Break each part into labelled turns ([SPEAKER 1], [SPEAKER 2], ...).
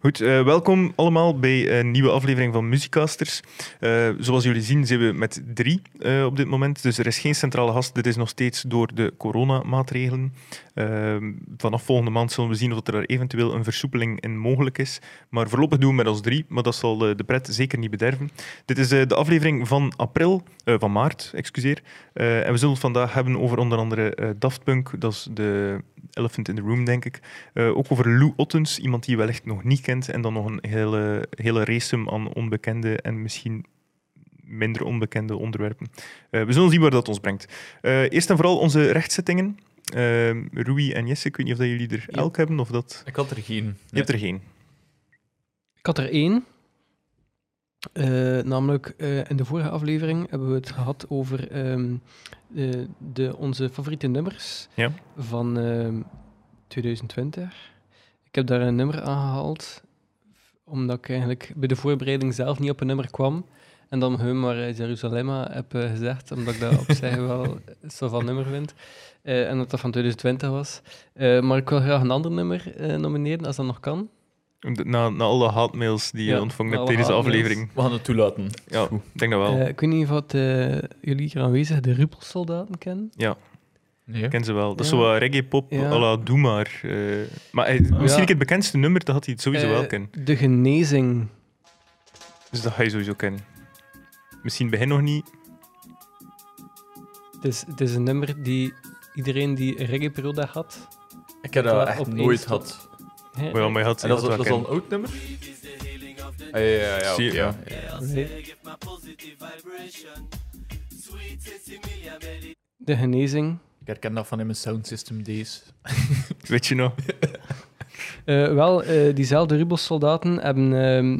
[SPEAKER 1] Goed, eh, welkom allemaal bij een nieuwe aflevering van Muzikasters. Eh, zoals jullie zien zijn we met drie eh, op dit moment, dus er is geen centrale gast. Dit is nog steeds door de coronamaatregelen. Eh, vanaf volgende maand zullen we zien of er daar eventueel een versoepeling in mogelijk is. Maar voorlopig doen we met ons drie, maar dat zal eh, de pret zeker niet bederven. Dit is eh, de aflevering van april, eh, van maart, excuseer. Eh, en we zullen het vandaag hebben over onder andere eh, Daft Punk, dat is de elephant in the room, denk ik. Eh, ook over Lou Ottens, iemand die je wellicht nog niet kent. En dan nog een hele, hele race aan onbekende en misschien minder onbekende onderwerpen. Eh, we zullen zien waar dat ons brengt. Eh, eerst en vooral onze rechtszittingen. Eh, Rui en Jesse, ik weet niet of dat jullie er
[SPEAKER 2] Ja.
[SPEAKER 1] elk hebben of dat...
[SPEAKER 2] Ik had er geen.
[SPEAKER 1] Je hebt er geen.
[SPEAKER 3] Ik had er één. Eh, namelijk, eh, in de vorige aflevering hebben we het gehad over ehm, de, de, onze favoriete nummers
[SPEAKER 1] Ja.
[SPEAKER 3] van ehm, 2020. Ik heb daar een nummer aangehaald, omdat ik eigenlijk bij de voorbereiding zelf niet op een nummer kwam. En dan hem maar eh, Jeruzalem heb eh, gezegd, omdat ik dat op zich wel zo van nummer vind. Eh, en dat dat van 2020 was. Eh, maar ik wil graag een ander nummer eh, nomineren, als dat nog kan.
[SPEAKER 1] Na, na alle haatmails die je
[SPEAKER 3] Ja,
[SPEAKER 1] ontvangen
[SPEAKER 3] na
[SPEAKER 1] hebt
[SPEAKER 3] alle
[SPEAKER 1] tijdens de
[SPEAKER 3] haatmails.
[SPEAKER 1] aflevering.
[SPEAKER 2] We gaan het toelaten.
[SPEAKER 1] Ja,
[SPEAKER 2] Goed.
[SPEAKER 1] ik denk dat wel.
[SPEAKER 3] Eh, ik weet niet of wat, eh, jullie hier aanwezig de Ruppelsoldaten kennen.
[SPEAKER 2] Nee.
[SPEAKER 1] Ik ken ze wel. Dat is
[SPEAKER 3] Ja.
[SPEAKER 1] zo wat reggae-pop
[SPEAKER 3] Ja.
[SPEAKER 1] à la Doe Maar. eh, maar eh, misschien
[SPEAKER 3] Ja.
[SPEAKER 1] ik het bekendste nummer, dat had hij het sowieso wel
[SPEAKER 3] Eh,
[SPEAKER 1] kennen.
[SPEAKER 3] De Genezing.
[SPEAKER 1] Dus dat ga je sowieso kennen. Misschien begin nog niet.
[SPEAKER 3] Het is, het is een nummer die iedereen die een reggae-periode had...
[SPEAKER 2] Ik heb
[SPEAKER 3] Dat
[SPEAKER 2] dat
[SPEAKER 3] we
[SPEAKER 2] echt
[SPEAKER 3] opeens
[SPEAKER 2] nooit
[SPEAKER 3] tot-
[SPEAKER 2] gehad.
[SPEAKER 3] hè, eh,
[SPEAKER 1] Maar ja, maar je had
[SPEAKER 2] En
[SPEAKER 1] het
[SPEAKER 2] dat
[SPEAKER 1] wel
[SPEAKER 2] is, dat is al een
[SPEAKER 1] kennen.
[SPEAKER 2] oud nummer? Ah, ja, ja, ja.
[SPEAKER 1] Zie
[SPEAKER 2] oké,
[SPEAKER 1] je,
[SPEAKER 2] ja.
[SPEAKER 3] Nee. De Genezing.
[SPEAKER 2] Ik herken dat van in mijn sound system days.
[SPEAKER 1] Weet je nou, nog?
[SPEAKER 3] Eh, wel, eh, diezelfde Ruppelsoldaten hebben ehm,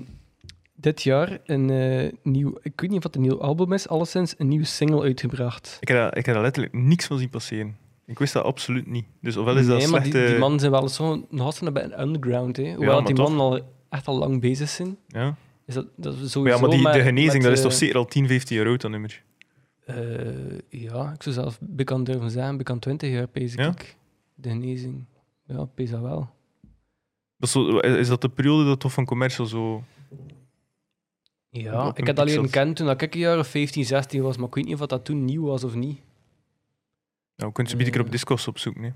[SPEAKER 3] dit jaar een eh, nieuw... Ik weet niet of het een nieuw album is, alleszins een nieuwe single uitgebracht.
[SPEAKER 1] Ik heb, daar, ik heb daar letterlijk niks van zien passeren. Ik wist dat absoluut niet. Dus ofwel is dat
[SPEAKER 3] nee, maar
[SPEAKER 1] slechte...
[SPEAKER 3] die, die mannen zijn wel zo'n gasten bij een underground. Hè. Hoewel
[SPEAKER 1] maar
[SPEAKER 3] die
[SPEAKER 1] toch.
[SPEAKER 3] mannen al echt al lang bezig zijn.
[SPEAKER 1] Ja,
[SPEAKER 3] Is dat, dat is
[SPEAKER 1] Maar
[SPEAKER 3] sowieso
[SPEAKER 1] ja maar die,
[SPEAKER 3] met-
[SPEAKER 1] de genezing,
[SPEAKER 3] met,
[SPEAKER 1] dat is toch
[SPEAKER 3] eh,
[SPEAKER 1] zeker al 10, 15 jaar oud, dat nummer?
[SPEAKER 3] eh, ja, ik zou zelf bekend durven zijn. Bekend 20 jaar, pees
[SPEAKER 1] Ja?
[SPEAKER 3] ik. De genezing. Ja, pees dat wel.
[SPEAKER 1] Dat is, zo, is dat de periode dat toch van commercial zo...
[SPEAKER 3] Ja,
[SPEAKER 1] Ook
[SPEAKER 3] ik
[SPEAKER 1] een
[SPEAKER 3] heb dat leren
[SPEAKER 1] pixels.
[SPEAKER 3] kennen toen ik een jaar of 15, 16 was, maar ik weet niet of dat toen nieuw was of niet.
[SPEAKER 1] Nou, je kunt ze een keer op
[SPEAKER 3] Eh.
[SPEAKER 1] Discos opzoeken. Hè.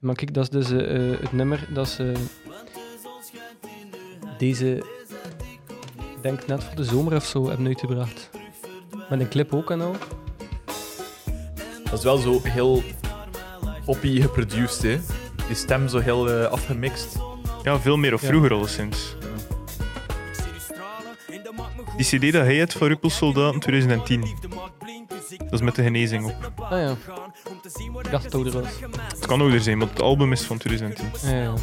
[SPEAKER 3] Maar kijk, dat is dus eh, eh, het nummer, dat is... eh, deze, ik denk net voor de zomer of zo, hebben uitgebracht. Met een clip ook en al.
[SPEAKER 2] Dat is wel zo heel poppy geproduced, hè. Die stem zo heel eh, afgemixt.
[SPEAKER 1] Ja, veel meer of
[SPEAKER 3] Ja.
[SPEAKER 1] vroeger alleszins. Die cd dat hij had van Ruppelsoldaten 2010. Dat is met de genezing op.
[SPEAKER 3] Ah ja. Ik dacht dat het ouder was.
[SPEAKER 1] Het kan ouder zijn, want het album is van 2010.
[SPEAKER 3] Ja, ja.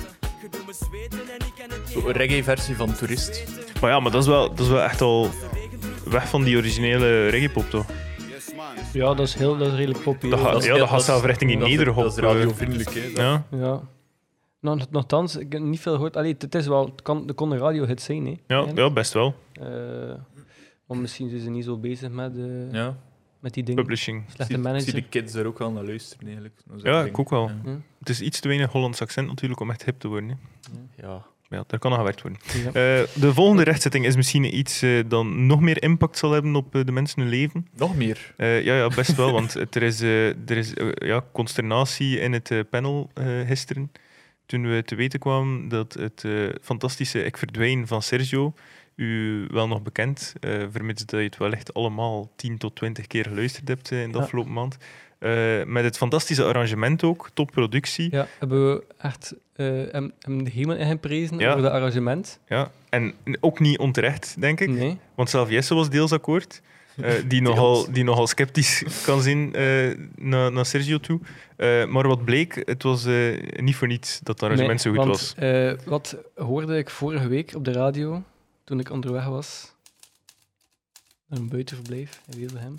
[SPEAKER 2] Zo'n reggae-versie van Toerist.
[SPEAKER 1] Maar ja, maar dat is wel, dat is wel echt al weg van die originele reggae-pop, toch?
[SPEAKER 3] ja, dat is, heel, dat is redelijk
[SPEAKER 1] Dat
[SPEAKER 3] populair.
[SPEAKER 1] gaat-
[SPEAKER 2] is-
[SPEAKER 1] ja, dat gaat
[SPEAKER 2] is-
[SPEAKER 1] zelf richting in
[SPEAKER 2] dat is-
[SPEAKER 1] Nederhop,
[SPEAKER 2] Dat is
[SPEAKER 1] eh.
[SPEAKER 2] radiovriendelijk, hè. Dat-
[SPEAKER 1] Ja,
[SPEAKER 3] Ja. Nou, nochtans, ik heb niet veel gehoord. Allee, het is wel, het kan, het kon een radiohit zijn, hè.
[SPEAKER 1] ja,
[SPEAKER 3] eigenlijk.
[SPEAKER 1] ja best wel.
[SPEAKER 3] Eh, maar misschien zijn ze niet zo bezig met, eh,
[SPEAKER 2] Ja.
[SPEAKER 3] met die dingen.
[SPEAKER 1] Publishing.
[SPEAKER 3] Slechte
[SPEAKER 2] Zie-
[SPEAKER 3] manager.
[SPEAKER 2] Zie de kids er ook wel naar luisteren, eigenlijk. Dat is
[SPEAKER 1] Ja,
[SPEAKER 2] een
[SPEAKER 1] ik ook wel.
[SPEAKER 2] Ja.
[SPEAKER 1] Het is iets te weinig Hollands accent natuurlijk om echt hip te worden. Hè.
[SPEAKER 2] Ja.
[SPEAKER 1] Maar Ja, daar kan aan gewerkt worden.
[SPEAKER 3] Ja.
[SPEAKER 1] Eh, de volgende rechtzetting is misschien iets eh dat nog meer impact zal hebben op eh, de mensen hun leven.
[SPEAKER 2] Nog meer.
[SPEAKER 1] Eh, ja, ja, best wel, want het- er is, eh, er is eh, ja, consternatie in het eh, panel eh, gisteren. Toen we te weten kwamen dat het eh, fantastische Ik Verdwijn van Sergio, u wel nog bekend, eh vermits dat je het wellicht allemaal 10 tot 20 keer geluisterd hebt eh, in de
[SPEAKER 3] Ja.
[SPEAKER 1] afgelopen maand, eh, met het fantastische arrangement ook, topproductie. Ja.
[SPEAKER 3] Ja, hebben we echt eh, hem, hem de hemel in geprezen
[SPEAKER 1] Ja.
[SPEAKER 3] over dat arrangement?
[SPEAKER 1] En ook niet onterecht, denk ik,
[SPEAKER 3] Nee.
[SPEAKER 1] want zelf Jesse was deels akkoord. eh, die, nogal, die nogal sceptisch kan zijn eh, naar, naar Sergio toe. Eh, maar wat bleek, het was eh, niet voor niets dat dat arrangement
[SPEAKER 3] Nee,
[SPEAKER 1] zo goed
[SPEAKER 3] want,
[SPEAKER 1] was.
[SPEAKER 3] eh, wat hoorde ik vorige week op de radio toen ik onderweg was? Naar een buitenverblijf in Wevelgem.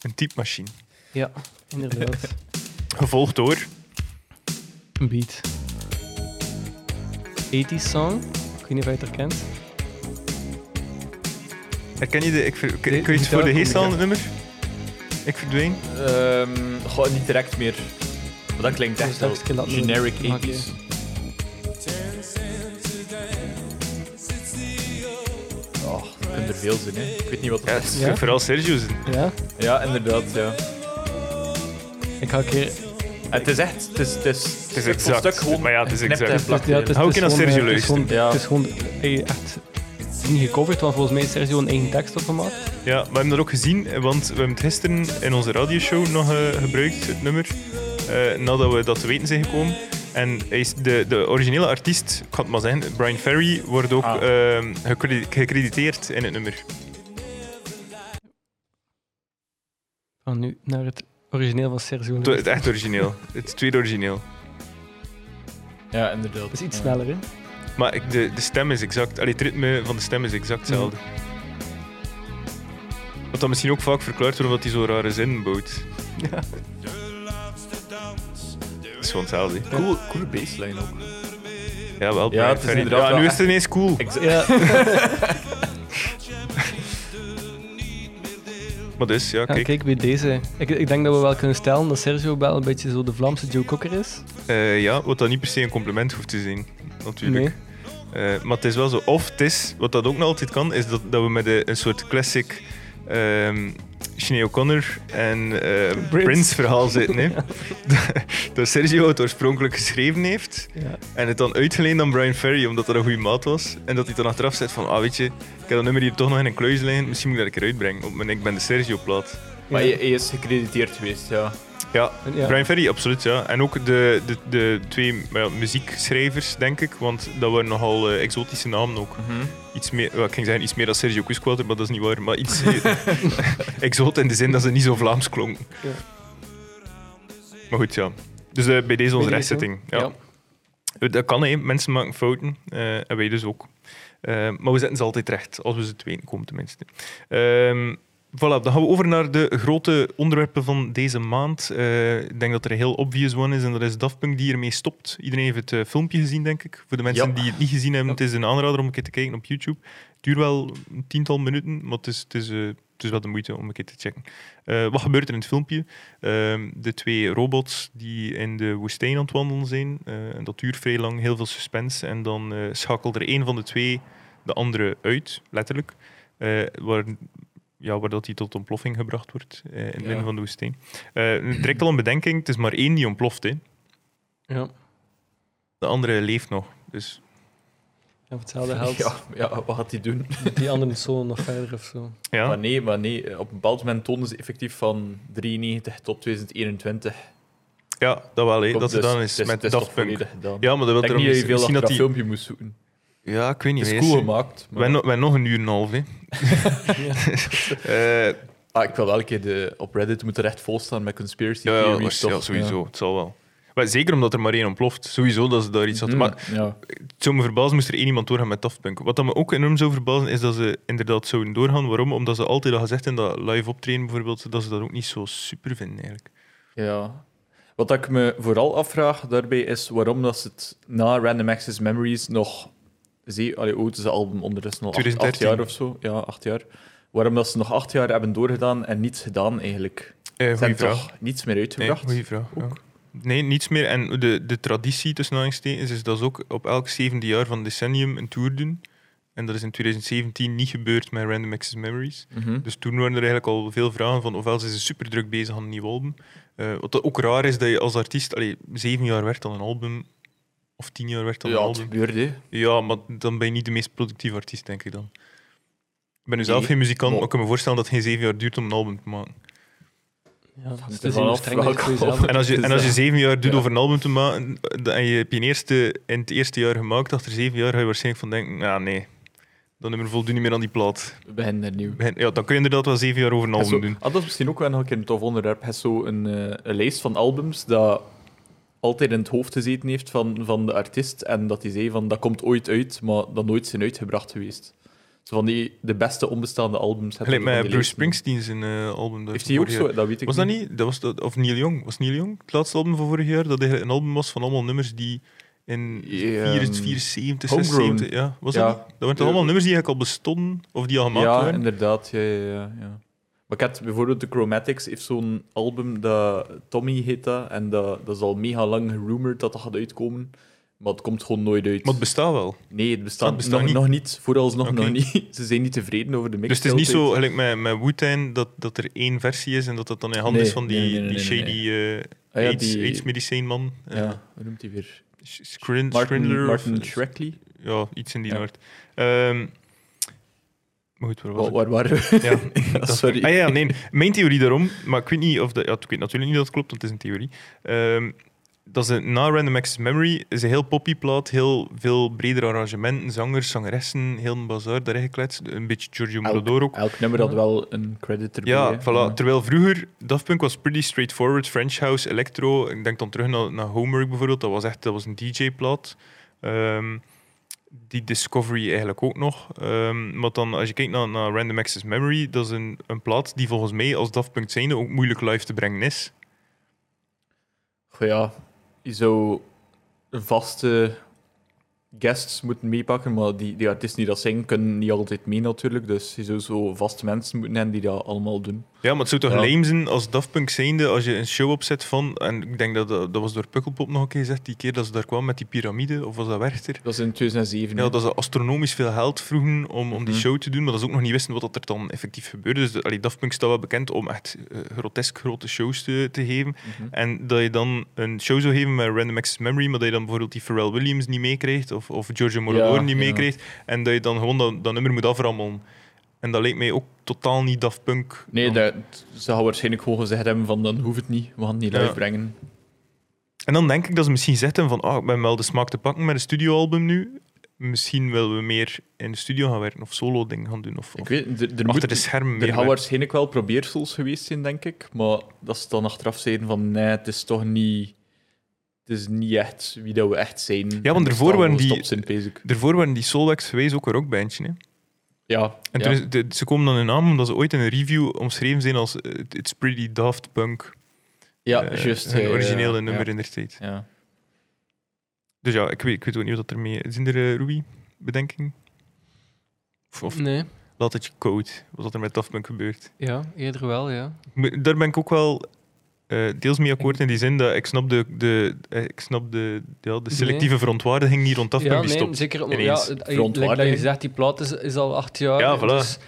[SPEAKER 1] Een typemachine.
[SPEAKER 3] Ja, inderdaad.
[SPEAKER 1] Gevolgd door...
[SPEAKER 3] een beat. 80s song. Ik weet niet of je het herkent.
[SPEAKER 1] Herken eh, je de... Ik ver- kun
[SPEAKER 3] De-
[SPEAKER 1] kun je het
[SPEAKER 3] die
[SPEAKER 1] voor de
[SPEAKER 3] daar-
[SPEAKER 1] geest halen, het nummer? Ik verdween.
[SPEAKER 2] Ehm, goh, niet direct meer. Maar dat klinkt
[SPEAKER 3] Zo
[SPEAKER 2] echt wel
[SPEAKER 3] straks keer laten we
[SPEAKER 2] generic
[SPEAKER 3] maken.
[SPEAKER 2] 80s. Oh, er kunnen er veel zijn, hè. Ik weet niet wat
[SPEAKER 1] Ja,
[SPEAKER 2] er
[SPEAKER 1] het
[SPEAKER 2] is.
[SPEAKER 1] is
[SPEAKER 3] Ja.
[SPEAKER 1] vooral Sergio's.
[SPEAKER 3] Ja,
[SPEAKER 2] Ja, inderdaad, ja.
[SPEAKER 3] ik ga een keer...
[SPEAKER 2] En het is echt... Het is, het is, het
[SPEAKER 1] is exact.
[SPEAKER 2] stuk gewoon
[SPEAKER 1] Maar ja, het is
[SPEAKER 2] geknipt
[SPEAKER 1] exact.
[SPEAKER 2] en plakt
[SPEAKER 3] ja,
[SPEAKER 2] erin.
[SPEAKER 3] het is-
[SPEAKER 1] Hou ik
[SPEAKER 3] het
[SPEAKER 1] in
[SPEAKER 3] is
[SPEAKER 1] als
[SPEAKER 3] gewoon,
[SPEAKER 1] Sergio
[SPEAKER 3] eh, het is gewoon-
[SPEAKER 2] luistert.
[SPEAKER 3] Het is gewoon eh, echt niet gecoverd, want volgens mij heeft Sergio een eigen tekst opgemaakt.
[SPEAKER 1] Ja, we hebben dat ook gezien, want we hebben het gisteren in onze radioshow nog eh, gebruikt, het nummer, eh, nadat we dat te weten zijn gekomen. En hij is de, de originele artiest, ik ga het maar zeggen, Brian Ferry, wordt ook
[SPEAKER 2] Ah.
[SPEAKER 1] eh, gecredi- gecrediteerd in het nummer.
[SPEAKER 3] Van nu naar het origineel van Sergio.
[SPEAKER 1] Het- Het echt origineel. Het tweede origineel.
[SPEAKER 2] Ja, inderdaad.
[SPEAKER 3] Dat is iets
[SPEAKER 2] Ja.
[SPEAKER 3] sneller, hè?
[SPEAKER 1] Maar ik- de, de stem is exact, allee, het ritme van de stem is exact hetzelfde. Wat dan misschien ook vaak verklaart waarom dat hij zo rare zin bouwt.
[SPEAKER 3] Ja.
[SPEAKER 1] Het is gewoon hetzelfde. hè.
[SPEAKER 2] Cool, coole baseline ook.
[SPEAKER 1] Ja, wel. Brian
[SPEAKER 2] het is
[SPEAKER 1] Ferry.
[SPEAKER 2] inderdaad
[SPEAKER 1] ja, nu
[SPEAKER 2] wel
[SPEAKER 1] is het ineens cool.
[SPEAKER 3] Ja.
[SPEAKER 1] Maar dus, ja,
[SPEAKER 3] Ja,
[SPEAKER 1] kijk.
[SPEAKER 3] kijk, bij deze. Ik, ik denk dat we wel kunnen stellen dat Sergio wel een beetje zo de Vlaamse Joe Cocker is.
[SPEAKER 1] Eh, ja, wat dan niet per se een compliment hoeft te zijn, natuurlijk.
[SPEAKER 3] Nee.
[SPEAKER 1] Eh, maar het is wel zo. Of het is, wat dat ook nog altijd kan, is dat, dat we met een, een soort classic ehm Sinead O'Connor en eh, Prince. verhaal zitten. Hè? dat Sergio het oorspronkelijk geschreven heeft
[SPEAKER 3] Ja.
[SPEAKER 1] en het dan uitgeleend aan Brian Ferry, omdat dat een goede maat was. En dat hij dan achteraf zegt van, ah weet je, ik heb dat nummer hier toch nog in een kluis liggen, misschien moet ik dat een keer uitbrengen op mijn Ik ben de Sergio-plaat.
[SPEAKER 2] Maar hij, hij is gecrediteerd geweest, ja.
[SPEAKER 1] Ja,
[SPEAKER 3] Ja.
[SPEAKER 1] Brian Ferry, absoluut. Ja. En ook de, de, de twee ja, muziekschrijvers, denk ik. Want dat waren nogal eh, exotische namen ook.
[SPEAKER 2] Mhm.
[SPEAKER 1] Iets meer, wel, ik ging zeggen iets meer dan Sergio Cusquater, maar dat is niet waar. Maar iets exot in de zin dat ze niet zo Vlaams klonken.
[SPEAKER 3] Ja.
[SPEAKER 1] Maar goed, ja. Dus eh, bij deze onze
[SPEAKER 3] deze?
[SPEAKER 1] rechtzetting. Ja.
[SPEAKER 3] Ja.
[SPEAKER 1] Eh, Dat kan, hè. mensen maken fouten. eh, en wij dus ook. Eh, maar we zetten ze altijd recht, als we ze te weten komen tenminste. Ehm voilà, dan gaan we over naar de grote onderwerpen van deze maand. Eh, ik denk dat er een heel obvious one is en dat is Daft Punk die ermee stopt. Iedereen heeft het eh, filmpje gezien, denk ik. Voor de mensen
[SPEAKER 2] Ja.
[SPEAKER 1] die het niet gezien hebben,
[SPEAKER 3] Ja.
[SPEAKER 1] het is een aanrader om een keer te kijken op YouTube. Het duurt wel een tiental minuten, maar het is, het is, eh, het is wel de moeite om een keer te checken. Eh, wat gebeurt er in het filmpje? Ehm, de twee robots die in de woestijn aan het wandelen zijn. eh, en dat duurt vrij lang, heel veel suspense. En dan eh, schakelt er één van de twee de andere uit, letterlijk. Eh, waar, ja, waar dat die tot ontploffing gebracht wordt eh, in het
[SPEAKER 2] Ja.
[SPEAKER 1] midden van de woestijn. Eh direct al een bedenking, het is maar één die ontploft. Hè.
[SPEAKER 3] Ja.
[SPEAKER 1] De andere leeft nog. Dus
[SPEAKER 3] En voor hetzelfde helpt
[SPEAKER 2] Ja, ja, wat gaat hij doen?
[SPEAKER 3] die anderen solo nog verder of zo.
[SPEAKER 1] ja,
[SPEAKER 2] Maar nee, maar nee, op een bepaald moment tonen ze effectief van 93 tot 2021.
[SPEAKER 1] ja dat wel. Hè. Dat
[SPEAKER 2] ze
[SPEAKER 1] gedaan is met Daft Punk.
[SPEAKER 2] gedaan.
[SPEAKER 1] Ja, maar dat wil
[SPEAKER 2] ik denk niet
[SPEAKER 1] erom
[SPEAKER 2] dat je
[SPEAKER 1] misschien
[SPEAKER 2] veel achter
[SPEAKER 1] dat
[SPEAKER 2] dat
[SPEAKER 1] die-
[SPEAKER 2] filmpje moest zoeken.
[SPEAKER 1] Ja, ik weet niet.
[SPEAKER 2] Het
[SPEAKER 1] wij
[SPEAKER 2] is cool
[SPEAKER 1] zijn-
[SPEAKER 2] gemaakt.
[SPEAKER 1] wij,
[SPEAKER 2] Maar...
[SPEAKER 1] no- wij nog een uur en een half. Hè. Eh,
[SPEAKER 2] Ah, ik wil elke keer de, op Reddit moeten recht volstaan met conspiracy
[SPEAKER 1] Ja, ja,
[SPEAKER 2] theories.
[SPEAKER 1] waarsch-
[SPEAKER 2] toch?
[SPEAKER 1] ja, sowieso. Het zal wel. Maar zeker omdat er maar één ontploft. Sowieso dat ze daar iets hadden.
[SPEAKER 2] Mhm,
[SPEAKER 1] Maar
[SPEAKER 2] ja.
[SPEAKER 1] het zou me verbazen moest er één iemand doorgaan met Daft Punk. Wat dat me ook enorm zou verbazen, is dat ze inderdaad zouden doorgaan. Waarom? Omdat ze altijd al gezegd in dat live optreden bijvoorbeeld, dat ze dat ook niet zo super vinden eigenlijk.
[SPEAKER 2] Ja. Wat ik me vooral afvraag daarbij is waarom dat ze het na Random Access Memories nog. Zie, allee, hoe oud is het album ondertussen al? Acht- Acht
[SPEAKER 1] 2013.
[SPEAKER 2] jaar of zo. Ja, acht jaar. Waarom dat ze nog acht jaar hebben doorgedaan en niets gedaan eigenlijk.
[SPEAKER 1] Eh
[SPEAKER 2] Ze hebben
[SPEAKER 1] goeie vraag.
[SPEAKER 2] toch niets meer
[SPEAKER 1] Nee,
[SPEAKER 2] uitgebracht?
[SPEAKER 1] goeie vraag. ja. Nee, niets meer. En de, de traditie tussen aanhalingstekens is dat ze ook op elk zevende jaar van decennium een tour doen. En dat is in 2017 niet gebeurd met Random Access Memories.
[SPEAKER 2] Mhm.
[SPEAKER 1] Dus toen waren er eigenlijk al veel vragen van ofwel zijn ze super druk bezig aan een nieuw album. Eh, wat dat ook raar is dat je als artiest allee, zeven jaar werkt aan een album. Of tien jaar werkt aan een
[SPEAKER 2] ja, het
[SPEAKER 1] album.
[SPEAKER 2] gebeurde. hè.
[SPEAKER 1] Ja, maar dan ben je niet de meest productieve artiest, denk ik dan. Ik ben nu
[SPEAKER 2] Nee,
[SPEAKER 1] zelf geen muzikant,
[SPEAKER 2] maar-
[SPEAKER 1] maar ik kan me voorstellen dat het geen zeven jaar duurt om een album te maken.
[SPEAKER 3] Ja, dus
[SPEAKER 2] hangt
[SPEAKER 3] het is
[SPEAKER 2] er
[SPEAKER 3] niet
[SPEAKER 2] vanaf
[SPEAKER 3] streng dat je het voor
[SPEAKER 2] welke
[SPEAKER 3] jezelf
[SPEAKER 2] album.
[SPEAKER 1] En als je, en als je
[SPEAKER 2] Dus,
[SPEAKER 1] zeven jaar doet
[SPEAKER 2] ja.
[SPEAKER 1] over een album te maken eh, en je hebt je eerste, in het eerste jaar gemaakt, achter zeven jaar ga je waarschijnlijk van denken, ja nee, dat nummer voldoet niet meer aan die plaat.
[SPEAKER 2] We beginnen er nieuw.
[SPEAKER 1] Ja, dan kun je inderdaad wel zeven jaar over een
[SPEAKER 2] Hij
[SPEAKER 1] album
[SPEAKER 2] is zo-
[SPEAKER 1] doen.
[SPEAKER 2] Ah, dat is misschien ook wel nog een keer een tof onderwerp. Hij is zo een, eh, een lijst van albums dat altijd in het hoofd gezeten heeft van, van de artiest. En dat hij zei van dat komt ooit uit, maar dat nooit zijn uitgebracht geweest. Zo van die de beste onbestaande albums. heb je
[SPEAKER 1] Gelijk
[SPEAKER 2] van
[SPEAKER 1] met
[SPEAKER 2] die
[SPEAKER 1] Bruce
[SPEAKER 2] lijsten.
[SPEAKER 1] Springsteen zijn eh, album. dat
[SPEAKER 2] Heeft
[SPEAKER 1] hij
[SPEAKER 2] hij ook
[SPEAKER 1] vorig jaar-
[SPEAKER 2] zo? Dat weet ik
[SPEAKER 1] Was dat niet? Dat was dat, of Neil Young? Was Neil Young het laatste album van vorig jaar? Dat hij een album was van allemaal nummers die in
[SPEAKER 2] Ja,
[SPEAKER 1] 74, 74,
[SPEAKER 2] Homegrown.
[SPEAKER 1] 76... Ja, was
[SPEAKER 2] Ja.
[SPEAKER 1] dat niet? Dat waren toch allemaal nummers die eigenlijk al bestonden of die al gemaakt
[SPEAKER 2] Ja,
[SPEAKER 1] waren?
[SPEAKER 2] inderdaad. Ja, ja, ja, ja. Maar ik had bijvoorbeeld de Chromatics heeft zo'n album dat Tommy heet dat. En dat, dat is al mega lang gerumored dat dat gaat uitkomen. Maar het komt gewoon nooit uit.
[SPEAKER 1] Maar het bestaat wel.
[SPEAKER 2] nee, het bestaat,
[SPEAKER 1] het bestaat
[SPEAKER 2] nog,
[SPEAKER 1] niet.
[SPEAKER 2] nog niet. Vooralsnog
[SPEAKER 1] Oké.
[SPEAKER 2] nog niet. Ze zijn niet tevreden over de mix.
[SPEAKER 1] Dus het is niet zo gelijk met, met Wu-Tang dat, dat er één versie is en dat dat dan in handen
[SPEAKER 2] Nee,
[SPEAKER 1] is van die,
[SPEAKER 2] nee, nee, nee,
[SPEAKER 1] die
[SPEAKER 2] nee,
[SPEAKER 1] shady eh,
[SPEAKER 2] Ah, ja,
[SPEAKER 1] AIDS-
[SPEAKER 2] die-
[SPEAKER 1] AIDS-medicijnman. eh,
[SPEAKER 2] Ja, hoe noemt hij weer?
[SPEAKER 1] Sch- Scrin-
[SPEAKER 2] Martin,
[SPEAKER 1] Schrindler of-
[SPEAKER 2] Martin Shrekley?
[SPEAKER 1] Ja, iets in die
[SPEAKER 2] Ja.
[SPEAKER 1] noord. Ehm maar goed, waar was
[SPEAKER 2] Waar,
[SPEAKER 1] ik?
[SPEAKER 2] waar waren we?
[SPEAKER 1] Ja,
[SPEAKER 2] Ja,
[SPEAKER 1] dat is-
[SPEAKER 2] sorry.
[SPEAKER 1] Ah ja, nee. Mijn theorie daarom, maar ik weet niet of dat... Ja, ik weet natuurlijk niet dat het klopt, want het is een theorie. Ehm, dat ze na Random Access Memory is een heel poppy plaat, heel veel breder arrangementen, zangers, zangeressen, heel een bazaar daarin gekletst. Een beetje Giorgio Moroder ook.
[SPEAKER 2] Elk nummer had wel een credit erbij.
[SPEAKER 1] Ja,
[SPEAKER 2] hè.
[SPEAKER 1] voilà. Terwijl vroeger, Daft Punk was pretty straightforward, French House, Electro. Ik denk dan terug naar, naar Homework bijvoorbeeld, dat was echt dat was een DJ-plaat. Ehm, die Discovery eigenlijk ook nog. Ehm, maar dan, als je kijkt naar, naar Random Access Memory, dat is een, een plaat die volgens mij als Daft Punk zijnde ook moeilijk live te brengen is.
[SPEAKER 2] Goh, ja, je zou vaste guests moeten meepakken, maar die, die artiesten die dat zingen kunnen niet altijd mee natuurlijk. Dus je zou zo vaste mensen moeten hebben die dat allemaal doen.
[SPEAKER 1] Ja, maar het zou toch
[SPEAKER 2] Ja.
[SPEAKER 1] lame zijn als Daft Punk zijnde, als je een show opzet van, en ik denk dat dat, dat was door Pukkelpop nog een keer gezegd, die keer dat ze daar kwam met die piramide, of was dat Werchter?
[SPEAKER 2] Dat is in 2007.
[SPEAKER 1] Ja,
[SPEAKER 2] hè.
[SPEAKER 1] dat ze astronomisch veel geld vroegen om, om die
[SPEAKER 2] Mhm.
[SPEAKER 1] show te doen, maar dat ze ook nog niet wisten wat dat er dan effectief gebeurde. Dus de- allee, Daft Punk staat wel bekend om echt eh, grotesk grote shows te, te geven.
[SPEAKER 2] Mhm.
[SPEAKER 1] En dat je dan een show zou geven met Random Access Memory, maar dat je dan bijvoorbeeld die Pharrell Williams niet meekrijgt of, of Giorgio Moroder
[SPEAKER 2] Ja,
[SPEAKER 1] niet
[SPEAKER 2] ja.
[SPEAKER 1] meekrijgt. En dat je dan gewoon dat, dat nummer moet aframmelen. En dat lijkt mij ook totaal niet Daft Punk.
[SPEAKER 2] Nee,
[SPEAKER 1] Dan-
[SPEAKER 2] dat, ze gaan waarschijnlijk gewoon gezegd hebben van dan hoeft het niet, we gaan het niet
[SPEAKER 1] Ja.
[SPEAKER 2] live brengen.
[SPEAKER 1] En dan denk ik dat ze misschien zetten van, ah, ik ben wel de smaak te pakken met een studioalbum nu. Misschien willen we meer in de studio gaan werken of solo dingen gaan doen. Of,
[SPEAKER 2] Ik
[SPEAKER 1] of
[SPEAKER 2] weet, er, er,
[SPEAKER 1] achter
[SPEAKER 2] moet,
[SPEAKER 1] de schermen
[SPEAKER 2] er
[SPEAKER 1] meer
[SPEAKER 2] gaan
[SPEAKER 1] werken.
[SPEAKER 2] waarschijnlijk wel probeersels geweest zijn, denk ik. Maar dat ze dan achteraf zeiden van nee, het is toch niet... Het is niet echt wie dat we echt zijn. En dat
[SPEAKER 1] want
[SPEAKER 2] ze
[SPEAKER 1] ervoor
[SPEAKER 2] daar
[SPEAKER 1] waren
[SPEAKER 2] gewoon
[SPEAKER 1] die-
[SPEAKER 2] gestopt zijn bezig.
[SPEAKER 1] Daarvoor waren die Solwax geweest ook een rockbandje. Hè?
[SPEAKER 2] Ja.
[SPEAKER 1] En
[SPEAKER 2] ja.
[SPEAKER 1] toen is- de- ze komen dan hun naam omdat ze ooit in een review omschreven zijn als eh, It's Pretty Daft Punk.
[SPEAKER 2] Ja,
[SPEAKER 1] Eh,
[SPEAKER 2] juist.
[SPEAKER 1] Hun
[SPEAKER 2] eh,
[SPEAKER 1] originele
[SPEAKER 2] ja.
[SPEAKER 1] nummer in der tijd.
[SPEAKER 2] Ja.
[SPEAKER 1] Dus ja, ik weet, ik weet ook niet wat dat ermee... Zijn er eh, Ruby bedenking? Of, of
[SPEAKER 3] Nee,
[SPEAKER 1] laat het je koud, wat dat er met Daft Punk gebeurt.
[SPEAKER 3] ja, eerder wel, ja.
[SPEAKER 1] Ik moet- Daar ben ik ook wel eh, deels mee akkoord in die zin dat ik snap de, de, eh, ik snap de, ja, de selectieve verontwaardiging die rond Daft Punk
[SPEAKER 3] ja,
[SPEAKER 1] die
[SPEAKER 3] nee,
[SPEAKER 1] stopt.
[SPEAKER 3] zeker. Om, ja,
[SPEAKER 1] ineens.
[SPEAKER 3] het- eh,
[SPEAKER 2] Verontwaardiging.
[SPEAKER 3] like dat je zegt, die plaat is, is al acht jaar.
[SPEAKER 1] Ja, voilà.
[SPEAKER 3] Dus,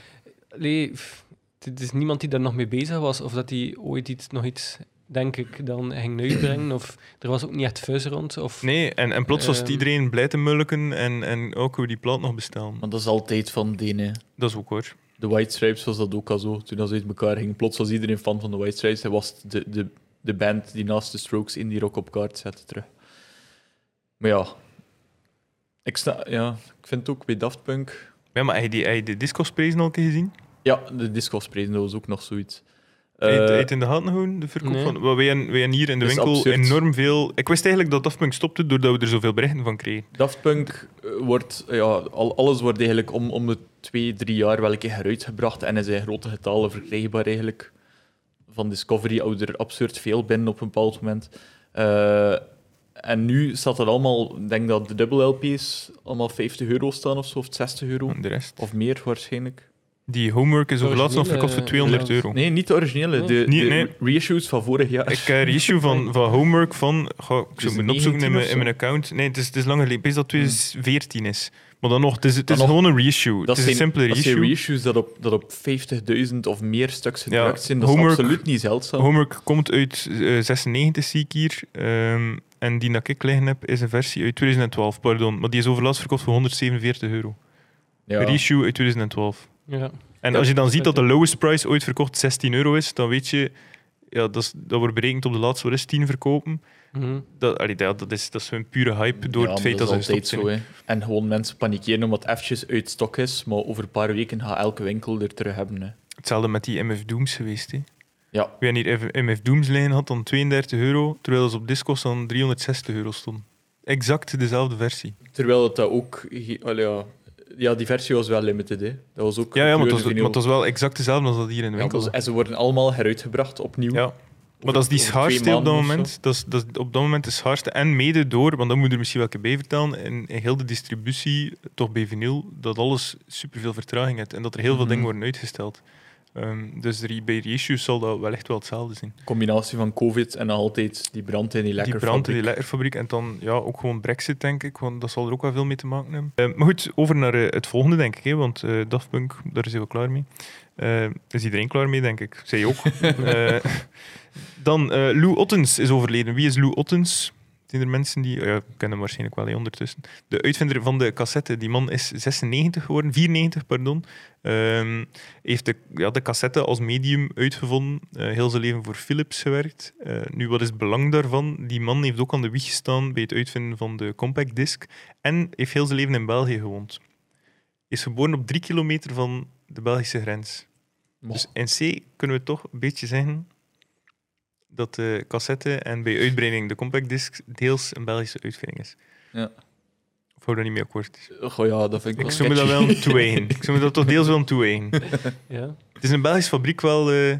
[SPEAKER 3] allee, pff, het is niemand die daar nog mee bezig was, of dat hij ooit iets, nog iets, denk ik, dan ging uitbrengen. Of er was ook niet echt fuzz rond. Of,
[SPEAKER 1] Nee, en, en plots was het
[SPEAKER 3] Ehm.
[SPEAKER 1] iedereen blij te mulken en, en ook kunnen we die plaat nog bestellen.
[SPEAKER 2] Want dat is altijd van Denen.
[SPEAKER 1] Dat is ook hoor.
[SPEAKER 2] De White Stripes was dat ook al zo. Toen dat ze uit elkaar gingen, plots was iedereen fan van de White Stripes. Hij was de, de, de band die naast de Strokes in die rock op kaart zette terug. Maar ja, ik, sta, ja, ik vind het ook bij Daft Punk.
[SPEAKER 1] Ja, maar heb je die, heb je de discosprezen al een keer gezien?
[SPEAKER 2] Ja, de disco spreiden, dat was ook nog zoiets. Eh,
[SPEAKER 1] Eet, eet in de gaten houden, de verkoop
[SPEAKER 3] nee.
[SPEAKER 1] van... Wel, Wij hebben wij hebben hier in de
[SPEAKER 2] Dat is
[SPEAKER 1] winkel
[SPEAKER 2] absurd.
[SPEAKER 1] enorm veel... Ik wist eigenlijk dat Daft Punk stopte doordat we er zoveel berichten van kregen.
[SPEAKER 2] Daft Punk eh, wordt, ja, al, alles wordt eigenlijk om, om de twee, drie jaar wel een keer heruitgebracht en is in grote getalen verkrijgbaar eigenlijk. Van Discovery houdt er absurd veel binnen op een bepaald moment. Eh, en nu staat dat allemaal, ik denk dat de dubbel LP's allemaal 50 euro staan of zo, of 60 euro.
[SPEAKER 1] En de rest.
[SPEAKER 2] Of meer waarschijnlijk.
[SPEAKER 1] Die homework is over
[SPEAKER 3] Originele-
[SPEAKER 1] laatst nog verkocht voor 200
[SPEAKER 3] ja.
[SPEAKER 1] euro.
[SPEAKER 2] Nee, niet de originele, de,
[SPEAKER 1] Nee,
[SPEAKER 2] de
[SPEAKER 1] nee.
[SPEAKER 2] reissues van vorig jaar.
[SPEAKER 1] Ik heb een issue van, van homework van... Goh, ik
[SPEAKER 3] Dus
[SPEAKER 1] zou
[SPEAKER 2] het
[SPEAKER 1] moeten opzoeken in
[SPEAKER 2] 19
[SPEAKER 1] mijn,
[SPEAKER 2] of
[SPEAKER 1] in
[SPEAKER 2] zo?
[SPEAKER 1] mijn account. Nee, het is, het is langer geleden. Ik denk dat
[SPEAKER 3] Hmm.
[SPEAKER 1] het 2014 is. Maar dan nog, het is, het is
[SPEAKER 2] Dan nog,
[SPEAKER 1] gewoon een reissue. Het is een
[SPEAKER 2] zijn-
[SPEAKER 1] simpele
[SPEAKER 2] dat zijn
[SPEAKER 1] reissue.
[SPEAKER 2] reissues dat op, dat op 50.000 of meer stuks gedrukt zijn. Dat
[SPEAKER 1] Homework-
[SPEAKER 2] is absoluut niet zeldzaam.
[SPEAKER 1] Homework komt uit eh, 96, zie ik hier. Ehm, en die dat ik liggen heb, is een versie uit 2012, pardon. Maar die is overlast verkocht voor 147 euro.
[SPEAKER 2] Ja.
[SPEAKER 1] Reissue uit 2012.
[SPEAKER 3] Ja.
[SPEAKER 1] En
[SPEAKER 2] Ja.
[SPEAKER 1] als je dan ziet dat de lowest price ooit verkocht 16 euro is, dan weet je... Ja, dat, is, dat wordt berekend op de laatste, wat is het, 10 verkopen?
[SPEAKER 3] Mhm.
[SPEAKER 1] Dat, allee, dat, dat is, dat is zo'n pure hype door
[SPEAKER 2] Ja,
[SPEAKER 1] het
[SPEAKER 2] maar
[SPEAKER 1] feit dat,
[SPEAKER 2] is
[SPEAKER 1] ze
[SPEAKER 2] altijd
[SPEAKER 1] gestopt zijn.
[SPEAKER 2] zo. Hè. En gewoon mensen panikeren omdat het eventjes uit stok is, maar over een paar weken gaat elke winkel er terug hebben. Hè.
[SPEAKER 1] Hetzelfde met die MF Dooms geweest. Hè.
[SPEAKER 2] Ja.
[SPEAKER 1] Wie hier F- MF Dooms lijn had dan 32 euro, terwijl ze op Discos dan 360 euro stonden. Exact dezelfde versie.
[SPEAKER 2] Terwijl het dat ook... ge- allee, ja. ja, die versie was wel limited. Hè. Dat was ook
[SPEAKER 1] Ja, ja maar, het was,
[SPEAKER 2] gekleurde
[SPEAKER 1] maar het was wel exact dezelfde als dat hier in de
[SPEAKER 2] vinyl. Ja,
[SPEAKER 1] winkel
[SPEAKER 2] dat
[SPEAKER 1] zat.
[SPEAKER 2] was- en ze worden allemaal heruitgebracht opnieuw.
[SPEAKER 1] Ja. Maar dat is die
[SPEAKER 2] over twee
[SPEAKER 1] schaarste op dat
[SPEAKER 2] maanden of
[SPEAKER 1] moment. Dat is, dat is op dat moment de schaarste. En mede door, want dan moet je er misschien welke bij vertellen, in, in heel de distributie, toch bij vinyl, dat alles superveel vertraging heeft. En dat er heel veel
[SPEAKER 2] Mhm.
[SPEAKER 1] dingen worden uitgesteld. Ehm, dus de re- bij reissues zal dat wellicht wel hetzelfde zijn.
[SPEAKER 2] Combinatie van COVID en nog altijd die brand in die lekker
[SPEAKER 1] die brand in die lekkerfabriek en dan ja, ook gewoon Brexit, denk ik, want dat zal er ook wel veel mee te maken hebben. Eh, maar goed, over naar eh, het volgende, denk ik, hè, want eh Daft Punk, daar zijn we klaar mee. Eh, is iedereen klaar mee, denk ik? Zij ook. Eh, dan eh, Lou Ottens is overleden. Wie is Lou Ottens? Zijn er mensen die. Ja, ik ken hem waarschijnlijk wel hè, ondertussen. De uitvinder van de cassette. Die man is 96 geworden, 94, pardon. Ehm, heeft de, ja, de cassette als medium uitgevonden. eh, heel zijn leven voor Philips gewerkt. Eh, nu, wat is het belang daarvan? Die man heeft ook aan de wieg gestaan bij het uitvinden van de compact disc. En heeft heel zijn leven in België gewoond. Is geboren op drie kilometer van de Belgische grens. Dus in C kunnen we toch een beetje zeggen dat de cassette en bij uitbreiding de compact disc deels een Belgische uitvinding is.
[SPEAKER 2] Ja.
[SPEAKER 1] Of hou daar niet mee akkoord.
[SPEAKER 2] Goh ja, dat vind ik
[SPEAKER 1] Ik
[SPEAKER 2] wel
[SPEAKER 1] zou me dat
[SPEAKER 2] sketchy.
[SPEAKER 1] wel aan toewegen. Ik zou me dat toch deels wel aan toewegen.
[SPEAKER 3] Ja. Het
[SPEAKER 1] Het is een Belgische fabriek wel... eh,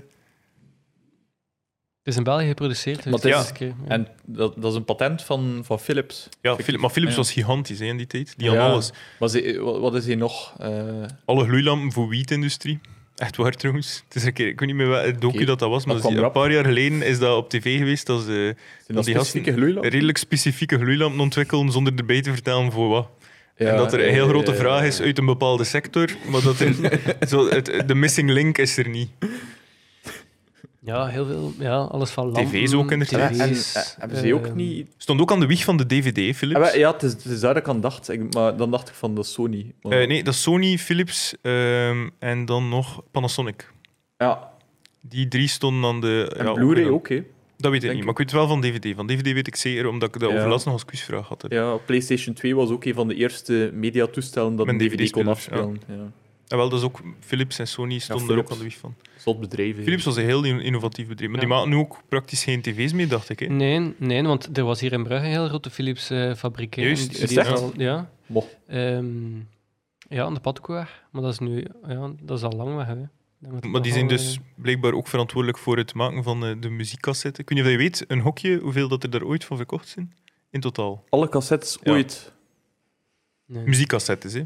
[SPEAKER 3] is in België geproduceerd. dus
[SPEAKER 2] Maar het
[SPEAKER 3] dat
[SPEAKER 2] is-
[SPEAKER 3] is een keer- ja.
[SPEAKER 2] En dat, dat is een patent van, van Philips.
[SPEAKER 1] Ja, Philip- maar Philips
[SPEAKER 2] ja.
[SPEAKER 1] was gigantisch hè, in die tijd. Die had
[SPEAKER 2] Ja.
[SPEAKER 1] alles.
[SPEAKER 2] Maar ze, wat wat is hier nog? Eh,
[SPEAKER 1] Alle gloeilampen voor wietindustrie. Echt waar trouwens. Het is een keer, ik weet niet meer welk docu
[SPEAKER 2] Oké.
[SPEAKER 1] dat dat was, maar
[SPEAKER 2] Dat
[SPEAKER 1] dat is
[SPEAKER 2] kwam
[SPEAKER 1] een
[SPEAKER 2] rap.
[SPEAKER 1] paar jaar geleden is dat op tv geweest. Dat ze eh,
[SPEAKER 2] zijn dat
[SPEAKER 1] die
[SPEAKER 2] specifieke
[SPEAKER 1] gasten-
[SPEAKER 2] gloeilampen?
[SPEAKER 1] redelijk specifieke gloeilampen ontwikkelen zonder erbij te vertellen voor wat.
[SPEAKER 2] Ja,
[SPEAKER 1] en dat er een heel
[SPEAKER 2] eh,
[SPEAKER 1] grote
[SPEAKER 2] eh,
[SPEAKER 1] vraag is uit een bepaalde sector, maar dat er, zo, het, de missing link is er niet.
[SPEAKER 3] ja, heel veel. Ja, alles van lampen.
[SPEAKER 1] TV's ook inderdaad.
[SPEAKER 2] En, en,
[SPEAKER 3] TV's,
[SPEAKER 2] eh, hebben ze ook
[SPEAKER 3] ehm,
[SPEAKER 2] niet...
[SPEAKER 1] Stond ook aan de wieg van de DVD, Philips.
[SPEAKER 2] Ah, wel, ja, het is, het is daar dat ik aan dacht. Ik- maar dan dacht ik van, dat is Sony. Maar-
[SPEAKER 1] Eh, nee, dat is Sony, Philips ehm, en dan nog Panasonic.
[SPEAKER 2] Ja,
[SPEAKER 1] Die drie stonden aan de...
[SPEAKER 2] en
[SPEAKER 1] ja,
[SPEAKER 2] Blu-ray
[SPEAKER 1] aan-
[SPEAKER 2] ook, hè.
[SPEAKER 1] Dat weet ik
[SPEAKER 2] Denk
[SPEAKER 1] niet,
[SPEAKER 2] ik.
[SPEAKER 1] maar ik weet wel van DVD. Van DVD weet ik zeker, omdat ik dat
[SPEAKER 2] Ja.
[SPEAKER 1] overlast nog als quizvraag had. hè.
[SPEAKER 2] Ja, PlayStation 2 was ook een van de eerste mediatoestellen dat
[SPEAKER 1] Met
[SPEAKER 2] een DVD kon
[SPEAKER 1] DVD-spelers,
[SPEAKER 2] afspelen. Ja.
[SPEAKER 1] En wel, dat is ook Philips en Sony stonden daar ook
[SPEAKER 2] Philips.
[SPEAKER 1] aan de wieg van.
[SPEAKER 2] Zot bedrijven.
[SPEAKER 1] Philips was een heel in- innovatief bedrijf, maar
[SPEAKER 3] Ja.
[SPEAKER 1] die maken nu ook praktisch geen tv's meer, dacht ik. Hè.
[SPEAKER 3] Nee, nee, want er was hier in Brugge een heel grote Philips eh, fabriek. hè.
[SPEAKER 1] Juist,
[SPEAKER 3] En
[SPEAKER 1] is
[SPEAKER 3] die is
[SPEAKER 1] echt?
[SPEAKER 3] al, ja.
[SPEAKER 2] Mo.
[SPEAKER 3] Ehm, ja, aan de padkoer. Maar dat is nu ja, dat is al lang weg. Hè. Dan
[SPEAKER 2] Mm.
[SPEAKER 3] moet het
[SPEAKER 1] Maar die zijn
[SPEAKER 3] nog wel,
[SPEAKER 2] Oh.
[SPEAKER 1] dus
[SPEAKER 3] eh,
[SPEAKER 1] blijkbaar ook verantwoordelijk voor het maken van eh, de muziekcassetten. Kun je dat je weet, een hokje, hoeveel dat er daar ooit van verkocht zijn? In totaal.
[SPEAKER 2] Alle cassettes
[SPEAKER 1] Ja.
[SPEAKER 2] ooit.
[SPEAKER 3] eh, nee,
[SPEAKER 1] Muziekcassettes, hè?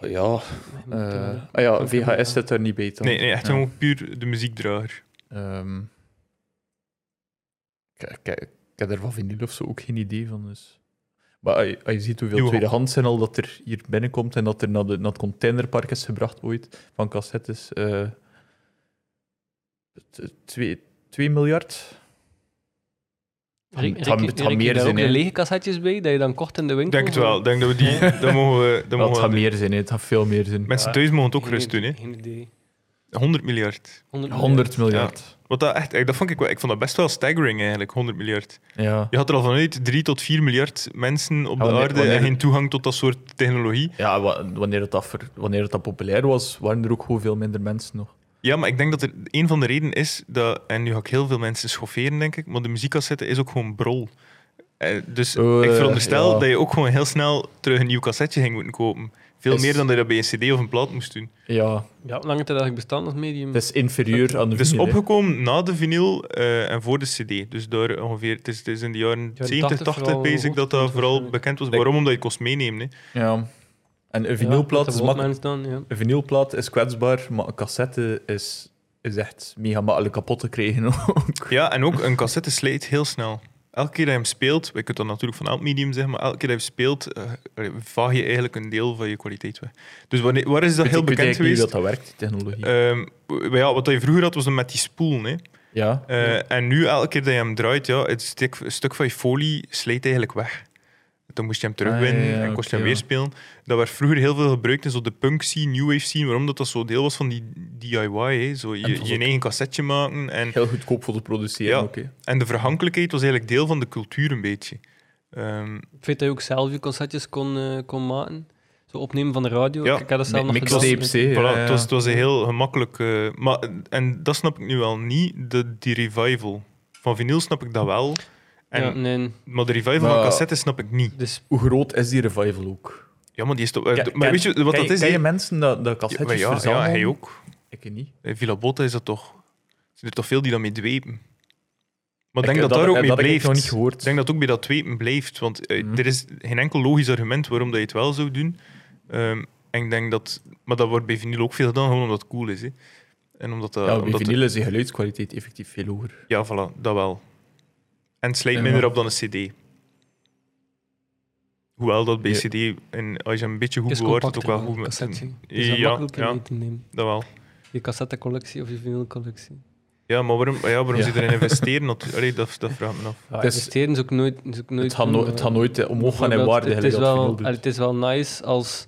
[SPEAKER 2] Ja,
[SPEAKER 3] nee,
[SPEAKER 2] eh,
[SPEAKER 3] moeten we-
[SPEAKER 2] ah ja,
[SPEAKER 3] Dank je wel.
[SPEAKER 2] VHS zit daar niet bij. dan.
[SPEAKER 1] Nee, nee, echt
[SPEAKER 2] Ja.
[SPEAKER 1] gewoon puur de muziekdrager.
[SPEAKER 2] Ehm, ik, ik, ik heb daar van vinyl of zo ook geen idee van. Dus. Maar als je, als je ziet hoeveel
[SPEAKER 1] Joh.
[SPEAKER 2] tweedehands zijn al dat er hier binnenkomt en dat er naar, de, naar het containerpark is gebracht ooit van cassettes. eh, t- twee 2 miljard?
[SPEAKER 3] Reken-
[SPEAKER 2] het had-
[SPEAKER 3] reken-
[SPEAKER 2] het had
[SPEAKER 3] reken
[SPEAKER 2] meer
[SPEAKER 3] je daar
[SPEAKER 2] zin
[SPEAKER 3] ook
[SPEAKER 2] in.
[SPEAKER 3] de lege cassettes bij, dat je dan kort in de
[SPEAKER 1] Ik
[SPEAKER 3] winkel...
[SPEAKER 1] denk het wel. Ik denk dat we die... Dat mogen we, dat
[SPEAKER 2] Dat
[SPEAKER 1] mogen we
[SPEAKER 2] gaat
[SPEAKER 1] aan doen.
[SPEAKER 2] meer zijn, hè. het gaat veel meer zijn. Ah,
[SPEAKER 1] Mensen
[SPEAKER 3] Ja.
[SPEAKER 1] thuis mogen het ook
[SPEAKER 3] Geen-
[SPEAKER 1] gerust doen, hè?
[SPEAKER 3] Geen idee.
[SPEAKER 1] 100 miljard.
[SPEAKER 3] 100
[SPEAKER 2] 100 miljard.
[SPEAKER 1] Wat dat echt, dat vond ik, wel, ik vond dat best wel staggering eigenlijk, 100 miljard.
[SPEAKER 2] Ja.
[SPEAKER 1] Je had er al vanuit 3 tot 4 miljard mensen op
[SPEAKER 2] Ja,
[SPEAKER 1] de
[SPEAKER 2] Ah, wanneer-
[SPEAKER 1] aarde en
[SPEAKER 2] wanneer-
[SPEAKER 1] geen toegang tot dat soort technologie.
[SPEAKER 2] Ja, wa- wanneer het, dat ver- wanneer het dat populair was, waren er ook gewoon veel minder mensen nog.
[SPEAKER 1] Ja, maar ik denk dat er een van de redenen is dat, en nu ga ik heel veel mensen schofferen, denk ik, maar de muziekcassette is ook gewoon brol. Eh, dus
[SPEAKER 2] Eh,
[SPEAKER 1] ik veronderstel
[SPEAKER 2] ja.
[SPEAKER 1] dat je ook gewoon heel snel terug een nieuw cassetje ging moeten kopen. Veel
[SPEAKER 2] Is-
[SPEAKER 1] meer dan dat je dat bij een cd of een plaat moest doen.
[SPEAKER 2] Ja,
[SPEAKER 3] Ja, lange tijd eigenlijk bestaan als medium.
[SPEAKER 2] het is inferieur aan de
[SPEAKER 1] Het is
[SPEAKER 2] vinyl, hè.
[SPEAKER 1] opgekomen na de vinyl eh, en voor de cd. Dus daar ongeveer, het is, het is in de jaren
[SPEAKER 3] Ja,
[SPEAKER 1] 70,
[SPEAKER 3] 80
[SPEAKER 1] 80
[SPEAKER 3] vooral
[SPEAKER 1] basic dat dat
[SPEAKER 3] hoogtepunt
[SPEAKER 1] vooral
[SPEAKER 3] waarschijnlijk.
[SPEAKER 1] bekend was.
[SPEAKER 2] Ik-
[SPEAKER 1] Waarom? Omdat je het kost meenemen. Hè.
[SPEAKER 2] Ja. En een
[SPEAKER 3] Ja,
[SPEAKER 2] vinylplaat,
[SPEAKER 3] met
[SPEAKER 2] is,
[SPEAKER 3] de
[SPEAKER 2] mak-
[SPEAKER 3] Walkmans dan, ja.
[SPEAKER 2] een vinylplaat is kwetsbaar, maar een cassette is, is echt mega makkelijk kapot te krijgen ook.
[SPEAKER 1] Ja, en ook een cassette slijt heel snel. Elke keer dat je hem speelt, je kunt dat natuurlijk van elk medium zeggen, maar elke keer dat je speelt, eh, vaag je eigenlijk een deel van je kwaliteit weg. Dus wanneer, waar is dat
[SPEAKER 2] Ik
[SPEAKER 1] heel
[SPEAKER 2] weet
[SPEAKER 1] bekend
[SPEAKER 2] eigenlijk niet
[SPEAKER 1] geweest?
[SPEAKER 2] dat dat werkt, die technologie.
[SPEAKER 1] Ehm, w- ja, wat je vroeger had, was dan met die spoel. Hè.
[SPEAKER 2] ja.
[SPEAKER 1] Eh, En nu, elke keer dat je hem draait, ja, het stuk, het stuk van je folie slijt eigenlijk weg. Dan moest je hem terugwinnen
[SPEAKER 2] Ah, ja, ja,
[SPEAKER 1] en kost je
[SPEAKER 2] oké,
[SPEAKER 1] hem
[SPEAKER 2] ja.
[SPEAKER 1] weer spelen. Dat werd vroeger heel veel gebruikt in zo de punk scene, new wave scene, waarom dat, dat zo deel was van die DIY. Hè. Zo
[SPEAKER 2] het
[SPEAKER 1] je,
[SPEAKER 2] was
[SPEAKER 1] je
[SPEAKER 2] ook-
[SPEAKER 1] eigen cassetje maken en
[SPEAKER 2] Heel goedkoop voor te produceren,
[SPEAKER 1] Ja.
[SPEAKER 2] oké.
[SPEAKER 1] En de vergankelijkheid was eigenlijk deel van de cultuur een beetje. Ehm,
[SPEAKER 3] Ik weet dat je ook zelf je cassettes kon, eh, kon maken. Zo opnemen van de radio.
[SPEAKER 1] Ja,
[SPEAKER 3] ik, ik had dat
[SPEAKER 2] Mi-
[SPEAKER 3] zelf nog
[SPEAKER 2] Mixtapes, hè.
[SPEAKER 3] gedaan.
[SPEAKER 1] voilà,
[SPEAKER 2] ja, ja.
[SPEAKER 1] Het, was, het was een heel gemakkelijk... eh, maar, en dat snap ik nu wel niet, de, die revival. Van vinyl snap ik dat wel. En,
[SPEAKER 3] Ja, nee,
[SPEAKER 1] Maar de revival van
[SPEAKER 2] Maar-
[SPEAKER 1] cassettes snap ik niet.
[SPEAKER 3] dus
[SPEAKER 2] Hoe groot is die revival ook?
[SPEAKER 1] Ja, maar die is toch... eh,
[SPEAKER 2] Ken-
[SPEAKER 1] de- maar
[SPEAKER 2] ken-
[SPEAKER 1] weet je wat
[SPEAKER 2] ken-
[SPEAKER 1] dat is?
[SPEAKER 2] ken je
[SPEAKER 1] hè?
[SPEAKER 2] mensen dat, dat
[SPEAKER 1] Ja, maar
[SPEAKER 2] cassettes
[SPEAKER 1] ja, ja,
[SPEAKER 2] verzamelen?
[SPEAKER 1] hij ook.
[SPEAKER 2] Ik niet.
[SPEAKER 1] Eh, Villa Botta is dat toch... Zijn er toch veel die dat mee dwepen? Maar ik
[SPEAKER 2] Ik-
[SPEAKER 1] denk dat, daar ook mee
[SPEAKER 2] dat heb
[SPEAKER 1] blijft.
[SPEAKER 2] ik nog niet
[SPEAKER 1] Ik
[SPEAKER 2] gehoord.
[SPEAKER 1] denk dat het ook bij dat dwepen blijft, want eh,
[SPEAKER 2] Mhm.
[SPEAKER 1] er is geen enkel logisch argument waarom dat je het wel zou doen. Ehm, en ik denk dat, maar dat wordt bij vinyl ook veel gedaan, gewoon omdat het cool is. Hè. En omdat dat,
[SPEAKER 2] ja, bij
[SPEAKER 1] omdat de-
[SPEAKER 2] vinyl is de geluidskwaliteit effectief veel hoger.
[SPEAKER 1] ja, voilà, dat wel. En het slijt
[SPEAKER 2] Ja.
[SPEAKER 1] minder op dan een CD. Hoewel dat bij
[SPEAKER 2] Ja.
[SPEAKER 1] CD, en als je hem een beetje
[SPEAKER 3] Het
[SPEAKER 1] goed
[SPEAKER 3] is
[SPEAKER 1] bewaart, het ook
[SPEAKER 3] compacter
[SPEAKER 1] wel
[SPEAKER 3] dan
[SPEAKER 1] goed
[SPEAKER 3] een
[SPEAKER 1] met
[SPEAKER 3] cassette.
[SPEAKER 1] zijn-
[SPEAKER 3] Het is wel
[SPEAKER 1] Ja,
[SPEAKER 3] makkelijker
[SPEAKER 1] ja.
[SPEAKER 3] mee te nemen.
[SPEAKER 1] Dat wel.
[SPEAKER 3] Je cassettecollectie of je vinylcollectie.
[SPEAKER 1] Ja, maar waarom, ja, waarom
[SPEAKER 2] Ja.
[SPEAKER 1] ze erin investeren? Dat- Allee, dat, dat vraag ik me af.
[SPEAKER 3] Ja,
[SPEAKER 2] Het is-
[SPEAKER 3] investeren is ook nooit... Is ook nooit
[SPEAKER 2] het, gaat
[SPEAKER 3] een,
[SPEAKER 2] no-
[SPEAKER 3] eh,
[SPEAKER 2] het gaat nooit eh, omhoog gaan in
[SPEAKER 3] Bijvoorbeeld,
[SPEAKER 2] waarde.
[SPEAKER 3] Het is,
[SPEAKER 2] gelijk dat
[SPEAKER 3] wel,
[SPEAKER 2] vinyl dus. doet.
[SPEAKER 3] allee, het is wel nice als,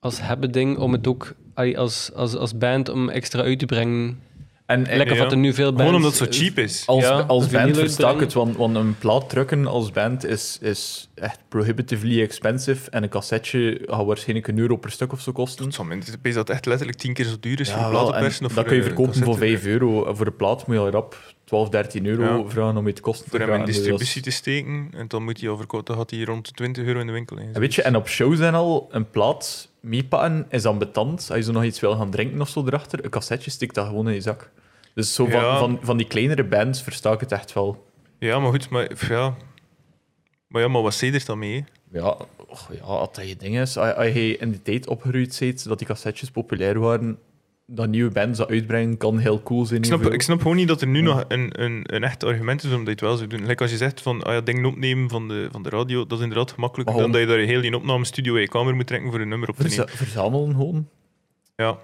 [SPEAKER 3] als hebben ding om het ook allee, als, als, als band om extra uit te brengen.
[SPEAKER 2] En, en
[SPEAKER 3] Lekker
[SPEAKER 1] ja.
[SPEAKER 3] wat er nu veel bands...
[SPEAKER 1] Gewoon omdat het zo
[SPEAKER 3] eh,
[SPEAKER 1] cheap is.
[SPEAKER 2] als,
[SPEAKER 3] Ja,
[SPEAKER 2] als
[SPEAKER 3] vinyl
[SPEAKER 2] band versta ik
[SPEAKER 3] uitbrengen.
[SPEAKER 2] het, want, want een plaat drukken als band is, is echt prohibitively expensive. En een cassetje gaat waarschijnlijk een euro per stuk of zo kosten.
[SPEAKER 1] Het zal minder- het is dat echt letterlijk tien keer zo duur is voor
[SPEAKER 2] wel, en
[SPEAKER 1] platenpersen. of
[SPEAKER 2] dat
[SPEAKER 1] voor,
[SPEAKER 2] kun je
[SPEAKER 1] eh,
[SPEAKER 2] verkopen voor
[SPEAKER 1] cassettes.
[SPEAKER 2] 5 euro. En voor de plaat moet je al rap 12, 13 euro
[SPEAKER 1] Ja.
[SPEAKER 2] vragen om je te kosten te
[SPEAKER 1] Voor hem in
[SPEAKER 2] vragen. Dus dat is-
[SPEAKER 1] distributie te steken. En dan moet hij al verkopen. Dan had hij rond de 20 euro in de winkel. heen.
[SPEAKER 2] En weet je, en op shows en al, een plaat meepakken is dan betand. Als je zo nog iets wil gaan drinken of zo erachter, een cassetje stikt dat gewoon in je zak. Dus zo van,
[SPEAKER 1] Ja.
[SPEAKER 2] van, van die kleinere bands versta ik het echt wel.
[SPEAKER 1] Ja, maar goed, maar pff, ja. Maar ja, maar wat zedert dan mee? hè?
[SPEAKER 2] Ja, och, ja als dat je ding is, als als je in die tijd opgeruid bent, dat die cassetjes populair waren, dat nieuwe bands dat uitbrengen kan heel cool zijn.
[SPEAKER 1] Ik snap,
[SPEAKER 2] even.
[SPEAKER 1] ik snap gewoon niet dat er nu
[SPEAKER 2] Ja.
[SPEAKER 1] nog een, een, een echt argument is om dat je het wel zou doen. Like als je zegt van ah ja, dingen opnemen van de, van de radio, dat is inderdaad gemakkelijker
[SPEAKER 2] Maar
[SPEAKER 1] dan dat je daar heel die opnamestudio in je kamer moet trekken voor een nummer op te
[SPEAKER 2] Verza-
[SPEAKER 1] nemen.
[SPEAKER 2] verzamelen gewoon.
[SPEAKER 1] Ja.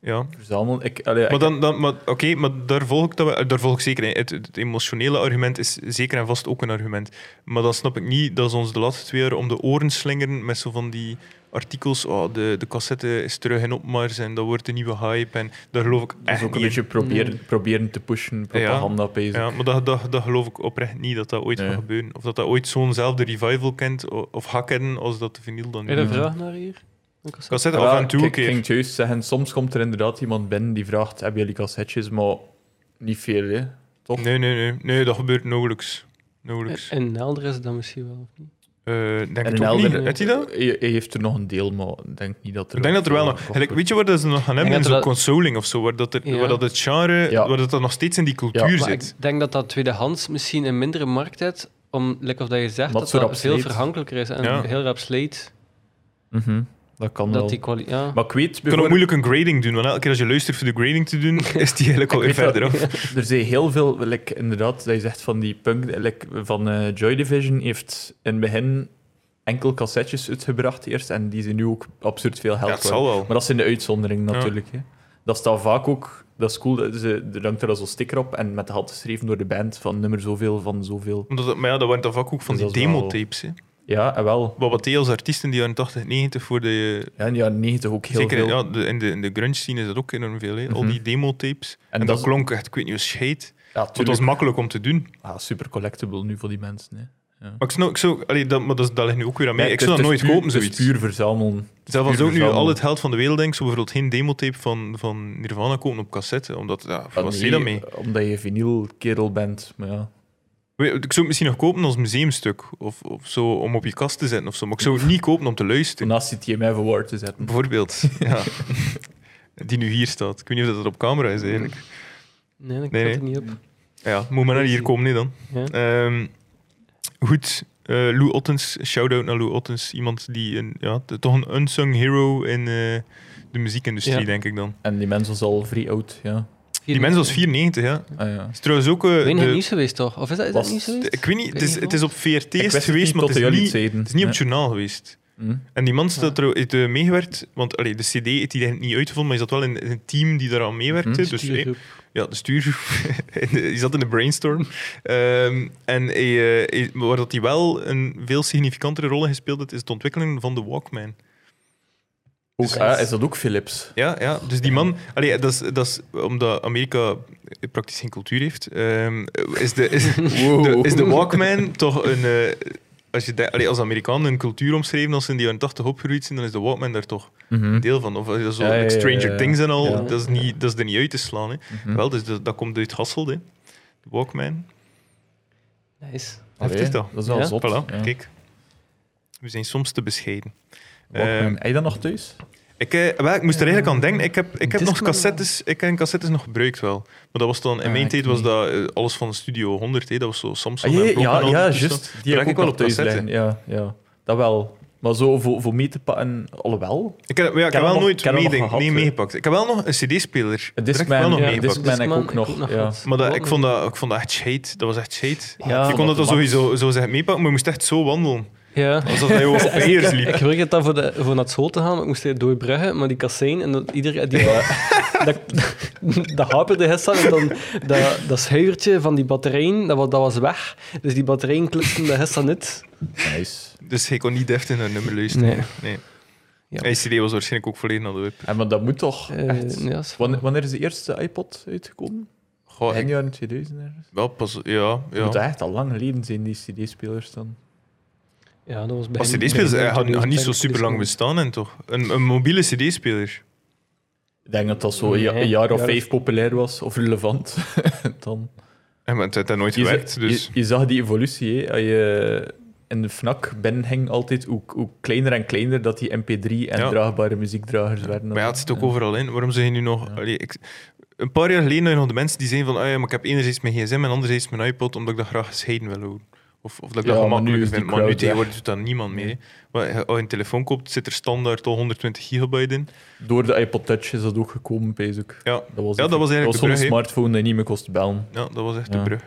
[SPEAKER 1] ja.
[SPEAKER 2] Verzamelen. Ik, allee, ik-
[SPEAKER 1] Maar, dan, dan, maar, oké, maar daar, volg ik dat, we- daar volg ik zeker in. Het, het emotionele argument is zeker en vast ook een argument. Maar dan snap ik niet dat ze ons de laatste twee jaar om de oren slingeren met zo van die artikels. Oh, de, de cassette is terug in opmars en dat wordt een nieuwe hype. En daar geloof ik
[SPEAKER 2] dat
[SPEAKER 1] echt
[SPEAKER 2] is dus ook een
[SPEAKER 1] niet in.
[SPEAKER 2] beetje proberen, proberen te pushen, propaganda bezig.
[SPEAKER 1] Mm. Ja, maar dat, dat, dat geloof ik oprecht niet dat dat ooit
[SPEAKER 2] Nee.
[SPEAKER 1] gaat gebeuren. Of dat dat ooit zo'nzelfde revival kent o- of gaat kennen als dat de vinyl dan nu.
[SPEAKER 3] Heb je een
[SPEAKER 2] Ja.
[SPEAKER 3] vraag naar hier? Een cassette?
[SPEAKER 1] Cassette
[SPEAKER 2] Ja,
[SPEAKER 1] af en toe een
[SPEAKER 2] Ik ik
[SPEAKER 1] keer.
[SPEAKER 2] ging het juist zeggen, soms komt er inderdaad iemand binnen die vraagt, hebben jullie cassettes? Maar niet veel, hè. Toch?
[SPEAKER 1] Nee, nee, nee, nee, dat gebeurt nauwelijks. Nauwelijks.
[SPEAKER 3] In Nelder is het dan misschien wel. of niet?
[SPEAKER 1] Eh, denk
[SPEAKER 2] En
[SPEAKER 1] het
[SPEAKER 2] een
[SPEAKER 1] ook
[SPEAKER 2] helder-
[SPEAKER 1] niet. Heeft hij dat?
[SPEAKER 2] Hij, hij heeft er nog een deel, maar ik denk niet dat er...
[SPEAKER 1] Ik denk dat er wel nog. gelijk, weet je waar dat ze nog gaan hebben?
[SPEAKER 3] dat
[SPEAKER 1] In
[SPEAKER 3] er
[SPEAKER 1] zo'n
[SPEAKER 3] wel-
[SPEAKER 1] consoling of zo, waar dat, er,
[SPEAKER 3] Ja.
[SPEAKER 1] waar dat het genre,
[SPEAKER 2] Ja.
[SPEAKER 1] waar dat, dat nog steeds in die cultuur
[SPEAKER 2] Ja,
[SPEAKER 3] Maar
[SPEAKER 1] zit.
[SPEAKER 3] ik denk dat dat tweedehands misschien een mindere markt heeft, om, like of dat je zegt,
[SPEAKER 2] Omdat
[SPEAKER 3] dat
[SPEAKER 2] zo
[SPEAKER 3] dat
[SPEAKER 2] rap
[SPEAKER 3] veel
[SPEAKER 2] sleet.
[SPEAKER 3] verhankelijker is en
[SPEAKER 1] Ja.
[SPEAKER 3] heel rap sleet.
[SPEAKER 2] Mhm, Dat kan wel.
[SPEAKER 3] Dat die kwaliteit... Ja.
[SPEAKER 2] Maar ik weet...
[SPEAKER 1] Je kan ook
[SPEAKER 2] bijvoorbeeld-
[SPEAKER 1] moeilijk een grading doen, want elke keer als je luistert voor de grading te doen, is die eigenlijk alweer
[SPEAKER 2] Ik weet
[SPEAKER 1] verder
[SPEAKER 2] dat-
[SPEAKER 1] af.
[SPEAKER 2] Er zijn heel veel, like, inderdaad, dat je zegt van die punk, like, van eh, Joy Division heeft in het begin enkel cassettes uitgebracht eerst en die zijn nu ook absurd veel
[SPEAKER 1] Ja,
[SPEAKER 2] geld
[SPEAKER 1] het
[SPEAKER 2] waard.
[SPEAKER 1] zal wel.
[SPEAKER 2] Maar dat zijn de uitzonderingen natuurlijk. Hè. Dat staat vaak ook, dat is cool, dat ze, er hangt er dan zo'n sticker op en met de hand geschreven door de band van nummer zoveel van zoveel.
[SPEAKER 1] Omdat, dat- maar ja, dat waren dan vaak ook van
[SPEAKER 2] Dus
[SPEAKER 1] die
[SPEAKER 2] dat is wel-
[SPEAKER 1] demotapes. hè.
[SPEAKER 2] Ja, en wel.
[SPEAKER 1] Wat wat deed als artiesten in de jaren 80, 90 voor de,
[SPEAKER 2] Ja, in de jaren 90 ook heel
[SPEAKER 1] Zeker,
[SPEAKER 2] veel.
[SPEAKER 1] ja, de, in, de, in de grunge scene is dat ook enorm veel. Hè? Al
[SPEAKER 2] Mhm.
[SPEAKER 1] die demotapes. En,
[SPEAKER 2] dat
[SPEAKER 1] dat
[SPEAKER 2] is-
[SPEAKER 1] klonk echt, ik weet niet, hoe scheet.
[SPEAKER 2] Ja,
[SPEAKER 1] Het was
[SPEAKER 2] tuurlijk.
[SPEAKER 1] makkelijk om te doen.
[SPEAKER 2] Ah, super collectible nu voor die mensen. Hè.
[SPEAKER 1] Maar ik snap, ik zou, allee, dat, maar dat, is- dat ligt nu ook weer aan mij.
[SPEAKER 2] Ja,
[SPEAKER 1] ik
[SPEAKER 2] het
[SPEAKER 1] zou dat
[SPEAKER 2] is
[SPEAKER 1] nooit
[SPEAKER 2] puur-
[SPEAKER 1] kopen,
[SPEAKER 2] het is
[SPEAKER 1] zoiets.
[SPEAKER 2] puur verzamelen.
[SPEAKER 1] Zelfs als
[SPEAKER 2] puur
[SPEAKER 1] ook nu
[SPEAKER 2] verzamelen.
[SPEAKER 1] al het geld van de wereld denk, zou bijvoorbeeld geen demotape van, van Nirvana kopen op cassette. Omdat, ja,
[SPEAKER 2] Ja,
[SPEAKER 1] wat
[SPEAKER 2] Ah, nee,
[SPEAKER 1] zie je daarmee?
[SPEAKER 2] Omdat je vinylkerel bent. Maar ja.
[SPEAKER 1] Weet- Ik zou het misschien nog kopen als museumstuk. Of, of zo, om op je kast te zetten of zo. Maar ik zou het niet kopen om te luisteren.
[SPEAKER 2] Toen naast die TMF Award te zetten.
[SPEAKER 1] Bijvoorbeeld. ja. Die nu hier staat. Ik weet niet of dat er op camera is eigenlijk.
[SPEAKER 3] Nee, ik
[SPEAKER 1] Nee,
[SPEAKER 3] zat
[SPEAKER 1] nee.
[SPEAKER 3] er niet op.
[SPEAKER 1] Ja, moet maar naar hier komen, nee dan.
[SPEAKER 3] Ja.
[SPEAKER 1] Ehm, goed, eh, Lou Ottens, shout-out naar Lou Ottens. Iemand die een, ja, t- toch een unsung hero in eh, de muziekindustrie,
[SPEAKER 3] Ja.
[SPEAKER 1] denk ik dan.
[SPEAKER 2] En die mensen was al vrij oud. Ja.
[SPEAKER 1] Die mens was 94, ja.
[SPEAKER 2] Ah, ja.
[SPEAKER 1] Is trouwens ook... eh,
[SPEAKER 3] Ik weet niet,
[SPEAKER 1] de-
[SPEAKER 3] nieuws geweest toch? Of is dat, is dat
[SPEAKER 2] Was-
[SPEAKER 3] nieuws geweest?
[SPEAKER 1] de- ik weet niet, het
[SPEAKER 3] weet
[SPEAKER 1] is,
[SPEAKER 3] niet
[SPEAKER 1] het is op VRT
[SPEAKER 2] Ik
[SPEAKER 1] is het
[SPEAKER 2] wist het
[SPEAKER 1] geweest,
[SPEAKER 2] niet
[SPEAKER 1] maar
[SPEAKER 2] tot
[SPEAKER 1] het is
[SPEAKER 2] de jullie
[SPEAKER 1] niet,
[SPEAKER 2] het zeiden.
[SPEAKER 1] het is niet op het
[SPEAKER 2] Ja.
[SPEAKER 1] journaal geweest.
[SPEAKER 2] Hm.
[SPEAKER 1] En die man
[SPEAKER 3] Ja.
[SPEAKER 1] staat er heeft, eh, meegewerkt, want allee, de CD heeft hij eigenlijk niet uitgevonden, maar hij zat wel in in een team die daar aan meewerkte.
[SPEAKER 2] Mhm.
[SPEAKER 1] Dus, eh,
[SPEAKER 3] Stuurgroep.
[SPEAKER 1] Ja, de stuurgroep. die zat in de brainstorm. Ehm, en hij, eh, hij- waar dat hij wel een veel significantere rol in gespeeld heeft, is het ontwikkelen van de Walkman.
[SPEAKER 2] Ook, ah, is dat ook Philips?
[SPEAKER 1] Ja, ja. Dus die man... Allee, dat is, dat is omdat Amerika praktisch geen cultuur heeft, ehm, is, de, is, de, is de Walkman toch een... eh, als, je de- allee, als Amerikanen hun cultuur omschreven, als ze in de jaren 80 opgegroeid zijn, dan is de Walkman daar toch
[SPEAKER 2] Mhm.
[SPEAKER 1] deel van. Of als je zo,
[SPEAKER 2] Ja, ja,
[SPEAKER 1] like,
[SPEAKER 2] ja,
[SPEAKER 1] Stranger
[SPEAKER 2] ja.
[SPEAKER 1] Things en al,
[SPEAKER 2] Ja.
[SPEAKER 1] dat, is niet, dat is er niet uit te slaan. Hè.
[SPEAKER 2] Mhm.
[SPEAKER 1] Wel, dus dat, dat komt uit Hasselt, hè. De Walkman.
[SPEAKER 3] Nice.
[SPEAKER 2] Allee,
[SPEAKER 1] Heftig toch?
[SPEAKER 2] Dat is wel
[SPEAKER 3] Ja.
[SPEAKER 2] zot.
[SPEAKER 1] Voilà,
[SPEAKER 2] ja.
[SPEAKER 1] kijk. We zijn soms te bescheiden.
[SPEAKER 2] Walkman.
[SPEAKER 1] Ehm,
[SPEAKER 2] Heb je dat nog thuis?
[SPEAKER 1] ik, eh, wel, ik moest er eigenlijk aan denken. Ik heb, ik heb nog
[SPEAKER 3] Discman.
[SPEAKER 1] cassettes, ik heb cassettes nog gebruikt wel. Maar dat was dan, in
[SPEAKER 2] Ah,
[SPEAKER 1] mijn
[SPEAKER 2] ik
[SPEAKER 1] tijd was
[SPEAKER 2] niet.
[SPEAKER 1] dat eh, alles van Studio 100. Hè. Dat was zo Samsung
[SPEAKER 2] Ah,
[SPEAKER 1] en
[SPEAKER 2] jee, ja,
[SPEAKER 1] Blokkenhout
[SPEAKER 2] ja,
[SPEAKER 1] en dus zo.
[SPEAKER 2] juist. Die
[SPEAKER 1] Daar
[SPEAKER 2] heb ik
[SPEAKER 1] nog
[SPEAKER 2] ook wel op thuis
[SPEAKER 1] cassettes
[SPEAKER 2] liggen. Ja, ja. Dat wel. Maar zo voor, voor mee te pakken, alhoewel.
[SPEAKER 1] Ik heb, ja, ik
[SPEAKER 2] Ik
[SPEAKER 1] heb
[SPEAKER 2] heb
[SPEAKER 1] wel
[SPEAKER 2] hem nog-
[SPEAKER 1] nooit
[SPEAKER 2] ik heb hem nog
[SPEAKER 1] meeding-
[SPEAKER 2] gehad,
[SPEAKER 1] nee,
[SPEAKER 2] hè.
[SPEAKER 1] meegepakt. Ik heb wel nog een CD-speler.
[SPEAKER 2] Een
[SPEAKER 1] Daar heb ik wel
[SPEAKER 2] Discman,
[SPEAKER 1] nog
[SPEAKER 2] ja,
[SPEAKER 1] meegepakt.
[SPEAKER 2] Discman. ben ik ook nog, ja.
[SPEAKER 1] Maar dat, ik, vond dat, ik vond dat echt shade. Dat was echt shade.
[SPEAKER 3] Ja,
[SPEAKER 1] je kon
[SPEAKER 2] wat
[SPEAKER 1] dat dan
[SPEAKER 2] de max.
[SPEAKER 1] sowieso zo zeggen meepakken, maar je moest echt zo wandelen.
[SPEAKER 3] Ja.
[SPEAKER 1] Alsof dat je op peers
[SPEAKER 3] Ik
[SPEAKER 1] liep.
[SPEAKER 3] gebruik het dan voor, de, voor naar het school te gaan, maar ik moest het doorbruggen, maar die kassein en dat iedereen die dat, dat haperde gisteren en dan dat, dat schuivertje van die batterijen, dat, wa- dat was weg. Dus die batterijen klitsten de gisteren niet.
[SPEAKER 2] Nice.
[SPEAKER 1] Dus je kon niet deft in een nummer luisteren.
[SPEAKER 3] Nee.
[SPEAKER 1] Nee.
[SPEAKER 3] Ja.
[SPEAKER 1] En je CD was waarschijnlijk ook volledig naar de web.
[SPEAKER 2] En, maar dat moet toch
[SPEAKER 3] Eh,
[SPEAKER 2] echt...
[SPEAKER 3] ja, is-
[SPEAKER 2] Wanneer, wanneer is de eerste iPod uitgekomen?
[SPEAKER 1] Goh,
[SPEAKER 2] Eind
[SPEAKER 1] Oh, ik,
[SPEAKER 2] jaren 2000 ergens?
[SPEAKER 1] wel pas, ja,
[SPEAKER 2] Dat moet
[SPEAKER 1] ja.
[SPEAKER 2] echt al lang geleden zijn, die cd-spelers dan.
[SPEAKER 3] ja, dat was
[SPEAKER 1] Als CD-spelers eh, gaan gaan niet zo super lang
[SPEAKER 3] bestaan.
[SPEAKER 1] bestaan, en toch? Een, een mobiele CD-speler.
[SPEAKER 2] Ik denk dat dat zo een ja-
[SPEAKER 3] Nee,
[SPEAKER 2] een jaar of
[SPEAKER 3] jaar
[SPEAKER 2] vijf populair was, of relevant. dan.
[SPEAKER 1] En het heeft daar nooit
[SPEAKER 2] Je,
[SPEAKER 1] gewerkt.
[SPEAKER 2] za-
[SPEAKER 1] dus.
[SPEAKER 2] je, je zag die evolutie, hè. Als je in de FNAC binnenhing altijd, hoe, hoe kleiner en kleiner dat die mp3 en
[SPEAKER 1] Ja.
[SPEAKER 2] draagbare muziekdragers werden.
[SPEAKER 1] Maar ja, het zit ook
[SPEAKER 2] Ja.
[SPEAKER 1] overal in. Waarom zeg je nu nog...
[SPEAKER 2] Ja.
[SPEAKER 1] Allee, ik, een paar jaar geleden had je nog de mensen die zeiden van ah ja, maar ik heb enerzijds mijn gsm en anderzijds mijn iPod, omdat ik dat graag gescheiden wil houden. Of, of dat ik
[SPEAKER 2] Ja,
[SPEAKER 1] dat
[SPEAKER 2] maar nu
[SPEAKER 1] gemakkelijker
[SPEAKER 2] is die
[SPEAKER 1] vind. Maar nu
[SPEAKER 2] crowd
[SPEAKER 1] tegenwoordig doet dat niemand meer. hè. Maar je- als je een telefoon koopt, zit er standaard al 120 gigabyte in.
[SPEAKER 2] Door de iPod Touch is dat ook gekomen, pees ook.
[SPEAKER 1] Ja.
[SPEAKER 2] Dat was,
[SPEAKER 1] Ja, dat was eigenlijk de
[SPEAKER 2] zo'n
[SPEAKER 1] brug, hè.
[SPEAKER 2] smartphone die niet meer kost bellen.
[SPEAKER 1] Ja, dat was echt de
[SPEAKER 2] Ja.
[SPEAKER 1] brug.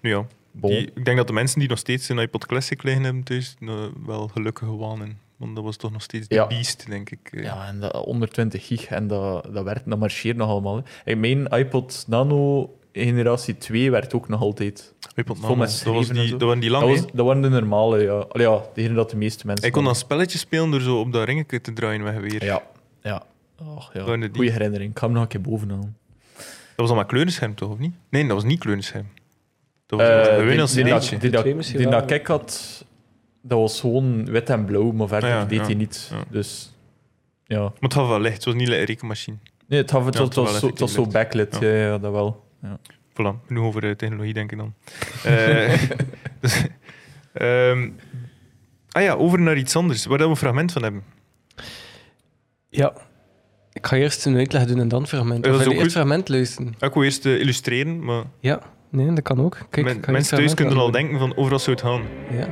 [SPEAKER 1] Nu ja,
[SPEAKER 2] Bon.
[SPEAKER 1] die- ik denk dat de mensen die nog steeds een iPod Classic liggen hebben thuis, eh, wel gelukkig gewanen. Want dat was toch nog steeds de
[SPEAKER 2] Ja.
[SPEAKER 1] beast, denk ik. eh.
[SPEAKER 2] Ja, en dat 120 gig en dat, dat werkt, dat marcheert nog allemaal. hè. Ik mijn iPod Nano generatie 2 werkt ook nog altijd.
[SPEAKER 1] iPod
[SPEAKER 2] Vol
[SPEAKER 1] Nano,
[SPEAKER 2] met
[SPEAKER 1] dat, was
[SPEAKER 2] schrijven en
[SPEAKER 1] die,
[SPEAKER 2] zo.
[SPEAKER 1] dat waren die
[SPEAKER 2] Dat,
[SPEAKER 1] lange.
[SPEAKER 2] was,
[SPEAKER 1] hè.
[SPEAKER 2] dat waren de normale, ja. Allee, ja, degene dat de meeste mensen...
[SPEAKER 1] Hij kon dan
[SPEAKER 2] hadden.
[SPEAKER 1] spelletjes spelen door zo op dat ringetje te draaien weg en weer.
[SPEAKER 2] Ja, ja. Ach, ja.
[SPEAKER 1] Waren die-
[SPEAKER 2] Goeie herinnering. Ik ga hem nog een keer bovenaan.
[SPEAKER 1] Dat was allemaal kleurenscherm, toch, of niet? Nee, dat was niet kleurenscherm. Dat was
[SPEAKER 2] Eh,
[SPEAKER 1] gewoon
[SPEAKER 2] die-
[SPEAKER 1] als
[SPEAKER 2] die dat-
[SPEAKER 1] cd'tje.
[SPEAKER 2] Die dat-
[SPEAKER 3] Twee misschien
[SPEAKER 2] die
[SPEAKER 3] wel.
[SPEAKER 2] dat ik had, dat was gewoon wit en blauw, maar verder
[SPEAKER 1] Ah, ja,
[SPEAKER 2] deed
[SPEAKER 1] ja,
[SPEAKER 2] hij niet.
[SPEAKER 1] ja.
[SPEAKER 2] Dus, ja.
[SPEAKER 1] Maar het had wel licht, het was niet een rekenmachine.
[SPEAKER 2] Nee, het, had, het,
[SPEAKER 1] Ja, het
[SPEAKER 2] was- het
[SPEAKER 1] was
[SPEAKER 2] was,
[SPEAKER 1] wel
[SPEAKER 2] zo, het was zo backlit,
[SPEAKER 1] Ja.
[SPEAKER 2] ja. Ja, dat wel. Ja.
[SPEAKER 1] Voilà, genoeg over eh, technologie, denk ik dan. Eh, dus, ehm, ah ja, over naar iets anders, waar dat we een fragment van hebben.
[SPEAKER 3] Ja. Ik ga eerst een uitleg doen en dan fragment.
[SPEAKER 1] Ja,
[SPEAKER 3] Of
[SPEAKER 1] dat is
[SPEAKER 3] wil je
[SPEAKER 1] ook
[SPEAKER 3] eerst
[SPEAKER 1] goed.
[SPEAKER 3] fragment luisteren?
[SPEAKER 1] Ik wil eerst eh, illustreren, maar
[SPEAKER 3] Ja. Nee, dat kan ook. Kijk, ik
[SPEAKER 1] men-
[SPEAKER 3] ga eerst
[SPEAKER 1] mensen thuis
[SPEAKER 3] fragment
[SPEAKER 1] kunnen al
[SPEAKER 3] laten
[SPEAKER 1] denken van overal zou het gaan.
[SPEAKER 3] horen. Ja.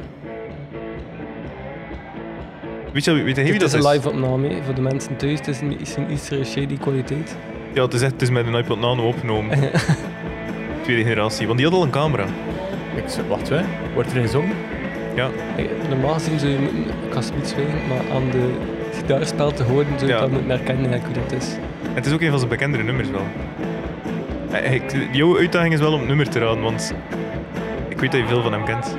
[SPEAKER 1] Weet je weet jij wie
[SPEAKER 3] Dit
[SPEAKER 1] dat
[SPEAKER 3] is
[SPEAKER 1] is?
[SPEAKER 3] een live opname hè, voor de mensen thuis. Het is een, is een iets eh, shady kwaliteit.
[SPEAKER 1] Ja, het is, echt, het is met een iPod Nano opgenomen, tweede generatie. Want die had al een camera.
[SPEAKER 2] Ik zeg, wacht, hè. Wordt er gezongen?
[SPEAKER 3] Eh, Normaal gezien zou je moeten, ik ga het niet zwijgen, maar aan de gitaarspel te horen zou je
[SPEAKER 1] Ja.
[SPEAKER 3] dat moeten herkennen eigenlijk hoe dat is.
[SPEAKER 1] En het is ook een van zijn bekendere nummers wel. Eh, ik- Jouw uitdaging is wel om het nummer te raden, want ik weet dat je veel van hem kent.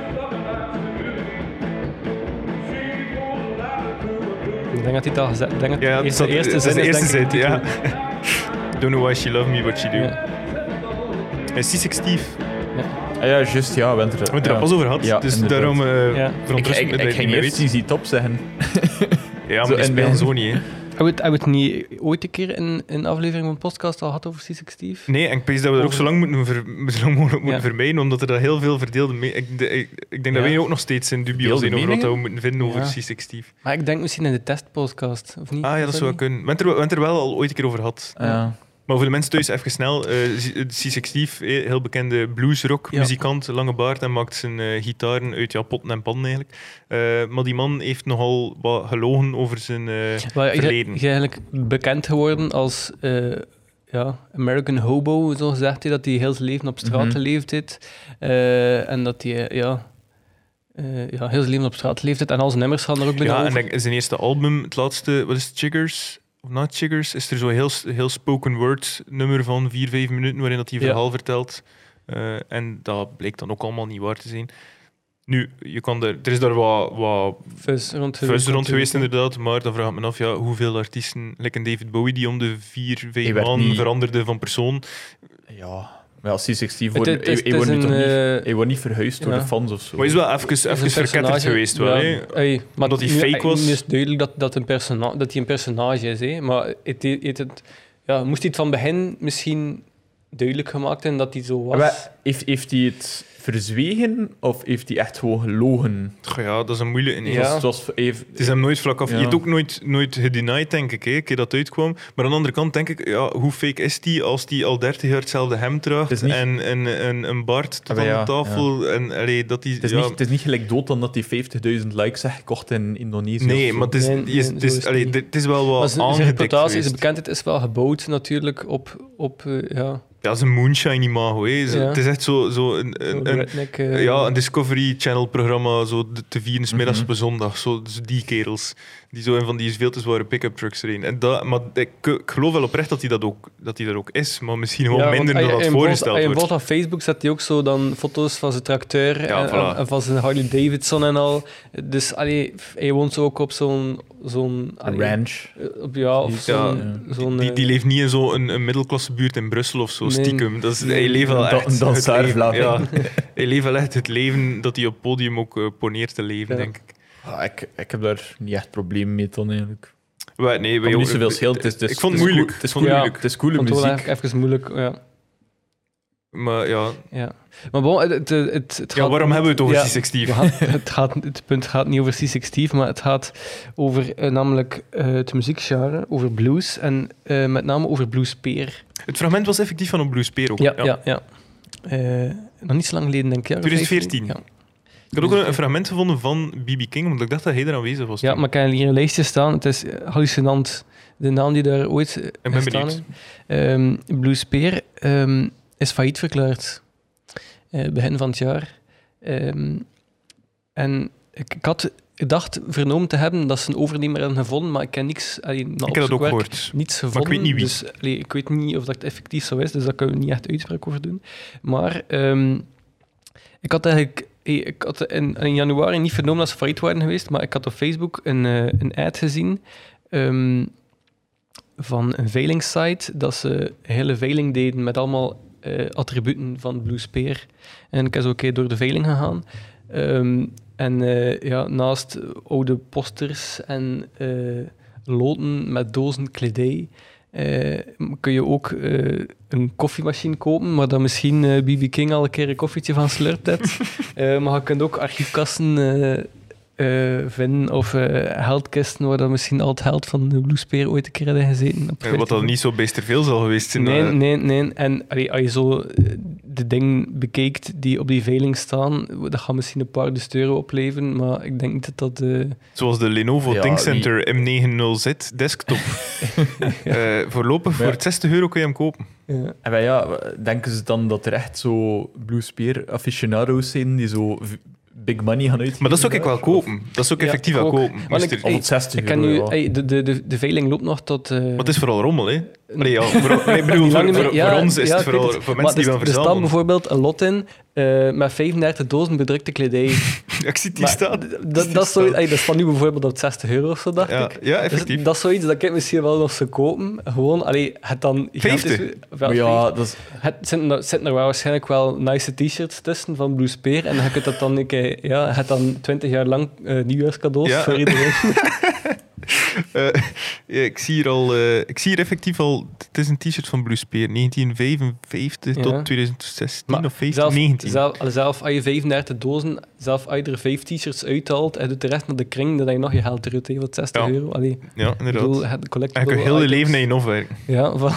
[SPEAKER 3] Ik denk dat hij het al gezet ik denk dat
[SPEAKER 1] Ja,
[SPEAKER 3] het
[SPEAKER 1] dat
[SPEAKER 3] eerste,
[SPEAKER 1] zat- zijn
[SPEAKER 3] eerste zin is,
[SPEAKER 1] eerste
[SPEAKER 3] denk
[SPEAKER 1] zin,
[SPEAKER 3] ik, die
[SPEAKER 1] ja.
[SPEAKER 3] titel.
[SPEAKER 1] Don't know why she loved me, what she do.
[SPEAKER 3] Ja.
[SPEAKER 1] En C6 Steve, we
[SPEAKER 2] Ah, ja, juist, ja, we hebben
[SPEAKER 1] hebben het er pas over gehad,
[SPEAKER 2] Ja,
[SPEAKER 1] dus
[SPEAKER 2] inderdaad.
[SPEAKER 1] daarom eh
[SPEAKER 3] Ja.
[SPEAKER 2] Ik,
[SPEAKER 1] verontrust me
[SPEAKER 2] ik,
[SPEAKER 1] dat je het
[SPEAKER 2] ik
[SPEAKER 1] niet
[SPEAKER 2] ging
[SPEAKER 1] meer
[SPEAKER 2] eerst
[SPEAKER 1] weet.
[SPEAKER 2] Easy Top zeggen.
[SPEAKER 1] Ja, maar
[SPEAKER 2] zo
[SPEAKER 1] die
[SPEAKER 2] in
[SPEAKER 1] spelen
[SPEAKER 2] mijn-
[SPEAKER 1] zo niet, hè.
[SPEAKER 3] Hebben we het- hebben we het niet ooit een keer in in een aflevering van een podcast al gehad over C6 Steve?
[SPEAKER 1] Nee, en ik pees dat we dat ook zo lang, moeten ver, zo lang mogelijk moeten
[SPEAKER 3] Ja.
[SPEAKER 1] vermijden, omdat er dat heel veel verdeelde... me- Ik, de- ik, ik denk dat
[SPEAKER 3] Ja.
[SPEAKER 1] wij ook nog steeds in dubio
[SPEAKER 2] Verdeelde
[SPEAKER 1] zijn over wat we
[SPEAKER 2] meningen?
[SPEAKER 1] moeten vinden over
[SPEAKER 3] Ja.
[SPEAKER 1] C6 Steve.
[SPEAKER 3] Maar ik denk misschien in de testpodcast, of niet?
[SPEAKER 1] Ah ja, dat zou wel
[SPEAKER 3] niet?
[SPEAKER 1] kunnen. We hebben het er- we hebben het er wel al ooit een keer over gehad.
[SPEAKER 2] Ja.
[SPEAKER 1] Maar voor de mensen thuis, even snel. eh, C- C6 Steve, eh, heel bekende bluesrock
[SPEAKER 3] Ja.
[SPEAKER 1] muzikant, lange baard en maakt zijn eh, gitaren uit ja, potten en pannen eigenlijk. Eh, maar die man heeft nogal wat gelogen over zijn... eh,
[SPEAKER 3] Wel, ja, je-
[SPEAKER 1] Verleden.
[SPEAKER 3] Je is eigenlijk bekend geworden als eh, ja, American Hobo, zo gezegd. hij, Dat hij heel zijn leven op straat
[SPEAKER 2] Mhm.
[SPEAKER 3] geleefd heeft. Eh, en dat hij eh, ja, eh, ja, heel zijn leven op straat geleefd heeft. En al zijn nummers gaan er ook binnen
[SPEAKER 1] Ja, en
[SPEAKER 3] over.
[SPEAKER 1] dan zijn eerste album, het laatste, wat is het, Chiggers? Of na Chiggers, is er zo'n heel, heel spoken word nummer van vier, vijf minuten waarin dat hij
[SPEAKER 3] Ja.
[SPEAKER 1] verhaal vertelt. Eh, en dat bleek dan ook allemaal niet waar te zijn. Nu, je kan er, er is daar wat, wat
[SPEAKER 3] Fuzz rond
[SPEAKER 1] fuzz rond geweest
[SPEAKER 3] natuurlijk.
[SPEAKER 1] inderdaad, maar dan vraag ik me af, ja, hoeveel artiesten, like een David Bowie, die om de vier, vijf
[SPEAKER 2] Hij werd
[SPEAKER 1] maanden
[SPEAKER 2] niet-
[SPEAKER 1] veranderde van persoon.
[SPEAKER 2] Ja. Maar als C60
[SPEAKER 3] Het-
[SPEAKER 2] wordt,
[SPEAKER 3] het is-
[SPEAKER 2] hij
[SPEAKER 3] het is
[SPEAKER 2] wordt nu toch
[SPEAKER 3] een,
[SPEAKER 2] niet-
[SPEAKER 3] eh,
[SPEAKER 2] hij wordt niet verhuisd door
[SPEAKER 3] ja.
[SPEAKER 2] de fans of zo.
[SPEAKER 1] Maar hij is wel even,
[SPEAKER 3] is
[SPEAKER 1] even
[SPEAKER 3] een
[SPEAKER 1] verketterd
[SPEAKER 3] personage.
[SPEAKER 1] geweest wel,
[SPEAKER 3] Ja,
[SPEAKER 1] hè.
[SPEAKER 3] ey, maar
[SPEAKER 1] Omdat hij
[SPEAKER 3] nu-
[SPEAKER 1] fake
[SPEAKER 3] ey,
[SPEAKER 1] was.
[SPEAKER 3] Nu is duidelijk dat, dat, een persona- dat hij een personage is. Hè? Maar het, het, het- ja, moest hij het van begin misschien duidelijk gemaakt hebben dat hij zo was?
[SPEAKER 2] Maar heeft, heeft hij het verzwegen of heeft hij echt gewoon gelogen?
[SPEAKER 1] Goh, ja, dat is een moeilijke.
[SPEAKER 2] Het
[SPEAKER 1] ineens.
[SPEAKER 2] was- het was, even,
[SPEAKER 1] Het is hem nooit vlak af.
[SPEAKER 2] Ja.
[SPEAKER 1] Je hebt ook nooit, nooit gedenied, denk ik, hè, een keer dat het uitkwam. Maar aan de andere kant denk ik, ja, hoe fake is die als die al 30 jaar hetzelfde hemd
[SPEAKER 2] Het is
[SPEAKER 1] draagt
[SPEAKER 2] niet-
[SPEAKER 1] en en- en een baard tot
[SPEAKER 2] Ah, maar
[SPEAKER 1] aan
[SPEAKER 2] ja,
[SPEAKER 1] de tafel? En, allee, dat die,
[SPEAKER 2] het, is
[SPEAKER 1] ja,
[SPEAKER 2] niet, het is niet gelijk dood dan dat hij 50.000 likes heeft gekocht in Indonesië. of
[SPEAKER 1] nee,
[SPEAKER 2] zo.
[SPEAKER 1] maar het is,
[SPEAKER 3] Nee,
[SPEAKER 1] het is,
[SPEAKER 3] nee,
[SPEAKER 1] het
[SPEAKER 3] zo is
[SPEAKER 1] is,
[SPEAKER 3] het
[SPEAKER 1] allee,
[SPEAKER 3] niet.
[SPEAKER 1] dit- het is wel wat
[SPEAKER 3] Maar zijn- zijn
[SPEAKER 1] aangedikt
[SPEAKER 3] reputatie, zijn
[SPEAKER 1] geweest.
[SPEAKER 3] bekendheid is wel gebouwd natuurlijk op, op eh, ja,
[SPEAKER 1] Ja, is een moonshine imago. Hè. Zo-
[SPEAKER 3] Ja.
[SPEAKER 1] Het is echt zo, zo een,
[SPEAKER 3] zo'n
[SPEAKER 1] een, een-
[SPEAKER 3] redneck, eh,
[SPEAKER 1] ja, een Discovery Channel programma, zo de- te vieren 's middags
[SPEAKER 2] Mhm.
[SPEAKER 1] op een zondag. Zo, dus die kerels die zo in van die veel te zware pick-up trucks rijden. En dat, maar ik, ik geloof wel oprecht dat hij dat ook, dat die dat ook is, maar misschien wel
[SPEAKER 3] Ja, want
[SPEAKER 1] minder
[SPEAKER 3] als je-
[SPEAKER 1] dan dat
[SPEAKER 3] in
[SPEAKER 1] voorgesteld
[SPEAKER 3] Bolt- als je
[SPEAKER 1] wordt.
[SPEAKER 3] Bolt op Facebook zet hij ook zo dan foto's van zijn tracteur
[SPEAKER 1] Ja,
[SPEAKER 3] en,
[SPEAKER 1] voilà.
[SPEAKER 3] en van zijn Harley Davidson en al. Dus allee, f- hij woont zo ook op zo'n... zo'n
[SPEAKER 2] Een
[SPEAKER 3] allee,
[SPEAKER 2] ranch.
[SPEAKER 3] eh, Op, ja, of
[SPEAKER 1] Ja,
[SPEAKER 3] zo'n...
[SPEAKER 2] ja.
[SPEAKER 3] zo'n,
[SPEAKER 1] Die,
[SPEAKER 3] eh,
[SPEAKER 1] die leeft niet in zo'n een, een middelklassebuurt in Brussel of zo,
[SPEAKER 3] Nee.
[SPEAKER 1] stiekem. Dat is,
[SPEAKER 3] Nee.
[SPEAKER 1] hij leeft wel
[SPEAKER 2] Een da-
[SPEAKER 1] echt
[SPEAKER 2] een
[SPEAKER 1] het
[SPEAKER 2] dansaar
[SPEAKER 1] leven.
[SPEAKER 2] Vlaming.
[SPEAKER 1] Ja, hij leeft wel echt het leven dat hij op podium ook eh, poneert te leven,
[SPEAKER 3] Ja.
[SPEAKER 1] denk ik.
[SPEAKER 2] Ah, ik, ik heb daar niet echt problemen mee dan eigenlijk.
[SPEAKER 1] Wij- nee,
[SPEAKER 2] Ik
[SPEAKER 1] wij
[SPEAKER 2] niet
[SPEAKER 1] ook-
[SPEAKER 2] zoveel schil. Het is, het is-
[SPEAKER 1] ik vond
[SPEAKER 2] het
[SPEAKER 1] het
[SPEAKER 2] is
[SPEAKER 1] moeilijk.
[SPEAKER 2] cool- Het is
[SPEAKER 1] Vond-
[SPEAKER 2] coole,
[SPEAKER 3] Ja.
[SPEAKER 2] het is coole
[SPEAKER 3] vond het wel
[SPEAKER 2] muziek.
[SPEAKER 3] even- even moeilijk, ja.
[SPEAKER 1] Maar ja,
[SPEAKER 3] ja. Maar bon, het, het, het, het
[SPEAKER 1] ja
[SPEAKER 3] gaat-
[SPEAKER 1] waarom hebben we het over
[SPEAKER 3] Ja.
[SPEAKER 1] C6 Steve?
[SPEAKER 3] We gaan- het, gaat, het punt gaat niet over C6 Steve, maar het gaat over eh, namelijk eh, het muziekgenre, over blues en eh, met name over bluespeer.
[SPEAKER 1] Het fragment was effectief van een Blue Speer ook.
[SPEAKER 3] Ja, ja, ja. Eh, nog niet zo lang geleden, denk ik. ja, of
[SPEAKER 1] 2014.
[SPEAKER 3] 15? Ja.
[SPEAKER 1] Ik had ook een, een fragment gevonden van BB King, omdat ik dacht dat hij er aanwezig was.
[SPEAKER 3] Ja,
[SPEAKER 1] toen.
[SPEAKER 3] maar ik kan hier een lijstje staan. Het is eh, hallucinant, de naam die daar ooit eh,
[SPEAKER 1] ben
[SPEAKER 3] gestaan
[SPEAKER 1] benieuwd.
[SPEAKER 3] heeft. Ehm, Blue Spear ehm, is failliet verklaard. Eh, begin van het jaar. Ehm, en ik, ik had gedacht vernomen te hebben dat ze een overnemer hadden gevonden, maar ik ken niks... Allee, na
[SPEAKER 1] ik heb dat ook
[SPEAKER 3] opzoekwerk
[SPEAKER 1] gehoord.
[SPEAKER 3] niets
[SPEAKER 1] ik
[SPEAKER 3] gevonden.
[SPEAKER 1] weet niet wie.
[SPEAKER 3] Dus allee, ik weet niet of dat effectief zo is, dus daar kunnen we niet echt uitspraak over doen. Maar ehm, ik had eigenlijk. eh, Ik had in, in januari niet vernomen dat ze failliet waren geweest, maar ik had op Facebook een, eh, een ad gezien ehm, van een veilingssite dat ze een hele veiling deden met allemaal eh, attributen van Blue Spear. En ik is ook door de veiling gegaan. Ehm, en eh, ja, naast oude posters en eh, loten met dozen kledij. eh, kun je ook eh, een koffiemachine kopen, maar dan misschien eh, BB King al een keer een koffietje van slurpt hebt. Eh, maar je kunt ook archiefkasten eh, eh, vinden of eh heldkisten waar dan misschien al het held van de Blue Spear ooit een keer hadden gezeten. Op
[SPEAKER 1] Eh, Wat dan niet zo veel zal geweest zijn.
[SPEAKER 3] Nee,
[SPEAKER 1] eh,
[SPEAKER 3] nee, nee. En allee, als je zo eh, de dingen bekijkt die op die veiling staan, dat gaat misschien een paar dus euro opleveren, maar ik denk niet dat dat... eh,
[SPEAKER 1] Zoals de Lenovo
[SPEAKER 2] Ja,
[SPEAKER 1] ThinkCenter M90Z desktop. Eh, voorlopig
[SPEAKER 2] Ja.
[SPEAKER 1] voor 60 euro kun je hem kopen.
[SPEAKER 3] ja.
[SPEAKER 2] En wij, ja, denken ze dan dat er echt zo Blue Spear aficionado's zijn die zo v- big money gaan uitgeven?
[SPEAKER 1] Maar dat zou ik
[SPEAKER 2] daar?
[SPEAKER 1] wel kopen. Dat zou ik
[SPEAKER 3] Ja,
[SPEAKER 1] effectief
[SPEAKER 3] ik
[SPEAKER 1] wel
[SPEAKER 3] ook.
[SPEAKER 1] kopen.
[SPEAKER 3] Maar
[SPEAKER 1] Moest
[SPEAKER 3] ik-
[SPEAKER 1] er-
[SPEAKER 2] Of
[SPEAKER 1] Want
[SPEAKER 3] ik-
[SPEAKER 2] het 60
[SPEAKER 3] Ik ken nu,
[SPEAKER 2] euro, ja.
[SPEAKER 3] ey, de, de, de, de veiling loopt nog tot. eh,
[SPEAKER 1] het is vooral rommel, hè? Allee, ja, voor, nee, ik
[SPEAKER 3] Die
[SPEAKER 1] bedoel,
[SPEAKER 3] lange
[SPEAKER 1] voor, voor,
[SPEAKER 3] me- ja,
[SPEAKER 1] voor ons is
[SPEAKER 3] ja,
[SPEAKER 1] het
[SPEAKER 3] ik weet
[SPEAKER 1] vooral
[SPEAKER 3] het.
[SPEAKER 1] voor
[SPEAKER 3] Maar
[SPEAKER 1] mensen die
[SPEAKER 3] er-
[SPEAKER 1] wel
[SPEAKER 3] Er staat
[SPEAKER 1] verzamelen.
[SPEAKER 3] bijvoorbeeld een lot in eh, met 35 dozen bedrukte kledij.
[SPEAKER 1] Ik zie die
[SPEAKER 3] Maar
[SPEAKER 1] staan.
[SPEAKER 3] d- Dat, dat, is zoiets- ey, dat staat nu bijvoorbeeld op 60 euro of zo, dacht
[SPEAKER 1] Ja,
[SPEAKER 3] ik.
[SPEAKER 1] ja,
[SPEAKER 3] Dus
[SPEAKER 1] effectief.
[SPEAKER 3] dat is zoiets dat ik misschien wel nog zou kopen. Gewoon, allee, het dan...
[SPEAKER 1] 50?
[SPEAKER 3] gigantisch- wel,
[SPEAKER 2] Maar ja, dat is,
[SPEAKER 3] Het zitten er, zitten er wel waarschijnlijk wel nice t-shirts tussen van Blue Spear. En dan kunt dat dan, een keer- ja, het dan 20 jaar lang eh, nieuwjaarscadeaus
[SPEAKER 1] Ja.
[SPEAKER 3] voor iedereen.
[SPEAKER 1] Eh, ja, ik, zie hier al, eh, ik zie hier effectief al. Het is een t-shirt van Blue Spear, 1955
[SPEAKER 3] Ja.
[SPEAKER 1] tot 2016
[SPEAKER 3] Maar
[SPEAKER 1] of 15,
[SPEAKER 3] Zelf,
[SPEAKER 1] 19.
[SPEAKER 3] zelf, zelf als je 35 dozen, zelf als je er vijf t-shirts uithaalt en doet de rest naar de kring, dan heb je nog je geld eruit, hè, wat 60
[SPEAKER 1] Ja.
[SPEAKER 3] euro. Allee, ik
[SPEAKER 1] ja, inderdaad.
[SPEAKER 3] bedoel, het
[SPEAKER 1] Hij
[SPEAKER 3] collectible
[SPEAKER 1] kan heel je
[SPEAKER 3] items.
[SPEAKER 1] leven naar je opwerken.
[SPEAKER 3] Ja, van,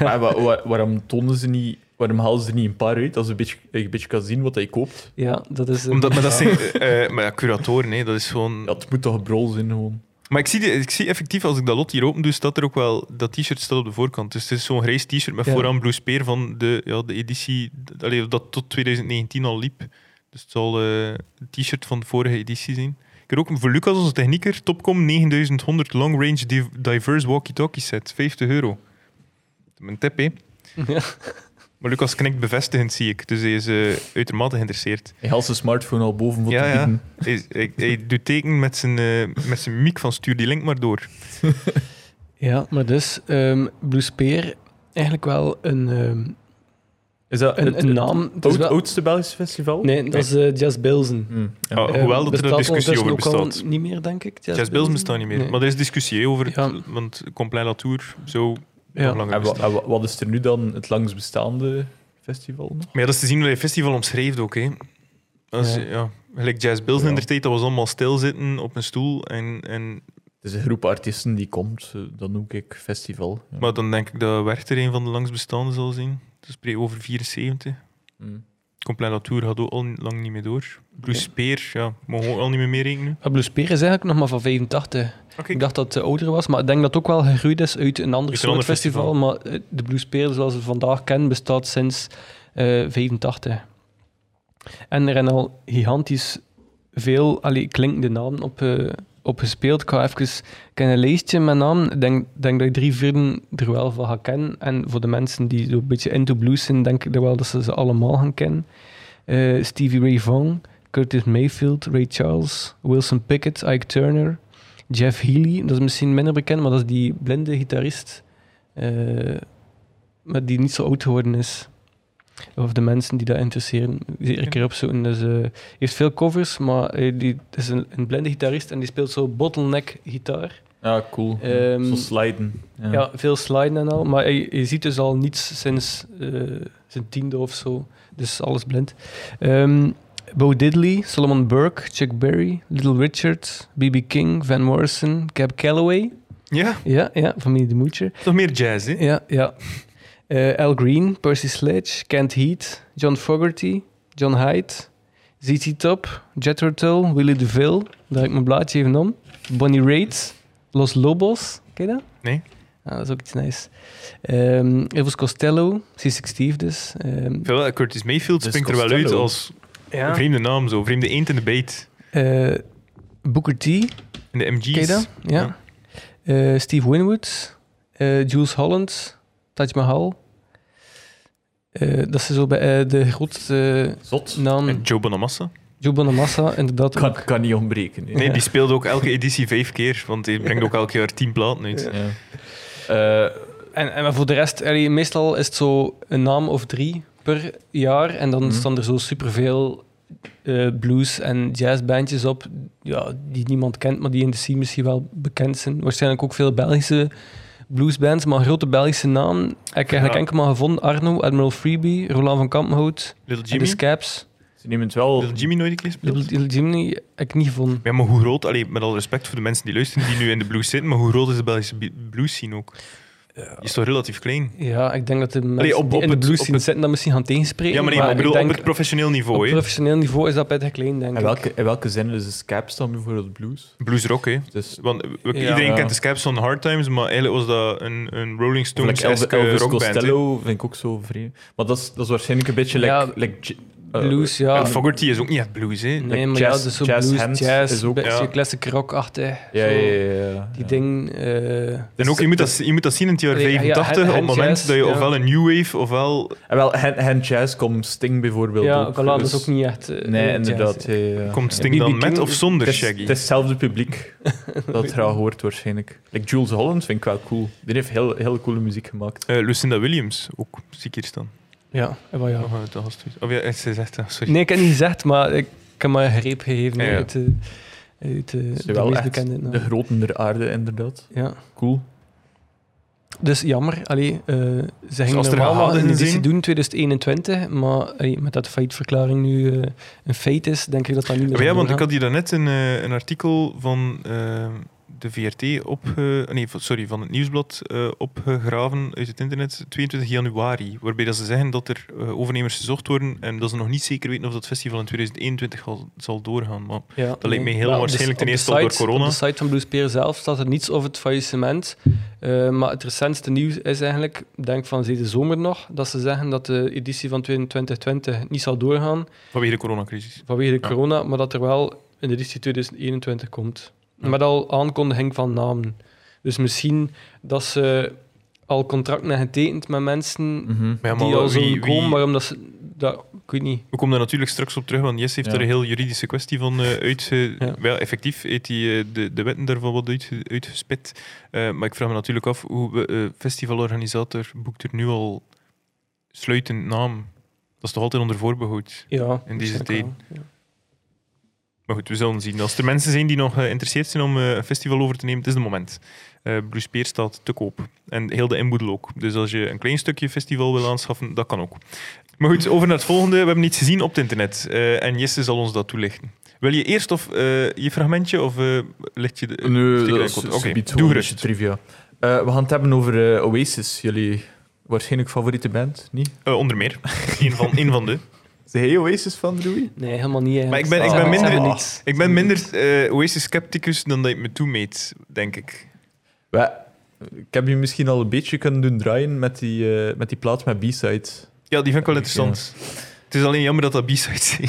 [SPEAKER 2] maar wa- wa- waarom tonen ze niet... Waarom halen ze er niet een paar uit als je een beetje, een beetje kan zien wat hij koopt?
[SPEAKER 3] ja, dat is... eh,
[SPEAKER 1] Omdat, maar dat
[SPEAKER 3] ja.
[SPEAKER 1] zijn eh, eh, maar ja, curatoren, hè, dat is gewoon...
[SPEAKER 2] Dat moet toch een brol zijn, gewoon.
[SPEAKER 1] Maar ik zie, die- ik zie effectief, als ik dat lot hier open doe, staat er ook wel... Dat t-shirt staat op de voorkant. Dus het is zo'n grijs t-shirt met
[SPEAKER 3] Ja.
[SPEAKER 1] vooraan Blue Spear van de, ja, de editie... d- Allee, of dat tot 2019 al liep. Dus het zal eh, een t-shirt van de vorige editie zijn. Ik heb ook een voor Lucas, onze technieker, Topcom 9100 Long Range Div- Diverse Walkie-Talkie Set. 50 euro. Mijn tip, hè.
[SPEAKER 3] Ja.
[SPEAKER 1] Maar Lucas knikt bevestigend, zie ik. Dus hij is eh, uitermate geïnteresseerd.
[SPEAKER 2] Hij haalt zijn smartphone al boven voor
[SPEAKER 1] Ja,
[SPEAKER 2] te
[SPEAKER 1] ja.
[SPEAKER 2] bieden.
[SPEAKER 1] Hij, hij, hij doet teken met zijn, eh, met zijn mic van stuur die link maar door.
[SPEAKER 3] Ja, maar dus, ehm Blue Spear, eigenlijk wel een, ehm,
[SPEAKER 2] Is dat
[SPEAKER 3] een,
[SPEAKER 2] het,
[SPEAKER 3] een
[SPEAKER 2] het
[SPEAKER 3] naam. Het is
[SPEAKER 2] oud-
[SPEAKER 3] wel-
[SPEAKER 2] oudste Belgische festival?
[SPEAKER 3] nee, dat is eh, Jazz Bilzen.
[SPEAKER 2] Hm, ja.
[SPEAKER 1] Ah, hoewel
[SPEAKER 3] Ehm,
[SPEAKER 1] dat er een
[SPEAKER 3] bestaat
[SPEAKER 1] discussie over
[SPEAKER 3] ondertussen ook al
[SPEAKER 1] bestaat.
[SPEAKER 3] niet meer, denk ik. Jazz,
[SPEAKER 1] Jazz Bills
[SPEAKER 3] Bilzen?
[SPEAKER 1] bestaat niet meer.
[SPEAKER 3] Nee.
[SPEAKER 1] Maar er is discussie hè, over het,
[SPEAKER 3] Ja.
[SPEAKER 1] want Complet Latour zo
[SPEAKER 3] Ja.
[SPEAKER 1] nog langer
[SPEAKER 2] En, wa-
[SPEAKER 1] bestaan.
[SPEAKER 2] en wa- wat is er nu dan het langst bestaande festival nog.
[SPEAKER 1] Maar ja, dat is te zien hoe hij festival omschreef ook. Hè. Dat is,
[SPEAKER 3] Ja.
[SPEAKER 1] ja. Gelijk Jazz Bills
[SPEAKER 2] Ja.
[SPEAKER 1] in de tijd, dat was allemaal stilzitten op een stoel. En, en,
[SPEAKER 2] Het is een groep artiesten die komt, eh, dat noem ik festival. Ja.
[SPEAKER 1] maar dan denk ik dat Werchter een van de langst bestaande zal zijn. Dat is pre over 74.
[SPEAKER 2] Mm.
[SPEAKER 1] Complain Latour gaat ook al niet- lang niet meer door. Bruce Speer, ja, mogen we ook al niet meer meerekenen.
[SPEAKER 3] Maar Blue Spear is eigenlijk nog maar van 85.
[SPEAKER 1] Oké.
[SPEAKER 3] Ik dacht dat het ouder was, maar ik denk dat het ook wel gegroeid is uit een ander
[SPEAKER 1] Uit een
[SPEAKER 3] soort
[SPEAKER 1] ander
[SPEAKER 3] festival. Maar eh, de Blue Spear, zoals we vandaag kennen, bestaat sinds eh 85. En er zijn al gigantisch veel allee, klinkende namen op, eh, op gespeeld. Ik ga even ik heb een lijstje met namen. Ik denk, denk dat je drie vierden er wel van gaat kennen. En voor de mensen die zo'n beetje into blues zijn, denk ik dat wel dat ze ze allemaal gaan kennen. Eh, Stevie Ray Vaughan, Curtis Mayfield, Ray Charles, Wilson Pickett, Ike Turner, Jeff Healy. Dat is misschien minder bekend, maar dat is die blinde gitarist. eh, maar die niet zo oud geworden is. Of de mensen die dat interesseren. Zeker een keer opzoeken. Dus, eh, heeft veel covers, maar eh, die het is een, een blinde gitarist en die speelt zo bottleneck gitaar.
[SPEAKER 2] Ja, cool.
[SPEAKER 3] Ehm,
[SPEAKER 2] Zo sliden. Ja.
[SPEAKER 3] Ja, veel sliden en al. Maar je, je ziet dus al niets sinds eh, zijn tiende of zo. Dus alles blind. Ehm, Bo Diddley, Solomon Burke, Chuck Berry, Little Richard, B.B. King, Van Morrison, Cab Calloway.
[SPEAKER 1] Ja,
[SPEAKER 3] Ja, ja, familie de Moetje.
[SPEAKER 1] toch meer jazz, hè?
[SPEAKER 3] Ja, ja. Eh, Al Green, Percy Sledge, Kent Heat, John Fogerty, John Hyde, ZZ Top, Jethro Tull, Willie DeVille. Draai ik mijn blaadje even om. Bonnie Raitt, Los Lobos. Ken je dat?
[SPEAKER 1] Nee.
[SPEAKER 3] Ah, dat is ook iets nice. Ehm Elvis Costello, C6 Steve dus. Ehm,
[SPEAKER 1] Ik vind wel, eh, Curtis Mayfield
[SPEAKER 2] Dus
[SPEAKER 1] springt er wel uit
[SPEAKER 2] Costello.
[SPEAKER 1] als
[SPEAKER 3] ja.
[SPEAKER 1] vreemde naam, zo. Vreemde eend in de bijt.
[SPEAKER 3] Eh, Booker T,
[SPEAKER 1] In de MG's.
[SPEAKER 3] ken je dat? Ja.
[SPEAKER 1] Ja.
[SPEAKER 3] Eh, Steve Winwood, eh, Jules Holland, Taj Mahal. Eh, dat is zo bij eh, de grootste
[SPEAKER 2] Zot.
[SPEAKER 1] En
[SPEAKER 3] naam
[SPEAKER 1] Joe Bonamassa.
[SPEAKER 3] Joe Bonamassa, inderdaad.
[SPEAKER 2] Kan,
[SPEAKER 3] ook.
[SPEAKER 2] kan niet ontbreken. hè.
[SPEAKER 1] Nee, die speelde ook elke editie vijf keer, want die brengt ook elk jaar tien platen uit.
[SPEAKER 2] Ja. Eh,
[SPEAKER 3] En, en maar voor de rest, allee, meestal is het zo een naam of drie per jaar. En dan
[SPEAKER 2] Mhm.
[SPEAKER 3] staan er zo superveel eh blues- en jazzbandjes op ja, die niemand kent, maar die in de scene misschien wel bekend zijn. Waarschijnlijk ook veel Belgische bluesbands, maar een grote Belgische naam heb ik eigenlijk
[SPEAKER 1] Ja.
[SPEAKER 3] enkel maar gevonden. Arno, Admiral Freebie, Roland van Kampenhout,
[SPEAKER 1] Little
[SPEAKER 3] en de
[SPEAKER 1] Jimmy.
[SPEAKER 3] Scabs.
[SPEAKER 2] Ze nemen het wel.
[SPEAKER 1] Little Jimmy nooit een keer gespeeld?
[SPEAKER 3] Little Little Jimmy heb ik niet gevonden.
[SPEAKER 1] Ja, maar hoe groot, allee, met alle respect voor de mensen die luisteren, die nu in de blues zitten, maar hoe groot is de Belgische bi- blues scene ook? Die is toch relatief klein?
[SPEAKER 3] Ja, ik denk dat de mensen
[SPEAKER 1] op-
[SPEAKER 3] die
[SPEAKER 1] op
[SPEAKER 3] in de
[SPEAKER 1] het-
[SPEAKER 3] blues
[SPEAKER 1] op
[SPEAKER 3] scene
[SPEAKER 1] het-
[SPEAKER 3] zitten dat misschien gaan tegenspreken.
[SPEAKER 1] Ja, maar, nee, maar ik bedoel,
[SPEAKER 3] denk-
[SPEAKER 1] op het professioneel
[SPEAKER 3] Op
[SPEAKER 1] niveau, hè.
[SPEAKER 3] professioneel niveau is dat pittig klein, denk
[SPEAKER 2] In
[SPEAKER 3] ik.
[SPEAKER 2] welke, in welke zin is de scabs dan bijvoorbeeld blues?
[SPEAKER 1] Bluesrock, hè.
[SPEAKER 2] Dus
[SPEAKER 1] Want we- we-
[SPEAKER 3] Ja.
[SPEAKER 1] iedereen
[SPEAKER 2] Ja.
[SPEAKER 1] kent de Scabs van Hard Times, maar eigenlijk was dat een, een Rolling
[SPEAKER 2] of like
[SPEAKER 1] Stones
[SPEAKER 2] Elvis,
[SPEAKER 1] esque
[SPEAKER 2] Elvis
[SPEAKER 1] eh, rockband. hè.
[SPEAKER 2] Costello vind ik ook zo vreemd. Maar dat is, dat is waarschijnlijk een beetje like,
[SPEAKER 3] Ja,
[SPEAKER 2] like j- eh,
[SPEAKER 3] Blues, ja.
[SPEAKER 1] En Fogerty is ook niet echt blues, hè.
[SPEAKER 3] nee,
[SPEAKER 2] like
[SPEAKER 3] maar
[SPEAKER 2] jazz-
[SPEAKER 3] ja, dus zo
[SPEAKER 2] jazz
[SPEAKER 3] blues,
[SPEAKER 2] hand
[SPEAKER 3] jazz,
[SPEAKER 2] is ook-
[SPEAKER 3] beetje
[SPEAKER 1] ja.
[SPEAKER 3] classic rock achter.
[SPEAKER 2] Ja, ja, ja, ja.
[SPEAKER 3] Die
[SPEAKER 2] ja.
[SPEAKER 3] ding. eh,
[SPEAKER 1] En ook, je moet, dat, je moet dat zien in het jaar
[SPEAKER 3] Ja, ja,
[SPEAKER 1] 85,
[SPEAKER 3] hand-
[SPEAKER 1] op het moment
[SPEAKER 3] handjazz,
[SPEAKER 1] dat je
[SPEAKER 3] ja.
[SPEAKER 1] ofwel een new wave, ofwel...
[SPEAKER 2] En wel, hand, hand jazz komt Sting bijvoorbeeld
[SPEAKER 3] ja,
[SPEAKER 2] ook.
[SPEAKER 3] voilà, dat is
[SPEAKER 2] dus-
[SPEAKER 3] ook niet echt. eh,
[SPEAKER 2] Nee,
[SPEAKER 3] jazz,
[SPEAKER 2] inderdaad.
[SPEAKER 3] hè.
[SPEAKER 2] ja, ja, ja.
[SPEAKER 1] Komt
[SPEAKER 2] Ja.
[SPEAKER 1] Sting
[SPEAKER 3] BB
[SPEAKER 1] dan met
[SPEAKER 3] King-
[SPEAKER 1] of zonder
[SPEAKER 2] Het is,
[SPEAKER 1] Shaggy?
[SPEAKER 2] het is hetzelfde publiek dat het graag hoort waarschijnlijk. Like Jules Holland vind ik wel cool. Die heeft heel, heel coole muziek gemaakt.
[SPEAKER 1] Eh, Lucinda Williams, ook zie ik hier staan.
[SPEAKER 3] Ja, eh, wel ja.
[SPEAKER 1] Oh, dat was het. Of ja, ze zegt dat, sorry.
[SPEAKER 3] Nee, ik heb niet gezegd, maar ik ik heb maar een greep gegeven
[SPEAKER 1] Ja, ja.
[SPEAKER 3] uit, eh, uit eh,
[SPEAKER 2] Is
[SPEAKER 3] de
[SPEAKER 2] wel
[SPEAKER 3] meest
[SPEAKER 2] echt
[SPEAKER 3] bekende. nou.
[SPEAKER 2] De groten der aarde, inderdaad.
[SPEAKER 3] Ja.
[SPEAKER 2] Cool.
[SPEAKER 3] Dus jammer, allee, eh ze gingen
[SPEAKER 1] als er
[SPEAKER 3] normaal wel
[SPEAKER 1] gehouden
[SPEAKER 3] een editie
[SPEAKER 1] zijn-
[SPEAKER 3] doen 2021, maar allee, met dat faillietverklaring nu eh, een feit is, denk ik dat dat niet meer
[SPEAKER 1] Maar Oh, ja,
[SPEAKER 3] zal
[SPEAKER 1] want ik
[SPEAKER 3] doorgaan.
[SPEAKER 1] had hier daarnet een, eh, een artikel van eh, de VRT op, eh, nee, van- sorry, van het nieuwsblad eh, opgegraven uit het internet, 22 januari, waarbij dat ze zeggen dat er eh, overnemers gezocht worden en dat ze nog niet zeker weten of dat festival in 2021 al- zal doorgaan. Maar
[SPEAKER 3] Ja, dat
[SPEAKER 1] lijkt mij heel waarschijnlijk ten eerste al door corona.
[SPEAKER 3] Op de site van Blue Spear zelf staat er niets over het faillissement. Eh, maar het recentste nieuws is eigenlijk, ik denk van deze zomer nog, dat ze zeggen dat de editie van 2020 niet zal doorgaan
[SPEAKER 1] vanwege de coronacrisis.
[SPEAKER 3] vanwege de
[SPEAKER 1] Ja.
[SPEAKER 3] corona, maar dat er wel een editie 2021 komt.
[SPEAKER 1] Ja.
[SPEAKER 3] Met al aankondiging van namen. Dus misschien dat ze al contracten hebben getekend met mensen
[SPEAKER 2] Mhm.
[SPEAKER 1] Maar ja, maar
[SPEAKER 3] die al
[SPEAKER 1] wie-
[SPEAKER 3] zullen
[SPEAKER 1] wie-
[SPEAKER 3] komen, waarom dat ze... Dat, ik weet niet.
[SPEAKER 1] We komen daar natuurlijk straks op terug, want Jess heeft
[SPEAKER 2] Ja.
[SPEAKER 1] er een heel juridische kwestie van eh uit. eh,
[SPEAKER 3] Ja.
[SPEAKER 1] Wel, effectief heeft hij eh, de, de wetten daarvan wat uitge- uitgespit. Eh, maar ik vraag me natuurlijk af hoe we, eh, festivalorganisator boekt er nu al sluitend naam. Dat is toch altijd onder voorbehoud.
[SPEAKER 3] Ja,
[SPEAKER 1] In deze
[SPEAKER 3] waarschijnlijk
[SPEAKER 1] tijd.
[SPEAKER 3] wel, ja.
[SPEAKER 1] Maar goed, we zullen zien. Als er mensen zijn die nog geïnteresseerd zijn om eh, een festival over te nemen, het is het moment. Eh Bruce Speer staat te koop. En heel de inboedel ook. Dus als je een klein stukje festival wil aanschaffen, dat kan ook. Maar goed, over naar het volgende. We hebben iets gezien op het internet. eh, en Jesse zal ons dat toelichten. Wil je eerst of eh, je fragmentje of eh ligt je de.
[SPEAKER 2] Nu,
[SPEAKER 1] steek je
[SPEAKER 2] dat
[SPEAKER 1] de-
[SPEAKER 2] is
[SPEAKER 1] Oké,
[SPEAKER 2] subiet gewoon
[SPEAKER 1] doe
[SPEAKER 2] een
[SPEAKER 1] gerust.
[SPEAKER 2] beetje trivia. Eh, we gaan het hebben over eh, Oasis, jullie waarschijnlijk favoriete band, niet?
[SPEAKER 1] Eh, onder meer. Eén van, één van de.
[SPEAKER 2] Zijn jij Oasis van Louis?
[SPEAKER 3] Nee, helemaal niet. eigenlijk.
[SPEAKER 1] Maar ik ben- ik ben
[SPEAKER 3] Zeg maar-
[SPEAKER 1] minder-
[SPEAKER 3] zeg maar niks.
[SPEAKER 1] Ik ben minder eh Oasis-scepticus dan dat ik me toemeet, denk ik.
[SPEAKER 2] Wel, ik heb je misschien al een beetje kunnen doen draaien met die, eh, met die plaat met B-side.
[SPEAKER 1] Ja, die vind ik wel
[SPEAKER 2] Ja.
[SPEAKER 1] interessant. Het is alleen jammer dat dat B-sides zijn.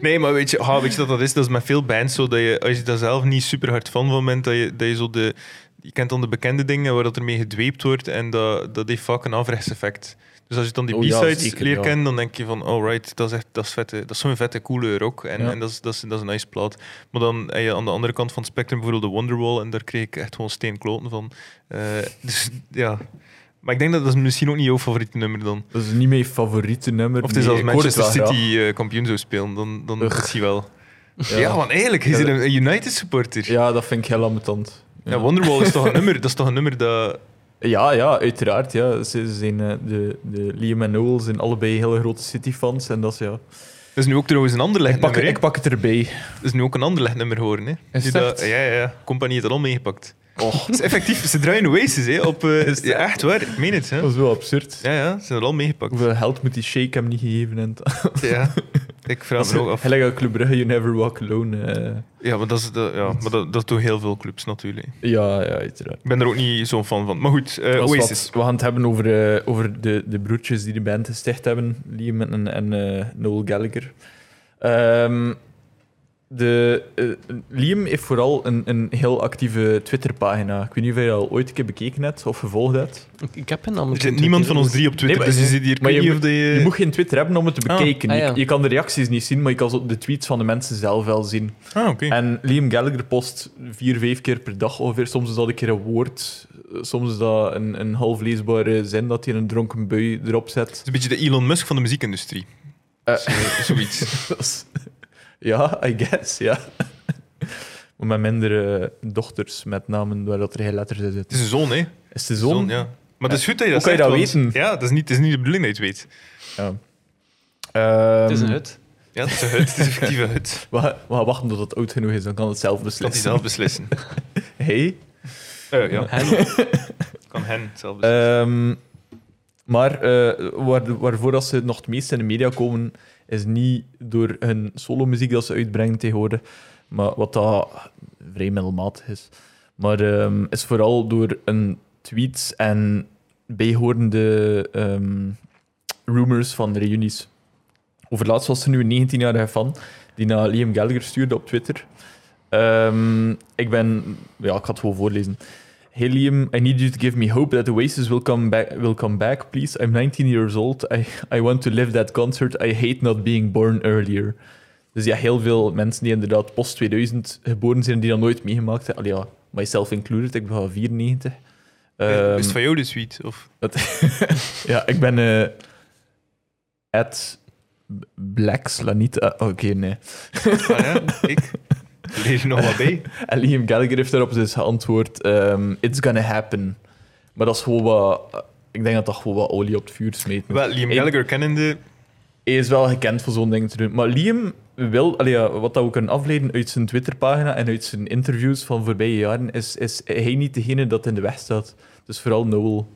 [SPEAKER 1] nee, maar weet je, ah, weet je dat dat is? Dat is met veel bands zo dat je, als je daar zelf niet super hard van van bent, dat je, dat je zo de... Je kent dan de bekende dingen waar dat ermee gedweept wordt en dat, dat heeft vaak een afrechtseffect. Dus als je dan die
[SPEAKER 2] Oh ja,
[SPEAKER 1] B-sides
[SPEAKER 2] zeker,
[SPEAKER 1] leert
[SPEAKER 2] ja.
[SPEAKER 1] kennen, dan denk je van, alright, dat is echt, dat is vette, dat is zo'n vette coole rock en,
[SPEAKER 2] Ja.
[SPEAKER 1] en dat, is, dat, is, dat is een nice plaat. Maar dan heb je aan de andere kant van het spectrum bijvoorbeeld de Wonderwall en daar kreeg ik echt gewoon steenkloten van. Eh, dus ja, maar ik denk dat dat is misschien ook niet jouw favoriete nummer dan.
[SPEAKER 2] Dat is niet mijn favoriete nummer.
[SPEAKER 1] Of het is
[SPEAKER 2] Nee,
[SPEAKER 1] als
[SPEAKER 2] ik hoor het
[SPEAKER 1] Manchester
[SPEAKER 2] wel
[SPEAKER 1] City eh, kampioen zou spelen, dan, dan
[SPEAKER 2] Ugh.
[SPEAKER 1] is hij wel. Ja,
[SPEAKER 2] graag.
[SPEAKER 1] want eigenlijk, is
[SPEAKER 2] Ja,
[SPEAKER 1] er een een United supporter. Ja.
[SPEAKER 2] Ja, dat vind ik heel ambetant.
[SPEAKER 1] Wonderwall is toch een nummer, dat is toch een nummer dat...
[SPEAKER 2] Ja, ja, uiteraard. Ja. Ze ze zijn, eh, de, de Liam en Noel zijn allebei hele grote City-fans. En dat is, ja.
[SPEAKER 1] Dat is nu ook trouwens een ander
[SPEAKER 2] ik, pak,
[SPEAKER 1] legnummer.
[SPEAKER 2] ik pak het erbij.
[SPEAKER 1] Dat is nu ook een ander nummer horen. Hè.
[SPEAKER 2] het
[SPEAKER 1] Nu dat,
[SPEAKER 2] echt?
[SPEAKER 1] ja, ja, ja. Compagnie heeft het al meegepakt. Het is effectief, ze draaien Oasis hè, op... eh,
[SPEAKER 2] Oh. Is het
[SPEAKER 1] ja, echt waar, ik meen het. Hè.
[SPEAKER 2] Dat is wel absurd.
[SPEAKER 1] Ja, ja, ze zijn er al meegepakt.
[SPEAKER 2] Hoeveel geld moet die Shake hem niet gegeven? En
[SPEAKER 1] Ja. Ik vraag me ook af.
[SPEAKER 2] Hij legt Club Brugge, You Never Walk Alone. eh.
[SPEAKER 1] Ja, maar dat, is, dat, ja, maar dat, dat doen heel veel clubs natuurlijk.
[SPEAKER 2] ja, ja, uiteraard.
[SPEAKER 1] Ik ben er ook niet zo'n fan van. Maar goed, eh,
[SPEAKER 2] Dat is wat.
[SPEAKER 1] Oasis.
[SPEAKER 2] We gaan het hebben over, eh, over de, de broertjes die de band gesticht hebben, Liam en, en eh, Noel Gallagher. Ehm, de, eh, Liam heeft vooral een, een heel actieve Twitterpagina. Ik weet niet of je dat al ooit een keer bekeken hebt of gevolgd hebt.
[SPEAKER 3] Ik- Ik heb hem namelijk
[SPEAKER 1] Er zit
[SPEAKER 3] op
[SPEAKER 1] niemand van
[SPEAKER 3] Twitter,
[SPEAKER 1] ons drie op Twitter,
[SPEAKER 2] Nee,
[SPEAKER 1] dus
[SPEAKER 2] maar-
[SPEAKER 1] je zit hier... Ik
[SPEAKER 2] maar
[SPEAKER 1] weet
[SPEAKER 2] je
[SPEAKER 1] niet of eh, je...
[SPEAKER 2] Je moet geen Twitter hebben om het te
[SPEAKER 1] Ah.
[SPEAKER 2] bekijken.
[SPEAKER 3] Ah, ja.
[SPEAKER 2] je, je kan de reacties niet zien, maar je kan zo de tweets van de mensen zelf wel zien.
[SPEAKER 1] Ah, oké.
[SPEAKER 2] En Liam Gallagher post vier, vijf keer per dag ongeveer. Soms is dat een keer een woord, soms is dat een, een half leesbare zin dat hij in een dronken bui erop zet.
[SPEAKER 1] Het is een beetje de Elon Musk van de muziekindustrie.
[SPEAKER 2] Eh.
[SPEAKER 1] Zo- Zoiets.
[SPEAKER 2] Dat is- ja, I guess, ja. Maar met minder eh, dochters met namen waar dat er geen letters in
[SPEAKER 1] Het
[SPEAKER 2] zitten.
[SPEAKER 1] is een zoon, hè?
[SPEAKER 2] Is de
[SPEAKER 1] Zoon,
[SPEAKER 2] zoon?
[SPEAKER 1] ja. Maar het is goed dat je dat
[SPEAKER 2] Hoe kan je
[SPEAKER 1] zegt,
[SPEAKER 2] dat
[SPEAKER 1] want-
[SPEAKER 2] weten?
[SPEAKER 1] Ja, dat is, niet, het is niet de bedoeling dat je het weet.
[SPEAKER 2] Ehm,
[SPEAKER 3] Het is
[SPEAKER 1] ehm,
[SPEAKER 3] een hut.
[SPEAKER 1] Ja, het is een hut. Het is een fictieve hut.
[SPEAKER 2] We gaan- we gaan wachten tot het oud genoeg is, dan kan het zelf
[SPEAKER 1] Laat hij
[SPEAKER 2] beslissen.
[SPEAKER 1] zelf beslissen.
[SPEAKER 2] Hey,
[SPEAKER 1] Eh, ja.
[SPEAKER 3] Hen.
[SPEAKER 1] Kan hen zelf beslissen.
[SPEAKER 2] Ehm, maar eh, waar, waarvoor dat ze nog het meest in de media komen, is niet door hun solomuziek dat ze uitbrengen tegenwoordig, maar wat dat vrij middelmatig is. Maar ehm, is vooral door een tweets en bijhorende ehm, rumors van reunies. Over laatst was er nu een 19-jarige fan die naar Liam Gallagher stuurde op Twitter. Ehm, ik ben... Ja, ik ga het gewoon voorlezen. Hey Liam, I need you to give me hope that Oasis will come back. Will come back, please. I'm 19 years old. I, I want to live that concert. I hate not being born earlier. Dus ja, heel veel mensen die inderdaad post 2000 geboren zijn, die dat nooit meegemaakt hebben. Allee, ja, myself included. Ik ben van 94.
[SPEAKER 1] Eh,
[SPEAKER 2] Ehm,
[SPEAKER 1] is het van jou de suite? Of?
[SPEAKER 2] ja, ik ben eh at Black Slanita. Oké, nee.
[SPEAKER 1] Ah, ja, ik? Leer je nog wat bij?
[SPEAKER 2] En Liam Gallagher heeft daarop dus geantwoord: ehm, It's gonna happen. Maar dat is gewoon wat. eh, Ik denk dat dat gewoon wat olie op het vuur smeet.
[SPEAKER 1] Wel, Liam
[SPEAKER 2] Ik-
[SPEAKER 1] Gallagher kennende...
[SPEAKER 2] Hij is wel gekend voor zo'n dingen te doen. Maar Liam wil, allee, ja, wat dat we kunnen afleiden uit zijn Twitterpagina en uit zijn interviews van voorbije jaren, is, is hij niet degene dat in de weg staat. Dus vooral Noel.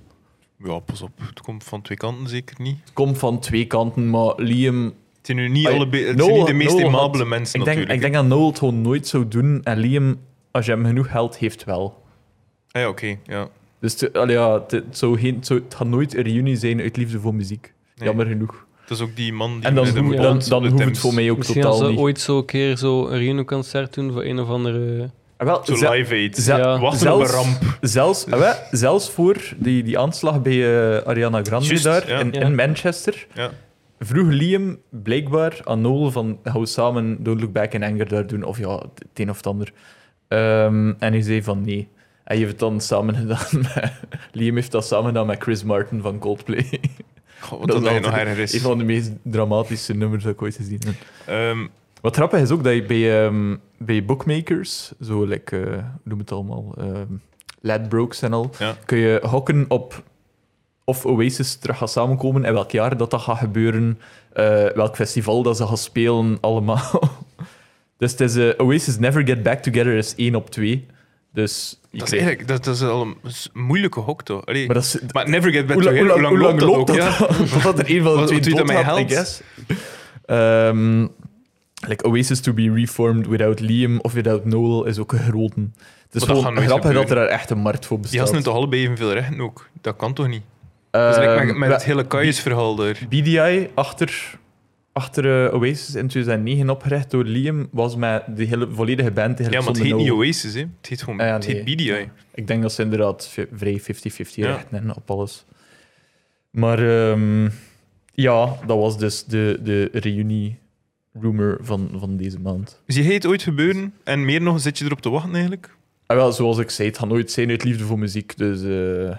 [SPEAKER 1] Ja, pas op. Het komt van twee kanten zeker niet.
[SPEAKER 2] Het komt van twee kanten, maar Liam
[SPEAKER 1] Het zijn nu niet,
[SPEAKER 2] Ah,
[SPEAKER 1] alle be- het
[SPEAKER 2] Noel-
[SPEAKER 1] zijn niet de meest
[SPEAKER 2] Noel had-
[SPEAKER 1] immabele mensen
[SPEAKER 2] Ik denk,
[SPEAKER 1] natuurlijk.
[SPEAKER 2] ik denk dat Noel het gewoon nooit zou doen. En Liam, als je hem genoeg geld heeft, wel.
[SPEAKER 1] Ah, ja, oké. ja.
[SPEAKER 2] Dus het- allee, ja, het, het zou geen, het, zou- het gaat nooit een reunie zijn uit liefde voor muziek.
[SPEAKER 1] Nee.
[SPEAKER 2] Jammer genoeg.
[SPEAKER 1] Dat is ook die man die...
[SPEAKER 2] En dan,
[SPEAKER 1] met de
[SPEAKER 2] dan,
[SPEAKER 3] moet-
[SPEAKER 1] band
[SPEAKER 2] dan,
[SPEAKER 1] op
[SPEAKER 2] dan
[SPEAKER 1] de
[SPEAKER 2] hoeft het
[SPEAKER 1] Thames-
[SPEAKER 2] voor mij ook
[SPEAKER 3] Misschien als
[SPEAKER 2] totaal
[SPEAKER 3] ze
[SPEAKER 2] niet.
[SPEAKER 3] ooit zo een keer zo een reunionconcert doen voor een of andere...
[SPEAKER 2] Ah, wel,
[SPEAKER 1] Zo
[SPEAKER 2] ze-
[SPEAKER 1] live eet.
[SPEAKER 2] ze-
[SPEAKER 3] Ja.
[SPEAKER 1] Wacht op een
[SPEAKER 2] zelfs-
[SPEAKER 1] ramp.
[SPEAKER 2] Zelfs, ah, wel, zelfs voor die, die aanslag bij eh, Ariana Grande
[SPEAKER 1] Juist,
[SPEAKER 2] daar
[SPEAKER 1] ja.
[SPEAKER 2] in,
[SPEAKER 3] Ja.
[SPEAKER 2] in Manchester,
[SPEAKER 1] Ja.
[SPEAKER 2] vroeg Liam blijkbaar aan Noel van gaan we samen Don't Look Back in Anger daar doen, of ja, het een of het ander. Ehm, en hij zei van nee. Hij heeft het dan samen gedaan met... Liam heeft dat samen gedaan met Chris Martin van Coldplay.
[SPEAKER 1] God, wat dat, dat
[SPEAKER 2] is
[SPEAKER 1] je nog
[SPEAKER 2] altijd
[SPEAKER 1] erger is.
[SPEAKER 2] Een van de meest dramatische nummers dat ik ooit gezien heb.
[SPEAKER 1] Ehm,
[SPEAKER 2] Wat grappig is ook dat je bij, ehm, bij bookmakers, zo like, eh, hoe noem het allemaal, ehm ladbrokes en al,
[SPEAKER 1] Ja.
[SPEAKER 2] kun je hokken op of Oasis terug gaat samenkomen en welk jaar dat, dat gaat gebeuren, eh, welk festival dat ze gaan spelen, allemaal. dus het is eh, Oasis Never Get Back Together is 1 op 2. Dus je
[SPEAKER 1] Dat is,
[SPEAKER 2] krijgt-
[SPEAKER 1] eigenlijk, dat, dat is al een dat is een moeilijke hok, toch? Allee,
[SPEAKER 2] Maar
[SPEAKER 1] maar,
[SPEAKER 2] dat is,
[SPEAKER 1] Never Get Back
[SPEAKER 2] hoe, lang,
[SPEAKER 1] Together,
[SPEAKER 2] hoe, lang, hoe lang loopt dat?
[SPEAKER 1] ook, ja?
[SPEAKER 2] dan? Totdat er een van de
[SPEAKER 1] Wat-
[SPEAKER 2] twee
[SPEAKER 1] wat doet
[SPEAKER 2] dood
[SPEAKER 1] dat mij
[SPEAKER 2] gaat, I
[SPEAKER 1] helpt?
[SPEAKER 2] guess. Ehm, like Oasis to be reformed without Liam of without Noel is ook een grote. Het is
[SPEAKER 1] Maar dat gaat
[SPEAKER 2] gewoon
[SPEAKER 1] nooit
[SPEAKER 2] grappig dat er
[SPEAKER 1] gebeuren.
[SPEAKER 2] daar echt een markt voor
[SPEAKER 1] Die
[SPEAKER 2] bestaat.
[SPEAKER 1] gasten hebben toch allebei evenveel rechten ook? Dat kan toch niet? dat is like met,
[SPEAKER 2] Ehm,
[SPEAKER 1] met het
[SPEAKER 2] we-
[SPEAKER 1] hele Kaius-verhaal daar.
[SPEAKER 2] BDI achter, achter eh, Oasis in 2009 opgericht door Liam was met de hele volledige band.
[SPEAKER 1] Ja,
[SPEAKER 2] eigenlijk
[SPEAKER 1] maar het
[SPEAKER 2] zonder
[SPEAKER 1] heet niet
[SPEAKER 2] Noel.
[SPEAKER 1] Oasis, hè. Het heet gewoon
[SPEAKER 2] Ah ja,
[SPEAKER 1] het heet
[SPEAKER 2] nee.
[SPEAKER 1] BDI.
[SPEAKER 2] Ik denk dat ze inderdaad v- vrij 50-50
[SPEAKER 1] Ja.
[SPEAKER 2] rechten hebben op alles. Maar ehm, ja, dat was dus de, de reunie-rumor van, van deze maand.
[SPEAKER 1] Zie jij het Dus ooit gebeuren? En meer nog, zit je erop te wachten eigenlijk?
[SPEAKER 2] En Ah, wel, zoals ik zei, het gaat nooit zijn uit liefde voor muziek. Dus eh,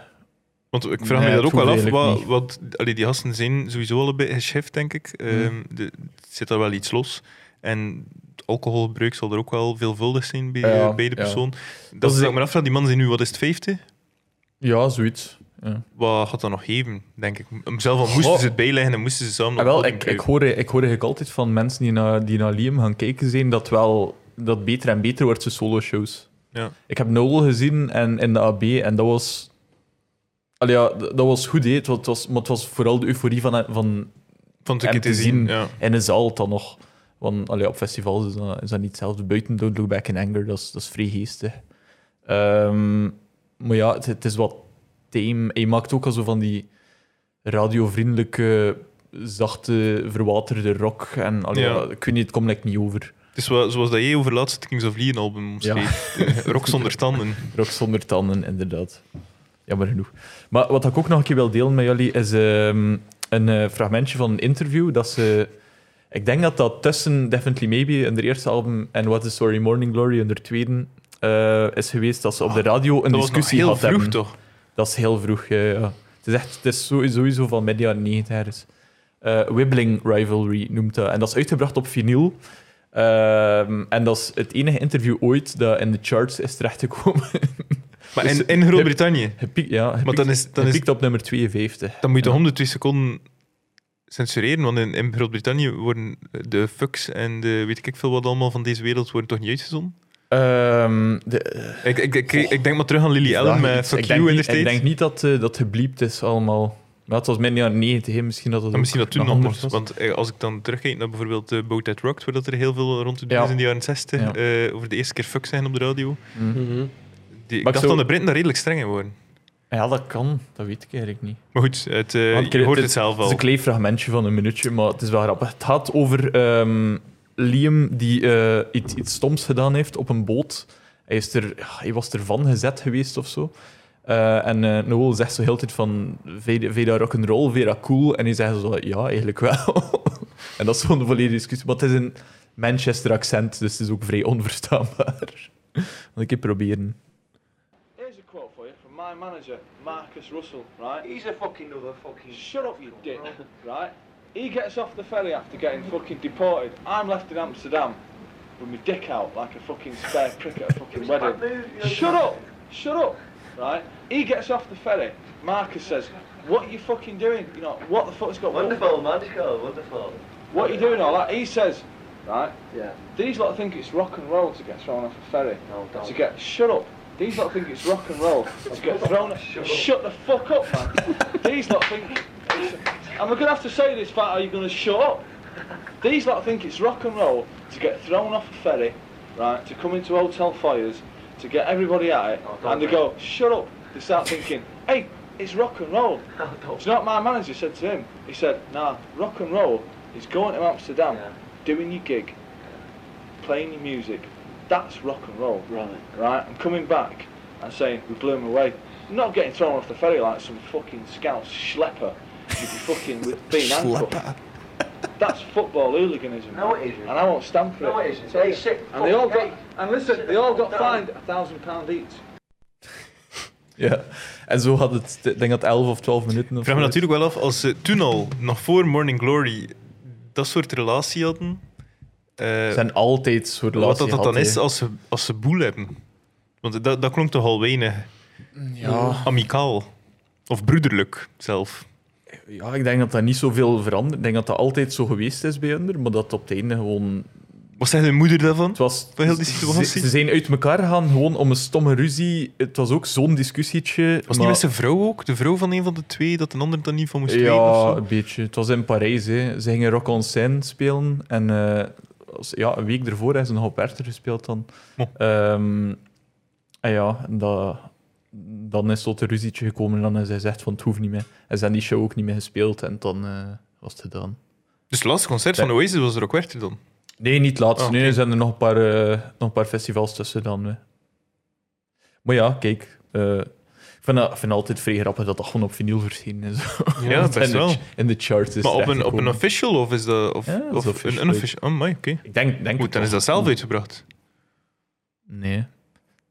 [SPEAKER 1] Want ik vraag
[SPEAKER 2] Nee,
[SPEAKER 1] me dat
[SPEAKER 2] het
[SPEAKER 1] ook wel
[SPEAKER 2] hoeft
[SPEAKER 1] af. Wat,
[SPEAKER 2] eigenlijk
[SPEAKER 1] wat, allee, die gasten zijn sowieso al een beetje geschift, denk ik.
[SPEAKER 2] Mm.
[SPEAKER 1] Ehm, de- er zit daar wel iets los. En het alcoholgebruik zal er ook wel veelvuldig zijn bij,
[SPEAKER 2] Ja,
[SPEAKER 1] eh, bij de
[SPEAKER 2] ja.
[SPEAKER 1] persoon.
[SPEAKER 2] Dat
[SPEAKER 1] Dat
[SPEAKER 2] is-
[SPEAKER 1] is, ik me afvraag, die man zijn nu, wat is het, 50?
[SPEAKER 2] ja, zoiets. Ja.
[SPEAKER 1] Wat gaat dat nog geven, denk ik? Zelf al
[SPEAKER 2] Goh.
[SPEAKER 1] moesten ze het bijleggen en moesten ze samen
[SPEAKER 2] Ah,
[SPEAKER 1] nog
[SPEAKER 2] wel,
[SPEAKER 1] potten
[SPEAKER 2] ik, ik,
[SPEAKER 1] gebruiken.
[SPEAKER 2] hoor, ik hoor eigenlijk altijd van mensen die naar, die naar Liam gaan kijken zijn dat wel dat beter en beter wordt zijn solo-shows.
[SPEAKER 1] Ja.
[SPEAKER 2] Ik heb Noel gezien en, in de AB en dat was... Allee, ja, d- dat was goed, hè. Het was- het was, maar het was vooral de euforie van, van
[SPEAKER 1] Vond ik
[SPEAKER 2] hem
[SPEAKER 1] het te
[SPEAKER 2] te
[SPEAKER 1] zien.
[SPEAKER 2] zien.
[SPEAKER 1] Ja.
[SPEAKER 2] in een zaal dan nog. Want allee, op festivals is dat, is dat niet hetzelfde. Buiten Don't Look Back in Anger, dat is, dat is vrij geestig. Ehm, maar ja, het, het is wat tame. En je maakt ook al zo van die radiovriendelijke, zachte, verwaterde rock. En allee,
[SPEAKER 1] Ja.
[SPEAKER 2] ja, ik weet niet, het komt lekker niet over.
[SPEAKER 1] Het is wel, zoals dat jij over laatst het Kings of Leon album omschreef. Eh, Rock zonder tanden.
[SPEAKER 2] Rock zonder tanden, inderdaad. Jammer genoeg. Maar wat ik ook nog een keer wil delen met jullie is ehm, een eh, fragmentje van een interview dat ze. Ik denk dat dat tussen Definitely Maybe in de eerste album en What is Sorry Morning Glory in de tweede eh, is geweest dat ze op de radio een
[SPEAKER 1] Ah, Dat was nog
[SPEAKER 2] discussie
[SPEAKER 1] heel
[SPEAKER 2] had
[SPEAKER 1] vroeg,
[SPEAKER 2] hebben.
[SPEAKER 1] toch?
[SPEAKER 2] Dat is heel vroeg, ja. ja. Het is, echt, het is sowieso, sowieso van midden jaren 90 ergens. Eh, Wibbling Rivalry noemt dat. En dat is uitgebracht op vinyl. Ehm, en dat is het enige interview ooit dat in de charts is terechtgekomen.
[SPEAKER 1] Maar
[SPEAKER 2] Dus-
[SPEAKER 1] in, in Groot-Brittannië.
[SPEAKER 2] Gepiekt, ja. Gepiekt,
[SPEAKER 1] Maar dan, is, dan, is,
[SPEAKER 2] gepiekt op nummer 52.
[SPEAKER 1] dan moet je
[SPEAKER 2] Ja.
[SPEAKER 1] 102 seconden censureren, want in, in Groot-Brittannië worden eh, de fucks en de weet ik veel wat allemaal van deze wereld worden toch niet uitgezonden?
[SPEAKER 2] Ehm, de, eh,
[SPEAKER 1] Ik, ik, ik, ik denk maar terug aan Lily
[SPEAKER 2] vraag
[SPEAKER 1] Allen
[SPEAKER 2] ik
[SPEAKER 1] met
[SPEAKER 2] iets.
[SPEAKER 1] Fuck
[SPEAKER 2] ik denk
[SPEAKER 1] You in de
[SPEAKER 2] niet- Ik
[SPEAKER 1] States.
[SPEAKER 2] denk niet dat eh, dat gebliept is allemaal. Maar het was midden jaren 90, hè. misschien dat dat
[SPEAKER 1] Maar
[SPEAKER 2] ook
[SPEAKER 1] misschien dat toen
[SPEAKER 2] nog
[SPEAKER 1] anders
[SPEAKER 2] was.
[SPEAKER 1] Want eh, als ik dan terugkijk naar bijvoorbeeld eh, Boat That Rocked, waar dat er heel veel rond te doen
[SPEAKER 2] Ja.
[SPEAKER 1] is in de jaren 60,
[SPEAKER 2] Ja.
[SPEAKER 1] eh, over de eerste keer fuck zijn op de radio.
[SPEAKER 2] Mm.
[SPEAKER 3] Mhm.
[SPEAKER 1] Die, ik
[SPEAKER 2] Maar ik
[SPEAKER 1] dacht
[SPEAKER 2] zou-
[SPEAKER 1] dat de Britten daar redelijk streng in worden.
[SPEAKER 2] Ja, dat kan. Dat weet ik eigenlijk niet.
[SPEAKER 1] Maar goed, het, eh,
[SPEAKER 2] Want
[SPEAKER 1] je hoort
[SPEAKER 2] dit-
[SPEAKER 1] het zelf
[SPEAKER 2] Het is
[SPEAKER 1] al.
[SPEAKER 2] een klein fragmentje van een minuutje, maar het is wel grappig. Het gaat over ehm, Liam die eh, iets, iets stoms gedaan heeft op een boot. Hij, is er, ja, hij was ervan gezet geweest of zo. Eh, en eh, Noel zegt zo heel de tijd van "Ve- Vera rock'n'roll, Vera cool. En hij zegt zo, ja, eigenlijk wel. en dat is gewoon de volledige discussie. Maar het is een Manchester accent, dus het is ook vrij onverstaanbaar. Moet ik keer proberen.
[SPEAKER 4] Here's a quote for you from my manager, Marcus Russell, right? He's a fucking other fucking. Shut up, you dick, right? He gets off the ferry after getting fucking deported. I'm left in Amsterdam with my dick out like a fucking spare prick at a fucking wedding. Shut up! Shut up! Right? He gets off the ferry. Marcus says, What are you fucking doing? You know, what the fuck's got
[SPEAKER 5] Wonderful, magical, wonderful.
[SPEAKER 4] What are you doing all that? He says, Right?
[SPEAKER 5] Yeah.
[SPEAKER 4] These lot think it's rock and roll to get thrown off a ferry.
[SPEAKER 5] No, don't.
[SPEAKER 4] To get shut up. These lot think it's rock and roll to get thrown. Shut, the fuck up, man. These lot think. It's, am I gonna have to say this, fat? Are you gonna shut up? These lot think it's rock and roll to get thrown off a ferry, right? To come into hotel fires, to get everybody at it,
[SPEAKER 5] No, Oh, don't
[SPEAKER 4] and they
[SPEAKER 5] do
[SPEAKER 4] go shut up. They start thinking, hey, it's rock and roll.
[SPEAKER 5] Oh,
[SPEAKER 4] Do you know what my manager said to him? He said, nah, rock and roll is going to Amsterdam,
[SPEAKER 5] Yeah.
[SPEAKER 4] doing your gig, playing your music. That's rock and roll. Right. Right? And coming back and saying, we blew him away. Not getting thrown off the ferry like some fucking scout schlepper. You'd be fucking with being handcuffed. That's football hooliganism.
[SPEAKER 5] No,
[SPEAKER 4] man.
[SPEAKER 5] it isn't.
[SPEAKER 4] And I won't stand for
[SPEAKER 5] No,
[SPEAKER 4] it.
[SPEAKER 5] it isn't. They sit
[SPEAKER 4] And they all got,
[SPEAKER 5] fucking
[SPEAKER 4] and listen, they all got fined a thousand pound each.
[SPEAKER 2] Ja. En zo had het, ik denk dat 11 of 12 minuten. Of
[SPEAKER 1] Ik vraag me
[SPEAKER 2] zo is.
[SPEAKER 1] natuurlijk wel af, als ze toen al, nog voor Morning Glory, dat soort relatie hadden, eh,
[SPEAKER 2] zijn altijd soort
[SPEAKER 1] wat dat,
[SPEAKER 2] relatie
[SPEAKER 1] dat dan
[SPEAKER 2] gehad,
[SPEAKER 1] is
[SPEAKER 2] hè.
[SPEAKER 1] als ze, als ze boel hebben. Want dat, dat klonk toch al weinig
[SPEAKER 2] Ja.
[SPEAKER 1] amicaal. Of broederlijk zelf.
[SPEAKER 2] Ja, ik denk dat dat niet zoveel verandert. Ik denk dat dat altijd zo geweest is bij hun, maar dat op het einde gewoon...
[SPEAKER 1] Wat zei de moeder daarvan?
[SPEAKER 2] Het was,
[SPEAKER 1] Van heel die
[SPEAKER 2] ze,
[SPEAKER 1] situatie?
[SPEAKER 2] ze zijn uit elkaar gegaan gewoon om een stomme ruzie. Het was ook zo'n discussietje.
[SPEAKER 1] Was het
[SPEAKER 2] maar-
[SPEAKER 1] niet met zijn vrouw ook? De vrouw van een van de twee, dat een ander dan niet van moest weten of
[SPEAKER 2] Ja,
[SPEAKER 1] zo?
[SPEAKER 2] een beetje. Het was in Parijs. Hè. Ze gingen Rock on Seine spelen. En eh, als- ja, een week ervoor hebben ze nog op Erter gespeeld dan.
[SPEAKER 1] Mo.
[SPEAKER 2] Ehm, en ja, en dat, dan is tot een ruzietje gekomen. En dan is hij gezegd van het hoeft niet meer. En ze hebben die show ook niet meer gespeeld. En dan eh, was het gedaan.
[SPEAKER 1] Dus het laatste concert van
[SPEAKER 2] Ja.
[SPEAKER 1] Oasis was er ook Werchter dan.
[SPEAKER 2] Nee, niet laatst.
[SPEAKER 1] Oh,
[SPEAKER 2] Nee, er zijn er nog een paar, eh, nog een paar festivals tussen dan. hè. Maar ja, kijk. eh, ik vind, dat, ik vind altijd vrij grappig dat dat gewoon op vinyl verschenen is.
[SPEAKER 1] Ja,
[SPEAKER 2] En
[SPEAKER 1] best
[SPEAKER 2] de-
[SPEAKER 1] wel.
[SPEAKER 2] In de charts is
[SPEAKER 1] Maar op een, op
[SPEAKER 2] terechtgekomen.
[SPEAKER 1] een official of is dat of,
[SPEAKER 2] Ja, dat is
[SPEAKER 1] of
[SPEAKER 2] official.
[SPEAKER 1] een unofficial? Oh, my, oké.
[SPEAKER 2] Ik denk, denk
[SPEAKER 1] Goed,
[SPEAKER 2] het
[SPEAKER 1] dan is
[SPEAKER 2] wel. Hmm.
[SPEAKER 1] dat zelf uitgebracht.
[SPEAKER 2] Nee.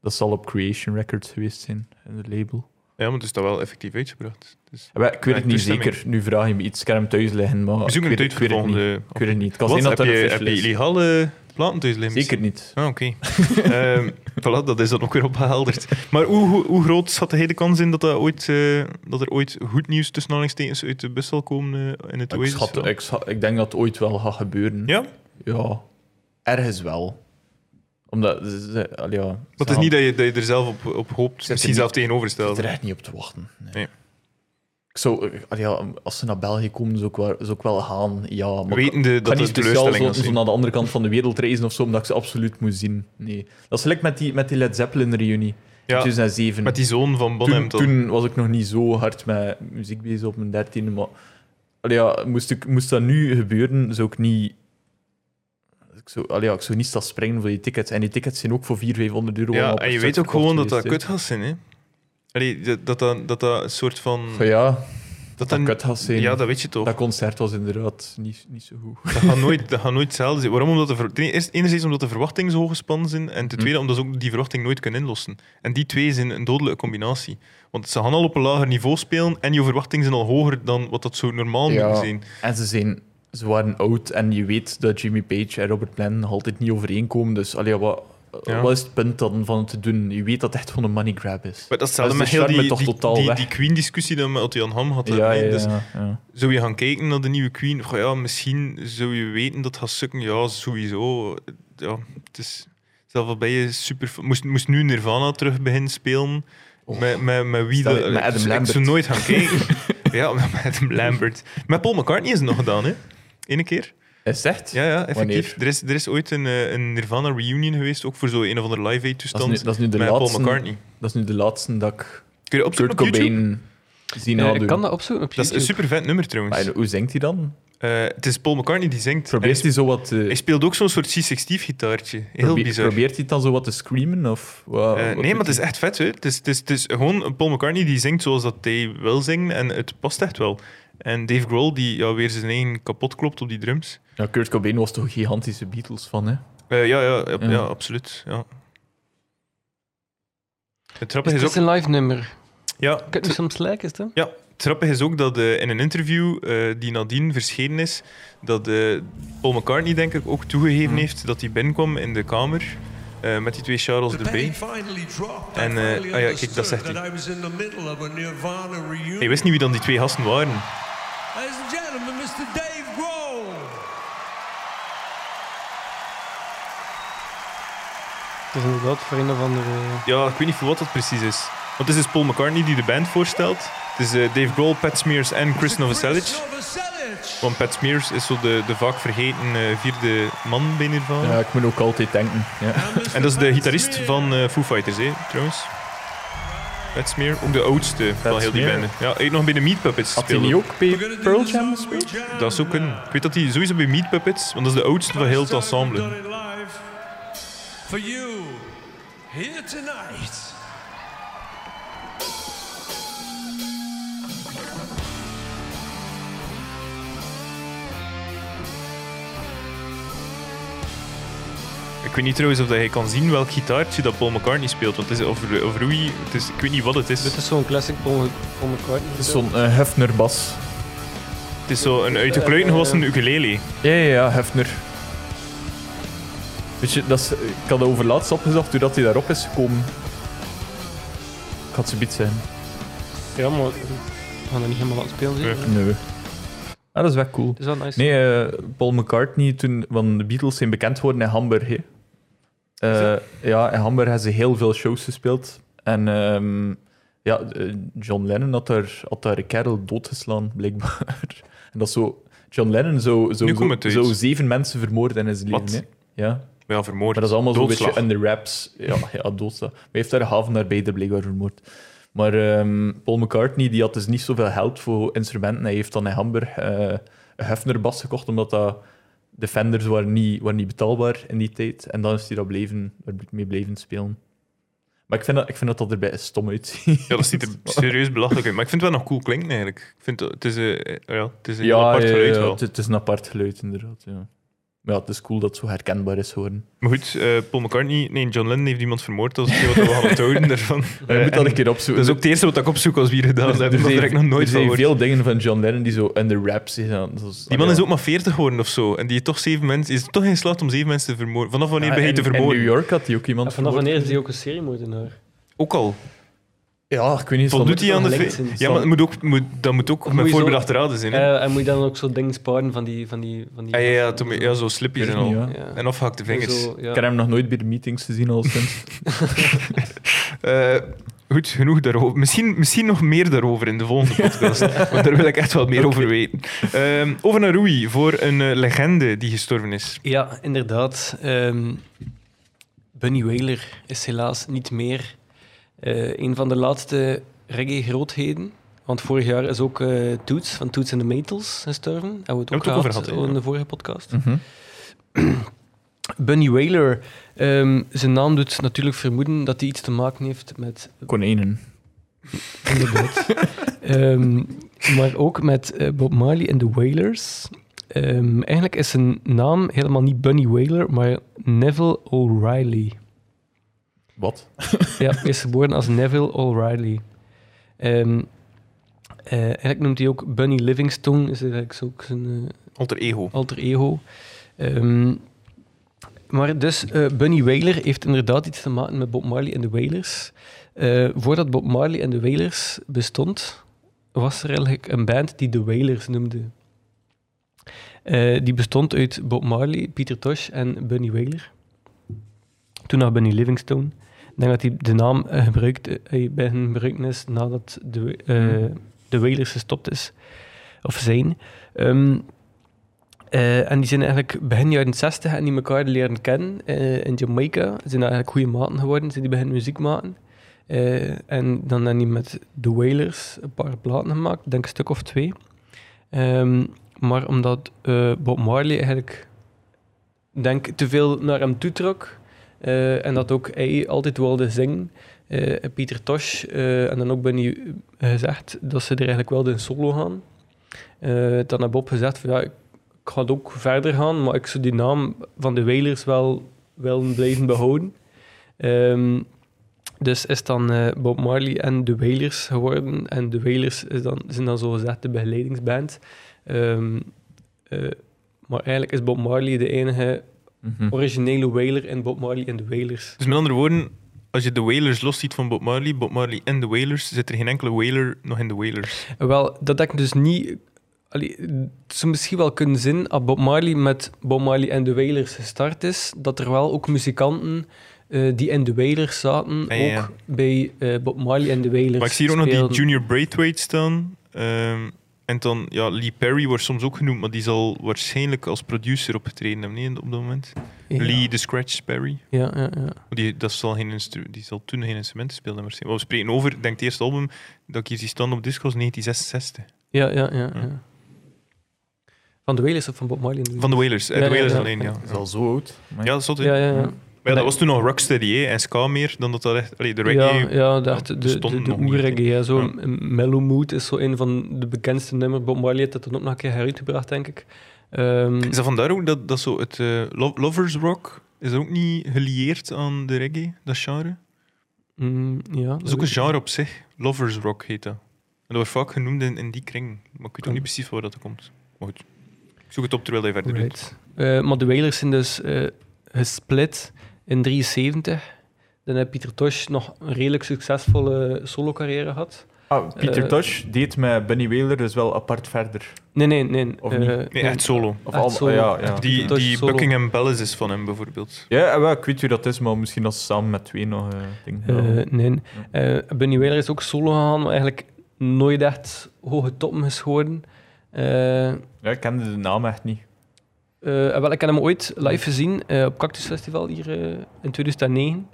[SPEAKER 2] Dat zal op Creation Records geweest zijn, in het label.
[SPEAKER 1] Ja, maar het is dat wel effectief uitgebracht. Dus.
[SPEAKER 2] Eh, wel, Ik weet
[SPEAKER 1] Ja,
[SPEAKER 2] het niet
[SPEAKER 1] toestemming.
[SPEAKER 2] zeker. Nu vraag je me iets. Ik kan hem thuis liggen, maar...
[SPEAKER 1] We zoeken
[SPEAKER 2] Oh, ik
[SPEAKER 1] het uit
[SPEAKER 2] weet het-
[SPEAKER 1] voor
[SPEAKER 2] ik weet het niet.
[SPEAKER 1] volgende...
[SPEAKER 2] Ik weet het niet. Het kan
[SPEAKER 1] Wat,
[SPEAKER 2] zijn dat
[SPEAKER 1] heb,
[SPEAKER 2] er
[SPEAKER 1] je,
[SPEAKER 2] een
[SPEAKER 1] heb je
[SPEAKER 2] official is.
[SPEAKER 1] illegale platen thuis liggen?
[SPEAKER 2] Zeker niet.
[SPEAKER 1] Ah, oké. Ehm, voilà, dat is dan ook weer opgehelderd. Maar hoe, hoe, hoe groot zat de hele kans in dat, dat, ooit, eh, dat er ooit goed nieuws tussen aanhalingstekens uit de bus zal komen eh, in het
[SPEAKER 2] Ik,
[SPEAKER 1] Oasis?
[SPEAKER 2] schat, ik, schat- ik denk dat het ooit wel gaat gebeuren.
[SPEAKER 1] Ja?
[SPEAKER 2] Ja. Ergens wel. Omdat... ze- ze- al ja, ze
[SPEAKER 1] Dat is
[SPEAKER 2] gaan-
[SPEAKER 1] niet dat je, dat je er zelf op, op hoopt,
[SPEAKER 2] er
[SPEAKER 1] misschien
[SPEAKER 2] niet-
[SPEAKER 1] zelf
[SPEAKER 2] Ik zit
[SPEAKER 1] tegenoverstelt.
[SPEAKER 2] er echt niet op te wachten. Nee.
[SPEAKER 1] Nee.
[SPEAKER 2] Ik zou, eh, al ja, als ze naar België komen, zou ik wel, zou ik wel gaan. Ja, maar ik-
[SPEAKER 1] Wetende
[SPEAKER 2] Ik ga
[SPEAKER 1] dat
[SPEAKER 2] niet
[SPEAKER 1] het een
[SPEAKER 2] speciaal
[SPEAKER 1] teleurstelling
[SPEAKER 2] zo,
[SPEAKER 1] was.
[SPEAKER 2] zo naar de andere kant van de wereld reizen of zo, omdat ik ze absoluut moet zien. Nee. Dat is gelijk met die, met die Led Zeppelin-reunie in
[SPEAKER 1] Ja,
[SPEAKER 2] 2007.
[SPEAKER 1] met die zoon van Bonham.
[SPEAKER 2] toen,
[SPEAKER 1] dan.
[SPEAKER 2] toen was ik nog niet zo hard met muziek bezig op mijn dertiende, maar allee, ja, moest, ik, moest dat nu gebeuren, zou ik niet... Ik zou, allee, ja, ik zou niet staan springen voor die tickets. En die tickets zijn ook voor 400, 500 euro.
[SPEAKER 1] Ja,
[SPEAKER 2] allemaal
[SPEAKER 1] en
[SPEAKER 2] per
[SPEAKER 1] je
[SPEAKER 2] stuk
[SPEAKER 1] weet ook
[SPEAKER 2] verkocht
[SPEAKER 1] gewoon dat dat
[SPEAKER 2] geweest,
[SPEAKER 1] kut gaat zijn, hè? Allee, dat, dat, dat, dat dat een soort van...
[SPEAKER 2] hè. Ja, dat
[SPEAKER 1] dat
[SPEAKER 2] dat
[SPEAKER 1] een-
[SPEAKER 2] kut gaat zijn.
[SPEAKER 1] Hmm. Ja,
[SPEAKER 2] dat...
[SPEAKER 1] dat weet je toch.
[SPEAKER 2] concert was inderdaad niet, niet zo goed.
[SPEAKER 1] Dat gaat nooit, dat gaat nooit hetzelfde zijn. Waarom? Omdat de, ver- ten eerste- enerzijds omdat de verwachtingen zo hoog gespannen zijn, en
[SPEAKER 2] Hm.
[SPEAKER 1] ten tweede omdat ze ook die verwachting nooit kunnen inlossen. En die twee zijn een dodelijke combinatie. Want ze gaan al op een lager niveau spelen en je verwachtingen zijn al hoger dan wat dat zo normaal
[SPEAKER 2] Ja.
[SPEAKER 1] moet zijn.
[SPEAKER 2] En ze, zijn, ze waren oud en je weet dat Jimmy Page en Robert Plant nog altijd niet overeenkomen. Dus allee, ja, wat,
[SPEAKER 1] Ja.
[SPEAKER 2] wat is het punt dan van het te doen? Je weet dat het echt gewoon een money grab is.
[SPEAKER 1] Maar dat is
[SPEAKER 2] Dat
[SPEAKER 1] hetzelfde
[SPEAKER 2] is
[SPEAKER 1] met
[SPEAKER 2] de
[SPEAKER 1] heel
[SPEAKER 2] charme
[SPEAKER 1] die,
[SPEAKER 2] toch
[SPEAKER 1] die,
[SPEAKER 2] totaal
[SPEAKER 1] die,
[SPEAKER 2] weg.
[SPEAKER 1] die Queen-discussie die we met Jan Ham hadden.
[SPEAKER 2] ja,
[SPEAKER 1] hè.
[SPEAKER 2] ja,
[SPEAKER 1] Dus
[SPEAKER 2] ja, ja.
[SPEAKER 1] Zou je gaan kijken naar de nieuwe Queen? Goh, ja, misschien zou je weten dat het gaat sukken. Ja, sowieso. Ja, het is zelf al bij je super. Moest, moest nu Nirvana terug beginnen spelen.
[SPEAKER 2] Oh.
[SPEAKER 1] Met, met, met wie
[SPEAKER 2] Stel
[SPEAKER 1] dat-
[SPEAKER 2] je- met Adam
[SPEAKER 1] ik zou-
[SPEAKER 2] Lambert.
[SPEAKER 1] Ik zou nooit gaan kijken. ja, met Adam Lambert. Met Paul McCartney is het nog gedaan, hè? Eén keer.
[SPEAKER 2] Is het echt?
[SPEAKER 1] Ja, ja effectief.
[SPEAKER 2] Wanneer?
[SPEAKER 1] Er is, er is ooit een, eh, een Nirvana reunion geweest, ook voor zo'n een of andere live aid
[SPEAKER 2] Dat, is nu,
[SPEAKER 1] toestand.
[SPEAKER 2] dat, is nu de
[SPEAKER 1] Met Paul
[SPEAKER 2] laatste,
[SPEAKER 1] McCartney.
[SPEAKER 2] dat is nu de laatste dat ik
[SPEAKER 1] Kun je opzoeken
[SPEAKER 2] Kurt
[SPEAKER 1] op YouTube?
[SPEAKER 2] Cobain zien
[SPEAKER 3] Eh,
[SPEAKER 2] hadden.
[SPEAKER 3] ik kan dat opzoeken op
[SPEAKER 1] Dat is
[SPEAKER 3] YouTube.
[SPEAKER 1] een super vet nummer trouwens.
[SPEAKER 2] Maar hoe zingt hij dan?
[SPEAKER 1] Eh, het is Paul McCartney die zingt. En
[SPEAKER 2] Probeert hij zo wat te...
[SPEAKER 1] Hij speelt ook zo'n soort C-60-gitaartje. Heel
[SPEAKER 2] probeer-
[SPEAKER 1] bizar.
[SPEAKER 2] Probeert hij dan zo wat te screamen? Of, wat-
[SPEAKER 1] Eh,
[SPEAKER 2] wat
[SPEAKER 1] nee, maar
[SPEAKER 2] doet
[SPEAKER 1] het is
[SPEAKER 2] hij?
[SPEAKER 1] echt vet. Hè. Het, is, het, is, het is gewoon een Paul McCartney die zingt zoals dat hij wil zingen. En het past echt wel. En Dave Grohl die ja, weer zijn eigen kapot klopt op die drums.
[SPEAKER 2] Ja, Kurt Cobain was toch een gigantische Beatles van, hè?
[SPEAKER 1] Eh, ja, ja, ja,
[SPEAKER 2] Ja.
[SPEAKER 1] ja, absoluut. Ja. Het grappige
[SPEAKER 3] Is
[SPEAKER 2] Dus
[SPEAKER 1] is,
[SPEAKER 3] dat
[SPEAKER 1] ook...
[SPEAKER 3] een live nummer?
[SPEAKER 1] Ja,
[SPEAKER 3] Kijk, nu soms lijken is het, hè?
[SPEAKER 1] Het grappige is ook dat eh, in een interview eh, die nadien verschenen is, dat eh, Paul McCartney denk ik ook
[SPEAKER 2] Mm.
[SPEAKER 1] toegegeven heeft dat hij binnenkwam in de kamer eh, met die twee Charles erbij. En, eh, ah ja, kijk, dat zegt hij. Hij
[SPEAKER 6] hij.
[SPEAKER 1] wist niet wie dan die twee gasten waren.
[SPEAKER 6] Ladies and gentlemen, Mr. Dave Grohl.
[SPEAKER 3] Het is inderdaad voor een of andere...
[SPEAKER 1] Ja, ik weet niet voor wat dat precies is. Want het is dus Paul McCartney die de band voorstelt. Het is eh, Dave Grohl, Pat Smears en Chris Novoselic.
[SPEAKER 6] Novoselic.
[SPEAKER 1] Want Pat Smears is zo de, de vaak vergeten eh, vierde man binnen van.
[SPEAKER 2] Ja, ik moet ook altijd denken. Ja.
[SPEAKER 6] En Mr.
[SPEAKER 1] En dat is de
[SPEAKER 6] Pat
[SPEAKER 1] gitarist
[SPEAKER 6] Smear.
[SPEAKER 1] van eh, Foo Fighters, hè, trouwens. Pat Smear, ook de oudste van heel die
[SPEAKER 2] Smear.
[SPEAKER 1] banden. Ja, hij heeft nog bij de Meat Puppets
[SPEAKER 2] Had hij
[SPEAKER 1] gespeeld.
[SPEAKER 2] niet
[SPEAKER 1] ook.
[SPEAKER 2] ook bij
[SPEAKER 6] We're gonna do
[SPEAKER 2] Pearl
[SPEAKER 6] the song
[SPEAKER 2] Jam
[SPEAKER 6] we
[SPEAKER 2] gespeeld?
[SPEAKER 6] jammed
[SPEAKER 1] Dat zou kunnen.
[SPEAKER 6] now.
[SPEAKER 1] Ik weet dat hij sowieso bij Meat Puppets, want dat is de oudste van heel het
[SPEAKER 6] First time we've
[SPEAKER 1] ensemble.
[SPEAKER 6] done it live For you, here tonight.
[SPEAKER 1] Ik weet niet trouwens of dat hij kan zien welk gitaartje dat Paul McCartney speelt. Want het is over, over Rui, het is, ik weet niet wat het is.
[SPEAKER 3] Dit is zo'n classic Paul Paul McCartney.
[SPEAKER 2] Het is zo'n eh, Hefner-bas.
[SPEAKER 1] Het is zo een uit de kluiten gewassen ukulele.
[SPEAKER 2] Ja, ja, ja, Hefner. Weet je, dat is, ik had dat overlaatst opgezocht doordat hij daarop is gekomen. Ik had ze biet zijn.
[SPEAKER 3] Ja, maar we gaan er niet helemaal aan het spelen.
[SPEAKER 1] Nee.
[SPEAKER 3] zitten, hè.
[SPEAKER 2] Nee. Ah, dat is wel cool.
[SPEAKER 3] Het is wel nice.
[SPEAKER 2] Nee, eh, Paul McCartney toen, want de Beatles zijn bekend geworden in Hamburg. hè. Eh, ja, in Hamburg hebben ze heel veel shows gespeeld. En ehm, ja, eh, John Lennon had daar, had daar een kerel doodgeslaan, blijkbaar. En dat is zo... John Lennon zou,
[SPEAKER 1] Nu
[SPEAKER 2] zou,
[SPEAKER 1] komt
[SPEAKER 2] zou,
[SPEAKER 1] het uit.
[SPEAKER 2] zou zeven mensen vermoorden in zijn
[SPEAKER 1] Wat?
[SPEAKER 2] leven. hè. Ja.
[SPEAKER 1] Ja, vermoord.
[SPEAKER 2] Maar dat is allemaal zo'n
[SPEAKER 1] Doodslag.
[SPEAKER 2] beetje under wraps. Ja, ja doodslag. Maar hij heeft daar een half naar beide blijkbaar vermoord. Maar ehm, Paul McCartney die had dus niet zoveel geld voor instrumenten. Hij heeft dan in Hamburg eh, een Hefner-bas gekocht, omdat dat, de Fenders waren niet, waren niet betaalbaar in die tijd. En dan is hij daar bleven, er mee blijven spelen. Maar ik vind dat, ik vind dat, dat erbij stom uitziet.
[SPEAKER 1] Ja, dat ziet er serieus belachelijk uit. Maar ik vind het wel nog cool klinken eigenlijk. Ik vind het, het is, eh, ja, het is een
[SPEAKER 2] ja,
[SPEAKER 1] apart
[SPEAKER 2] ja,
[SPEAKER 1] geluid
[SPEAKER 2] ja,
[SPEAKER 1] wel.
[SPEAKER 2] het, het is een apart geluid, inderdaad. Ja. Maar ja, het is cool dat het zo herkenbaar is geworden.
[SPEAKER 1] Maar goed, eh, Paul McCartney, nee, John Lennon heeft iemand vermoord. Dat is hetgeen wat we gaan onthouden daarvan.
[SPEAKER 2] Je moet
[SPEAKER 1] Eh,
[SPEAKER 2] dat een
[SPEAKER 1] en
[SPEAKER 2] keer opzoeken.
[SPEAKER 1] dat is ook het eerste wat ik opzoek als we hier gedaan hebben.
[SPEAKER 2] Er
[SPEAKER 1] Oh, Dat heb ik nog nooit
[SPEAKER 2] er
[SPEAKER 1] van
[SPEAKER 2] zijn
[SPEAKER 1] gehoord.
[SPEAKER 2] veel dingen van John Lennon die zo under wraps zijn.
[SPEAKER 1] Die
[SPEAKER 2] Ah,
[SPEAKER 1] man is ook maar 40 geworden of zo. En die heeft toch zeven mensen, is toch in slacht om zeven mensen te vermoorden. Vanaf wanneer begint te
[SPEAKER 2] In
[SPEAKER 1] vermoorden?
[SPEAKER 2] Ah, New York had hij ook
[SPEAKER 3] En
[SPEAKER 2] iemand
[SPEAKER 3] vanaf
[SPEAKER 2] vermoord.
[SPEAKER 3] wanneer is die ook een seriemoordenaar?
[SPEAKER 1] Ook al.
[SPEAKER 2] Ja, ik weet niet.
[SPEAKER 1] Voldoet
[SPEAKER 3] moet
[SPEAKER 1] hij aan de.
[SPEAKER 3] wel
[SPEAKER 1] ve-
[SPEAKER 3] gelijk zijn.
[SPEAKER 1] Ja, maar het moet ook, moet, dat moet ook
[SPEAKER 3] Moet
[SPEAKER 1] met
[SPEAKER 3] je zo-
[SPEAKER 1] voorbedachte raden zijn. Hè? Ah,
[SPEAKER 3] Eh, en moet je dan ook zo dingen sparen van die... Van die, van die
[SPEAKER 1] ja, ja, ja, toen- ja, zo slippies
[SPEAKER 2] Ik
[SPEAKER 1] en
[SPEAKER 2] weet het
[SPEAKER 1] al.
[SPEAKER 2] niet, ja.
[SPEAKER 3] Ja.
[SPEAKER 1] En afgehakte vingers.
[SPEAKER 3] Zo, ja.
[SPEAKER 2] Ik heb hem nog nooit bij de meetings gezien al sinds.
[SPEAKER 1] Eh, goed, genoeg daarover. Misschien, misschien nog meer daarover in de volgende podcast. want daar wil ik echt wel meer over weten. Ehm, over naar Rui voor een eh, legende die gestorven is.
[SPEAKER 3] Ja, inderdaad. Ehm, Bunny Wailer is helaas niet meer eh, een van de laatste reggae-grootheden. Want vorig jaar is ook eh, Toots van Toots and the Metals gestorven. Hebben we het ook,
[SPEAKER 1] Hebben we het ook over
[SPEAKER 3] gehad eh,
[SPEAKER 1] gehad, hè,
[SPEAKER 3] in
[SPEAKER 1] ja.
[SPEAKER 3] de vorige podcast.
[SPEAKER 2] Mhm.
[SPEAKER 3] Bunny Wailer, ehm, zijn naam doet natuurlijk vermoeden dat hij iets te maken heeft met
[SPEAKER 2] Konijnen.
[SPEAKER 3] Inderdaad. Ehm, maar ook met eh, Bob Marley en de Wailers. Ehm, eigenlijk is zijn naam helemaal niet Bunny Wailer, maar Neville O'Reilly.
[SPEAKER 2] Wat?
[SPEAKER 3] Ja, hij is geboren als Neville O'Reilly. Ehm, eh, eigenlijk noemt hij ook Bunny Livingstone, is eigenlijk ook zijn eh,
[SPEAKER 1] Alter ego.
[SPEAKER 3] alter ego. Ehm, maar dus eh, Bunny Wailer heeft inderdaad iets te maken met Bob Marley en de Wailers. Eh, voordat Bob Marley en de Wailers bestond, was er eigenlijk een band die de Wailers noemde. Eh, die bestond uit Bob Marley, Peter Tosh en Bunny Wailer. Toen naar Bunny Livingstone. Ik denk dat hij de naam eh, gebruikt, eh, hij bij hen gebruikt is nadat de, eh, de Wailers gestopt is. Of zijn. Ehm, eh, en die zijn eigenlijk begin jaren 60 en die elkaar leren kennen eh, in Jamaica. Ze zijn eigenlijk goede maten geworden, ze die beginnen muziek maken. Eh, en dan hebben die met The Wailers een paar platen gemaakt, denk een stuk of twee. Ehm, maar omdat eh, Bob Marley eigenlijk denk, te veel naar hem toetrok eh, en dat ook hij altijd wilde zingen, eh, en Pieter Tosh eh, en dan ook Benny eh, gezegd dat ze er eigenlijk wilden solo gaan. Eh, dan heb Bob gezegd van ja, ik ik ga ook verder gaan, maar ik zou die naam van de Wailers wel willen blijven behouden. Ehm, dus is dan eh, Bob Marley en de Wailers geworden. En de Wailers is dan, zijn dan zogezegd de begeleidingsband. Ehm, eh, maar eigenlijk is Bob Marley de enige
[SPEAKER 2] Mhm.
[SPEAKER 3] Oh, originele Wailer in Bob Marley en de Wailers.
[SPEAKER 1] Dus met andere woorden, als je de Wailers losziet van Bob Marley, Bob Marley en de Wailers, zit er geen enkele Wailer nog in de Wailers.
[SPEAKER 3] Wel, dat denk ik dus niet. Allee, het zou misschien wel kunnen zijn dat Bob Marley met Bob Marley en de Wailers gestart is, dat er wel ook muzikanten eh, die in de Wailers zaten,
[SPEAKER 1] Ah, ja, ja.
[SPEAKER 3] ook bij eh, Bob Marley en de Wailers.
[SPEAKER 1] Maar ik zie hier ook nog die
[SPEAKER 3] speelden.
[SPEAKER 1] Junior Braithwaite staan. Ehm, en dan, ja, Lee Perry wordt soms ook genoemd, maar die zal waarschijnlijk als producer opgetreden hebben nee, op dat moment.
[SPEAKER 3] Ja.
[SPEAKER 1] Lee the Scratch Perry.
[SPEAKER 3] Ja, ja, ja.
[SPEAKER 1] Die, dat zal geen instru- die zal toen geen instrumenten spelen. Maar we spreken over, ik denk het eerste album dat ik hier zie staan op Discos, 1966.
[SPEAKER 3] Ja, ja, ja, ja.
[SPEAKER 1] Ja.
[SPEAKER 3] Van de Wailers of van Bob Marley? en de
[SPEAKER 1] Van de Wailers. Eh,
[SPEAKER 3] Ja,
[SPEAKER 1] de
[SPEAKER 3] ja,
[SPEAKER 1] Wailers
[SPEAKER 3] ja.
[SPEAKER 1] alleen, ja.
[SPEAKER 2] Dat is al zo oud.
[SPEAKER 1] Ja,
[SPEAKER 2] Maar
[SPEAKER 1] dat is zot, hè.
[SPEAKER 3] Wailers? Ja, ja, ja.
[SPEAKER 1] Maar ja, dat was toen nog rocksteady hè, en ska meer dan dat dat echt... Allee, de reggae...
[SPEAKER 3] Ja, ja, de, echte- de, de,
[SPEAKER 1] bestond
[SPEAKER 3] de
[SPEAKER 1] nog niet,
[SPEAKER 3] oerreggae, ja, zo.
[SPEAKER 1] Ja.
[SPEAKER 3] M- Mellow Mood is zo een van de bekendste nummers. Bob Marley heeft dat dan ook nog een keer heruitgebracht, denk ik. Ehm,
[SPEAKER 1] Is dat vandaar ook dat, dat zo het eh, lo- lovers rock... Is dat ook niet gelieerd aan de reggae, dat genre?
[SPEAKER 3] mm, ja,
[SPEAKER 1] Dat is ook een genre op zich. Lovers rock heet dat. En dat wordt vaak genoemd in, in die kring. Maar ik weet ook niet precies waar dat komt. Maar goed. Ik zoek het op terwijl hij verder doet.
[SPEAKER 3] Right. Eh, maar de Wailers zijn dus eh, gesplit in 73. Dan heeft Pieter Tosh nog een redelijk succesvolle solo-carrière gehad.
[SPEAKER 2] Ah, Peter
[SPEAKER 3] Eh,
[SPEAKER 2] Tosh deed met Benny Wheeler dus wel apart verder.
[SPEAKER 3] Nee, nee, nee.
[SPEAKER 2] Of
[SPEAKER 3] eh,
[SPEAKER 2] niet?
[SPEAKER 1] Nee, echt solo.
[SPEAKER 2] Of
[SPEAKER 3] Echt
[SPEAKER 2] al, ah,
[SPEAKER 3] solo.
[SPEAKER 2] ja, ja.
[SPEAKER 1] Die,
[SPEAKER 3] Dat is
[SPEAKER 1] die
[SPEAKER 3] solo.
[SPEAKER 1] Buckingham Palace is van hem bijvoorbeeld.
[SPEAKER 2] Ja, eh, wel, ik weet wie dat is, maar misschien als ze samen met twee nog eh ding.
[SPEAKER 3] eh,
[SPEAKER 2] hadden.
[SPEAKER 3] nee. Eh, Bunny Wailer is ook solo gegaan, maar eigenlijk nooit echt hoge toppen geschoren. Eh
[SPEAKER 2] Ja, ik kende de naam echt niet.
[SPEAKER 3] eh, en wel, ik heb hem ooit live gezien eh, op Cactus Festival hier eh, in 2009.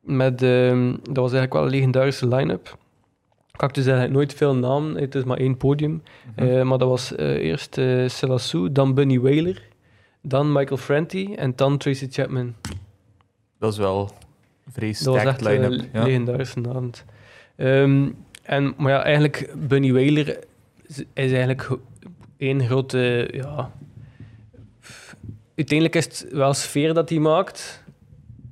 [SPEAKER 3] Met, ehm, dat was eigenlijk wel een legendarische line-up. Cactus had eigenlijk nooit veel namen, het is maar één podium. Eh, maar dat was eh, eerst eh Selassou, dan Bunny Wailer, dan Michael Franti en dan Tracy Chapman.
[SPEAKER 2] Dat is wel een vrij
[SPEAKER 3] Dat was
[SPEAKER 2] sterk
[SPEAKER 3] echt eh, een
[SPEAKER 2] line-up. Ja.
[SPEAKER 3] legendarische avond. Ehm, en, maar ja, eigenlijk, Bunny Wailer is, is eigenlijk gro- één grote... Ja, f- uiteindelijk is het wel sfeer dat hij maakt.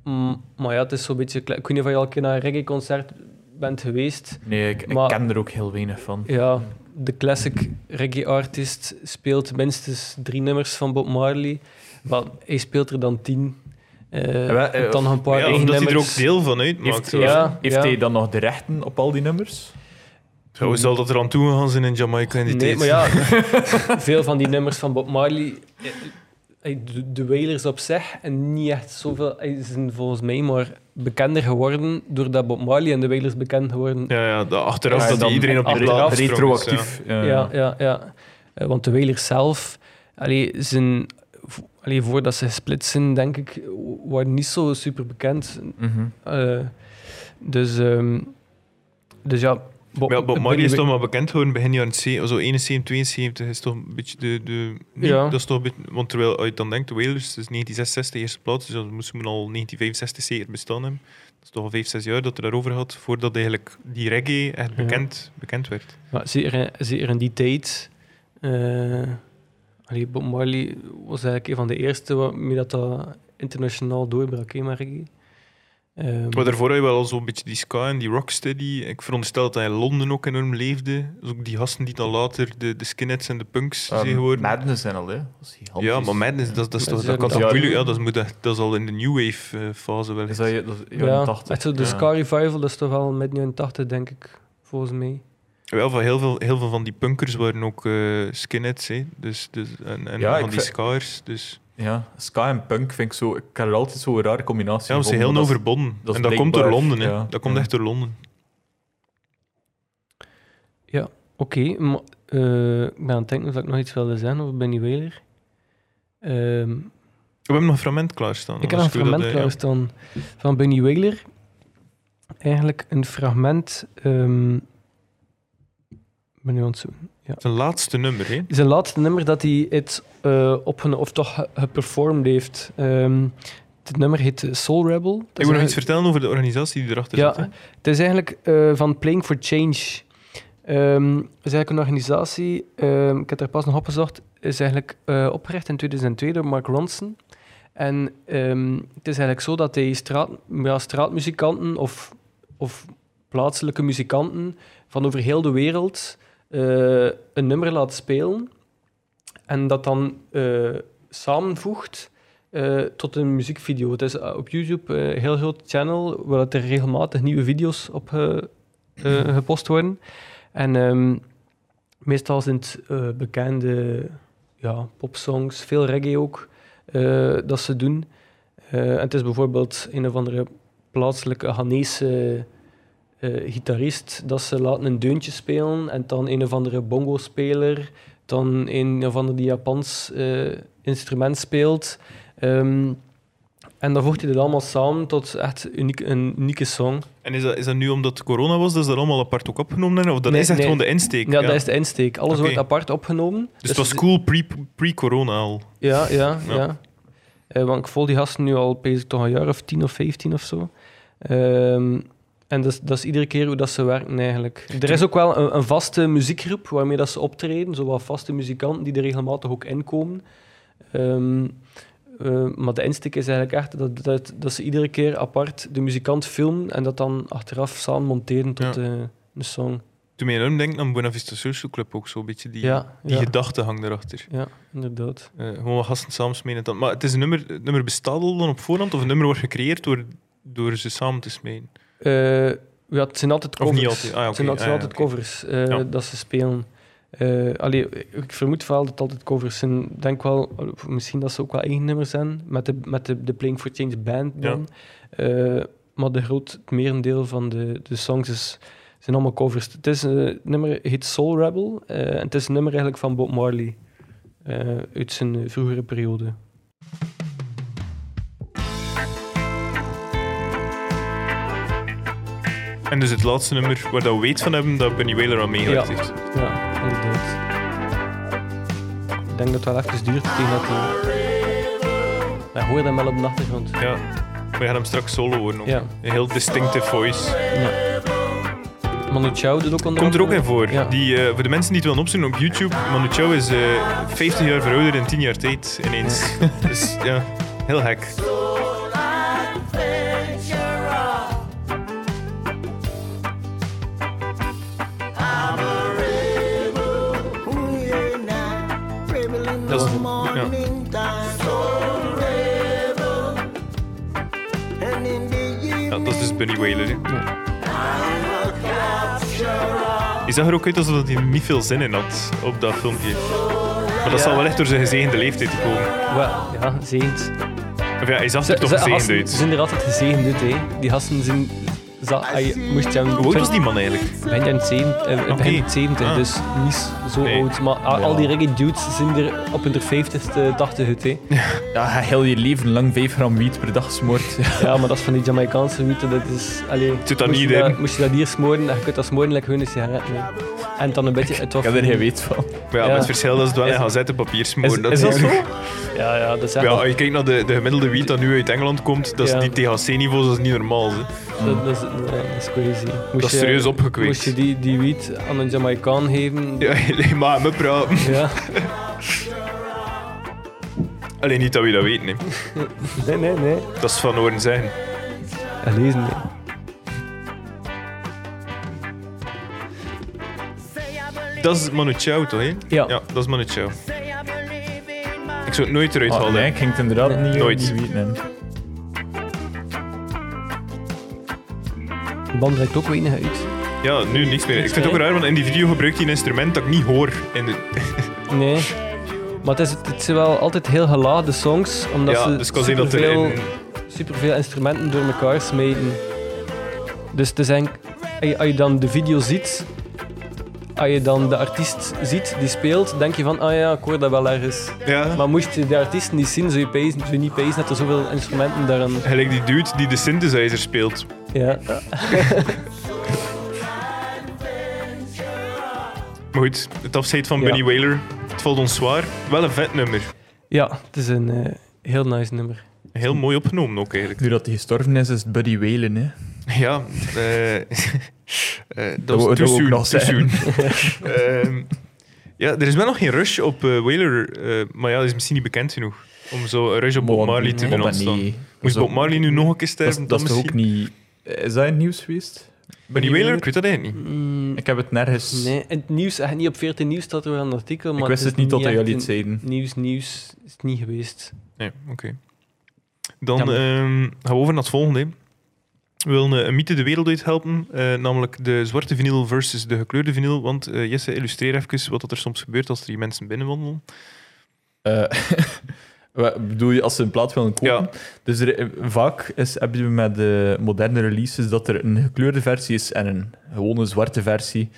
[SPEAKER 3] Mm, maar ja, het is zo'n beetje... kle- Ik weet niet of je al een keer naar een reggae-concert bent geweest.
[SPEAKER 2] Nee, ik, ik
[SPEAKER 3] Maar-
[SPEAKER 2] ken er ook heel weinig van.
[SPEAKER 3] Ja, de classic reggae-artiest speelt minstens drie nummers van Bob Marley. Maar hij speelt er dan tien. Eh
[SPEAKER 2] wel, eh,
[SPEAKER 3] dan nog een paar
[SPEAKER 1] ja,
[SPEAKER 3] eigen
[SPEAKER 1] omdat hij er
[SPEAKER 3] nummers.
[SPEAKER 1] ook deel van uitmaakt.
[SPEAKER 2] Heeft,
[SPEAKER 1] Zo
[SPEAKER 3] ja.
[SPEAKER 2] heeft, heeft hij dan nog de rechten op al die nummers?
[SPEAKER 1] Zo zal dat er aan toegegaan zijn in Jamaica in die
[SPEAKER 3] Nee,
[SPEAKER 1] tijd.
[SPEAKER 3] maar ja, veel van die nummers van Bob Marley, eh, eh, de, de Wailers op zich, en niet echt zoveel, eh, zijn volgens mij maar bekender geworden doordat Bob Marley en de Wailers bekend geworden.
[SPEAKER 1] Ja, ja, de- achteraf
[SPEAKER 2] Ja,
[SPEAKER 1] dat
[SPEAKER 2] dan-
[SPEAKER 1] die iedereen op die
[SPEAKER 3] achteraf.
[SPEAKER 1] plaat sprong is, ja.
[SPEAKER 2] Retroactief.
[SPEAKER 3] Ja,
[SPEAKER 2] eh,
[SPEAKER 3] ja, ja. Eh, want de Wailers zelf, allee, zijn, vo- allee, voordat ze splitsen, denk ik, w- waren niet zo super bekend.
[SPEAKER 2] mhm.
[SPEAKER 3] Eh, dus, ehm, dus ja. Bob,
[SPEAKER 1] Maar ja, Bob
[SPEAKER 3] Bunny
[SPEAKER 1] Marley is
[SPEAKER 3] Wa-
[SPEAKER 1] toch maar bekend geworden begin jaren 70, zo 71, 72 is toch een beetje de... de niet?
[SPEAKER 3] Ja.
[SPEAKER 1] Dat is toch een beetje, want terwijl als je dan denkt, de Wailers is 1966 eerste plaats, dus dat moest men al 1965 zeker bestaan hebben. Dat is toch al 5, 6 jaar dat er daarover had, voordat eigenlijk die reggae echt
[SPEAKER 3] Ja.
[SPEAKER 1] bekend, bekend werd.
[SPEAKER 3] Maar zeker, zeker in die tijd. eh, allee, Bob Marley was eigenlijk een van de eerste waarmee dat, dat internationaal doorbrak, hè, maar ik. Ehm,
[SPEAKER 1] Maar daarvoor had je wel al zo'n beetje die ska en die rocksteady. Ik veronderstel dat hij in Londen ook enorm leefde. Dus ook die gasten die dan later de, de skinheads en de punks
[SPEAKER 2] Ehm,
[SPEAKER 1] zijn geworden.
[SPEAKER 2] Madness en al, hè. Dat is gigantisch.
[SPEAKER 1] Ja, maar Madness, dat, dat, is
[SPEAKER 3] Dat
[SPEAKER 1] toch,
[SPEAKER 3] is
[SPEAKER 1] dat kan
[SPEAKER 3] ook
[SPEAKER 1] toch
[SPEAKER 2] dat-
[SPEAKER 1] moeilijk... Ja, dat, moet, echt- dat is al in de new wave eh, fase wel.
[SPEAKER 2] Is
[SPEAKER 1] echt.
[SPEAKER 2] dat, je- dat is jaren
[SPEAKER 3] ja,
[SPEAKER 2] 80.
[SPEAKER 3] echt zo de
[SPEAKER 2] Ja.
[SPEAKER 3] Scar Revival, dat is toch wel met 89, denk ik, volgens mij.
[SPEAKER 1] Wel, van heel, veel, heel veel van die punkers waren ook eh, skinheads, hè. Dus, dus, en en
[SPEAKER 2] Ja, ik
[SPEAKER 1] van die
[SPEAKER 2] vind-
[SPEAKER 1] scars. Dus.
[SPEAKER 2] Ja, ska en punk vind ik zo... Ik kan er altijd zo'n rare combinatie
[SPEAKER 1] Ja, want ze
[SPEAKER 2] van,
[SPEAKER 1] heel
[SPEAKER 2] maar
[SPEAKER 1] nauw
[SPEAKER 2] dat is-
[SPEAKER 1] verbonden.
[SPEAKER 2] dat is
[SPEAKER 1] en dat komt door
[SPEAKER 2] blijkbaar,
[SPEAKER 1] Londen, hè.
[SPEAKER 2] ja.
[SPEAKER 1] Dat komt
[SPEAKER 2] Ja.
[SPEAKER 1] echt door Londen.
[SPEAKER 3] Oké, maar, eh, ik ben aan het denken of ik nog iets wilde zeggen over Benny Wailer. Ehm,
[SPEAKER 1] We hebben nog een fragment klaarstaan.
[SPEAKER 3] Ik heb een
[SPEAKER 1] anders kunnen we
[SPEAKER 3] fragment
[SPEAKER 1] dat, eh, ja.
[SPEAKER 3] klaarstaan van Bunny Wailer. Eigenlijk een fragment... ehm, ik ben nu aan het zoeken.
[SPEAKER 1] Zijn laatste nummer, hè.
[SPEAKER 3] Zijn laatste nummer dat hij het eh op of toch ge- geperformed heeft. Ehm, het nummer heet eh, Soul Rebel. Dat
[SPEAKER 1] Ik
[SPEAKER 3] is
[SPEAKER 1] wil nog
[SPEAKER 3] eigenlijk-
[SPEAKER 1] iets vertellen over de organisatie die erachter
[SPEAKER 3] Ja,
[SPEAKER 1] zit. hè.
[SPEAKER 3] het is eigenlijk eh, van Playing for Change. Ehm, het is eigenlijk een organisatie, ehm, ik heb er pas nog op gezocht, is eigenlijk eh, opgericht in 2002 door Mark Ronson. En ehm, het is eigenlijk zo dat hij straat, ja, straatmuzikanten of, of plaatselijke muzikanten van over heel de wereld eh, een nummer laat spelen en dat dan eh, samenvoegt eh, tot een muziekvideo. Het is eh, op YouTube eh, een heel groot channel waar dat er regelmatig nieuwe video's op eh, eh, gepost worden. En ehm, meestal zijn het eh, bekende ja, popsongs, veel reggae ook, eh, dat ze doen. Eh, en het is bijvoorbeeld een of andere plaatselijke Ghanese eh, gitarist dat ze laten een deuntje spelen en dan een of andere bongo-speler, dan een of ander die Japans eh, instrument speelt. Ehm, en dan voegt hij dit allemaal samen tot echt uniek, een unieke song.
[SPEAKER 1] En is dat, is dat nu omdat corona was, dat ze dat allemaal apart ook opgenomen hebben? Of dat
[SPEAKER 3] Nee,
[SPEAKER 1] is echt
[SPEAKER 3] nee.
[SPEAKER 1] gewoon de insteek?
[SPEAKER 3] Ja, dat is de insteek. Alles
[SPEAKER 1] Oké.
[SPEAKER 3] wordt apart opgenomen.
[SPEAKER 1] Dus het was cool pre- pre-corona al.
[SPEAKER 3] Ja, ja,
[SPEAKER 1] Ja.
[SPEAKER 3] ja. Eh, want ik volg die gasten nu al bezig toch een jaar of tien of vijftien of zo. Ehm, en dat is, dat is iedere keer hoe dat ze werken eigenlijk. Er is ook wel een, een vaste muziekgroep waarmee dat ze optreden. Zowel vaste muzikanten die er regelmatig ook inkomen. Ehm eh, maar de insteek is eigenlijk echt dat, dat, dat ze iedere keer apart de muzikant filmen en dat dan achteraf samen monteren tot
[SPEAKER 1] Ja.
[SPEAKER 3] eh, een song.
[SPEAKER 1] Toen mij enorm denkt aan Buena Vista Social Club ook zo'n beetje die,
[SPEAKER 3] Ja,
[SPEAKER 1] die
[SPEAKER 3] ja,
[SPEAKER 1] gedachtegang daarachter.
[SPEAKER 3] ja, inderdaad.
[SPEAKER 1] Eh, gewoon wat gasten samen smeden. en dan- Maar het is een nummer, het nummer bestaat al dan op voorhand of een nummer wordt gecreëerd door, door ze samen te smeden?
[SPEAKER 3] Eh, Ja, het zijn altijd
[SPEAKER 1] Of
[SPEAKER 3] covers.
[SPEAKER 1] niet altijd, ah, ja,
[SPEAKER 3] het zijn,
[SPEAKER 1] oké. Ah,
[SPEAKER 3] het zijn
[SPEAKER 1] ja,
[SPEAKER 3] altijd
[SPEAKER 1] oké.
[SPEAKER 3] covers eh,
[SPEAKER 1] Ja.
[SPEAKER 3] dat ze spelen. Eh, allee, ik vermoed wel dat het altijd covers zijn. Ik denk wel, of misschien dat ze ook wel eigen nummers zijn, met de, met de, de Playing for Change band dan. Eh, maar de groot, het merendeel van de, de songs is, zijn allemaal covers. Het is een nummer, heet Soul Rebel, eh, en het is een nummer eigenlijk van Bob Marley. eh, uit zijn vroegere periode.
[SPEAKER 1] En dus het laatste nummer waar dat we weet van hebben dat Benny Wailer aan meegewerkt
[SPEAKER 3] Ja.
[SPEAKER 1] heeft.
[SPEAKER 3] Ja, inderdaad. Ik denk dat het wel even duurt tegen dat hij... Wij horen hem wel op de achtergrond.
[SPEAKER 1] Ja. We gaan hem straks solo horen. ook.
[SPEAKER 3] Ja.
[SPEAKER 1] Een heel distinctive voice.
[SPEAKER 3] Ja. Manu Chao doet ook onder
[SPEAKER 1] Komt er ook
[SPEAKER 3] andere-
[SPEAKER 1] in voor.
[SPEAKER 3] Ja.
[SPEAKER 1] Die, eh, voor de mensen die het willen opzoeken op YouTube, Manu Chao is eh, 50 jaar verouderd in 10 jaar tijd ineens. dus ja, heel hek. Dat is- ja. Ja, dat is dus Bunny Wailer. hè. Die zag er ook uit alsof hij niet veel zin in had op dat filmpje. Maar dat zal wel echt door zijn gezegende leeftijd te komen.
[SPEAKER 3] Wel, ja, zeegend.
[SPEAKER 1] Of ja, hij zag er toch gezegend
[SPEAKER 3] gasten
[SPEAKER 1] uit.
[SPEAKER 3] zijn er altijd gezegend uit, hè. Die gasten zijn... Za, ai, moest je hem...
[SPEAKER 1] Hoe oud was die man eigenlijk?
[SPEAKER 3] Begin jaren 70, eh,
[SPEAKER 1] Oké.
[SPEAKER 3] begin 70
[SPEAKER 1] Ah.
[SPEAKER 3] dus niet zo
[SPEAKER 1] Nee.
[SPEAKER 3] oud. Maar al, al die reggae dudes zijn er op hun 50ste, 80 uit, hè.
[SPEAKER 2] Ja, hij heel je leven lang 5 gram wiet per dag smoort.
[SPEAKER 3] Ja, maar dat is van die Jamaicaanse witte, dat is... Allee,
[SPEAKER 1] Zit dat
[SPEAKER 3] moest
[SPEAKER 1] niet
[SPEAKER 3] je
[SPEAKER 1] in?
[SPEAKER 3] dat- Moest je dat hier smoren, dan kun je dat smoren lekker gewoon een sigaret nemen. En dan een beetje... Het
[SPEAKER 2] Ik heb er geen weet van.
[SPEAKER 1] Maar ja,
[SPEAKER 3] Ja.
[SPEAKER 1] met het verschil dat ze het wel in
[SPEAKER 3] Is-
[SPEAKER 1] gazettenpapier smoren.
[SPEAKER 2] Is- is dat
[SPEAKER 1] hij-
[SPEAKER 3] Ja, ja, dat is echt...
[SPEAKER 1] Ja,
[SPEAKER 3] wel-
[SPEAKER 1] als je kijkt naar de, de gemiddelde wiet dat nu uit Engeland komt, dat is
[SPEAKER 3] Ja.
[SPEAKER 1] die THC-niveaus, dat is niet normaal. Hè.
[SPEAKER 3] Dat, dat, is, ja, dat is crazy. Moest
[SPEAKER 1] Dat is serieus opgekweekt.
[SPEAKER 3] Moest je die, die wiet aan een Jamaicaan geven... Ja.
[SPEAKER 1] Ja, alleen maar me praten. Alleen niet dat we dat weten. Hè.
[SPEAKER 3] Nee, nee, nee.
[SPEAKER 1] Dat is van horen zijn.
[SPEAKER 3] Ja, lezen, nee.
[SPEAKER 1] Dat is Manu Chao, toch? Hè?
[SPEAKER 3] Ja.
[SPEAKER 1] dat is Manu Chao. Ik zou het nooit eruit
[SPEAKER 2] Ah,
[SPEAKER 1] halen.
[SPEAKER 2] nee, ik ging het inderdaad niet
[SPEAKER 1] Nooit.
[SPEAKER 2] niet weten, hè.
[SPEAKER 3] De band reikt ook weinig uit.
[SPEAKER 1] Ja, nu niks meer. Ik vind het ook raar, want in die video gebruikt hij een instrument dat ik niet hoor. In de...
[SPEAKER 3] Nee. Maar het, is, het zijn wel altijd heel geladen songs, omdat
[SPEAKER 1] Ja,
[SPEAKER 3] ze
[SPEAKER 1] dus ik kan zien dat er
[SPEAKER 3] superveel,
[SPEAKER 1] in-
[SPEAKER 3] superveel instrumenten door elkaar smeten. Dus het is eigenlijk, als je- als je dan de video ziet, als je dan de artiest ziet die speelt, denk je van, ah ja, ik hoor dat wel ergens.
[SPEAKER 1] Ja.
[SPEAKER 3] Maar moest je de artiesten niet zien, zou je, pezen, zou je niet pezen dat er zoveel instrumenten daaraan...
[SPEAKER 1] Gelijk die dude die de synthesizer speelt.
[SPEAKER 3] Ja.
[SPEAKER 1] Maar goed, het afscheid van
[SPEAKER 3] Ja.
[SPEAKER 1] Benny Wailer. Het valt ons zwaar. Wel een vet nummer.
[SPEAKER 3] ja, het is een eh, heel nice nummer.
[SPEAKER 1] Heel mooi opgenomen ook eigenlijk.
[SPEAKER 2] Nu dat hij gestorven is, is het Buddy Whalen, hè.
[SPEAKER 1] Ja, eh, eh, dat
[SPEAKER 2] wou-
[SPEAKER 1] was
[SPEAKER 2] dat
[SPEAKER 1] too
[SPEAKER 2] wou ik
[SPEAKER 1] soon,
[SPEAKER 2] nog
[SPEAKER 1] too
[SPEAKER 2] zeggen.
[SPEAKER 1] soon. Ehm, ja, er is wel nog geen rush op eh, Wailer, eh, maar ja, dat is misschien niet bekend genoeg. Om zo een rush op Bob
[SPEAKER 2] Maar-
[SPEAKER 1] Marley te
[SPEAKER 2] maar
[SPEAKER 1] doen
[SPEAKER 2] Oh, nee.
[SPEAKER 1] ontstaan.
[SPEAKER 2] Dat is
[SPEAKER 1] Moest
[SPEAKER 2] ook-
[SPEAKER 1] Bob Marley nu nog een keer
[SPEAKER 2] Dat is,
[SPEAKER 1] sterven?
[SPEAKER 2] dat is
[SPEAKER 1] dan
[SPEAKER 2] toch ook
[SPEAKER 1] misschien?
[SPEAKER 2] niet... Is dat in het nieuws geweest?
[SPEAKER 1] Benny Wailer? Ik weet dat eigenlijk niet.
[SPEAKER 3] Mm,
[SPEAKER 2] Ik heb het nergens...
[SPEAKER 3] Nee, in het nieuws, echt niet op 14 nieuws staat er wel een artikel, maar
[SPEAKER 2] ik wist
[SPEAKER 3] is
[SPEAKER 2] het niet tot
[SPEAKER 3] echt
[SPEAKER 2] jullie
[SPEAKER 3] een-
[SPEAKER 2] het zeiden.
[SPEAKER 3] Nieuws, nieuws is het niet geweest.
[SPEAKER 1] Nee, oké. Dan
[SPEAKER 3] Jammer.
[SPEAKER 1] ehm, gaan we over naar het volgende. We willen eh, een mythe de wereld uit helpen, eh, namelijk de zwarte vinyl versus de gekleurde vinyl. Want eh, Jesse, illustreer even wat dat er soms gebeurt als er hier mensen binnenwandelen.
[SPEAKER 2] Eh, wat bedoel je als ze een plaat willen kopen?
[SPEAKER 1] Ja.
[SPEAKER 2] Dus er, eh, vaak is, heb je met de moderne releases dat er een gekleurde versie is en een gewone zwarte versie.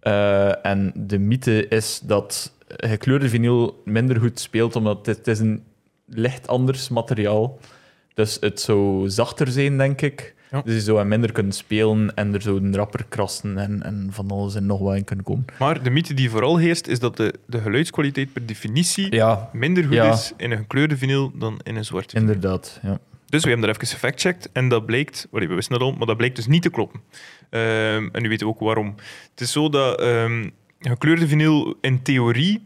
[SPEAKER 2] Eh, en de mythe is dat gekleurde vinyl minder goed speelt, omdat het, het is een licht anders materiaal Dus het zou zachter zijn, denk ik.
[SPEAKER 1] Ja.
[SPEAKER 2] Dus je zou hem minder kunnen spelen en er zouden rapper krassen en, en van alles en nog wat in kunnen komen.
[SPEAKER 1] Maar de mythe die vooral heerst, is dat de, de geluidskwaliteit per definitie
[SPEAKER 2] Ja,
[SPEAKER 1] minder goed
[SPEAKER 2] Ja.
[SPEAKER 1] is in een gekleurde vinyl dan in een zwarte vinyl.
[SPEAKER 2] inderdaad. Ja.
[SPEAKER 1] Dus we hebben daar even gefactcheckt en dat blijkt, welle, we wisten dat al, maar dat blijkt dus niet te kloppen. Ehm, en nu weten we ook waarom. Het is zo dat ehm, gekleurde vinyl in theorie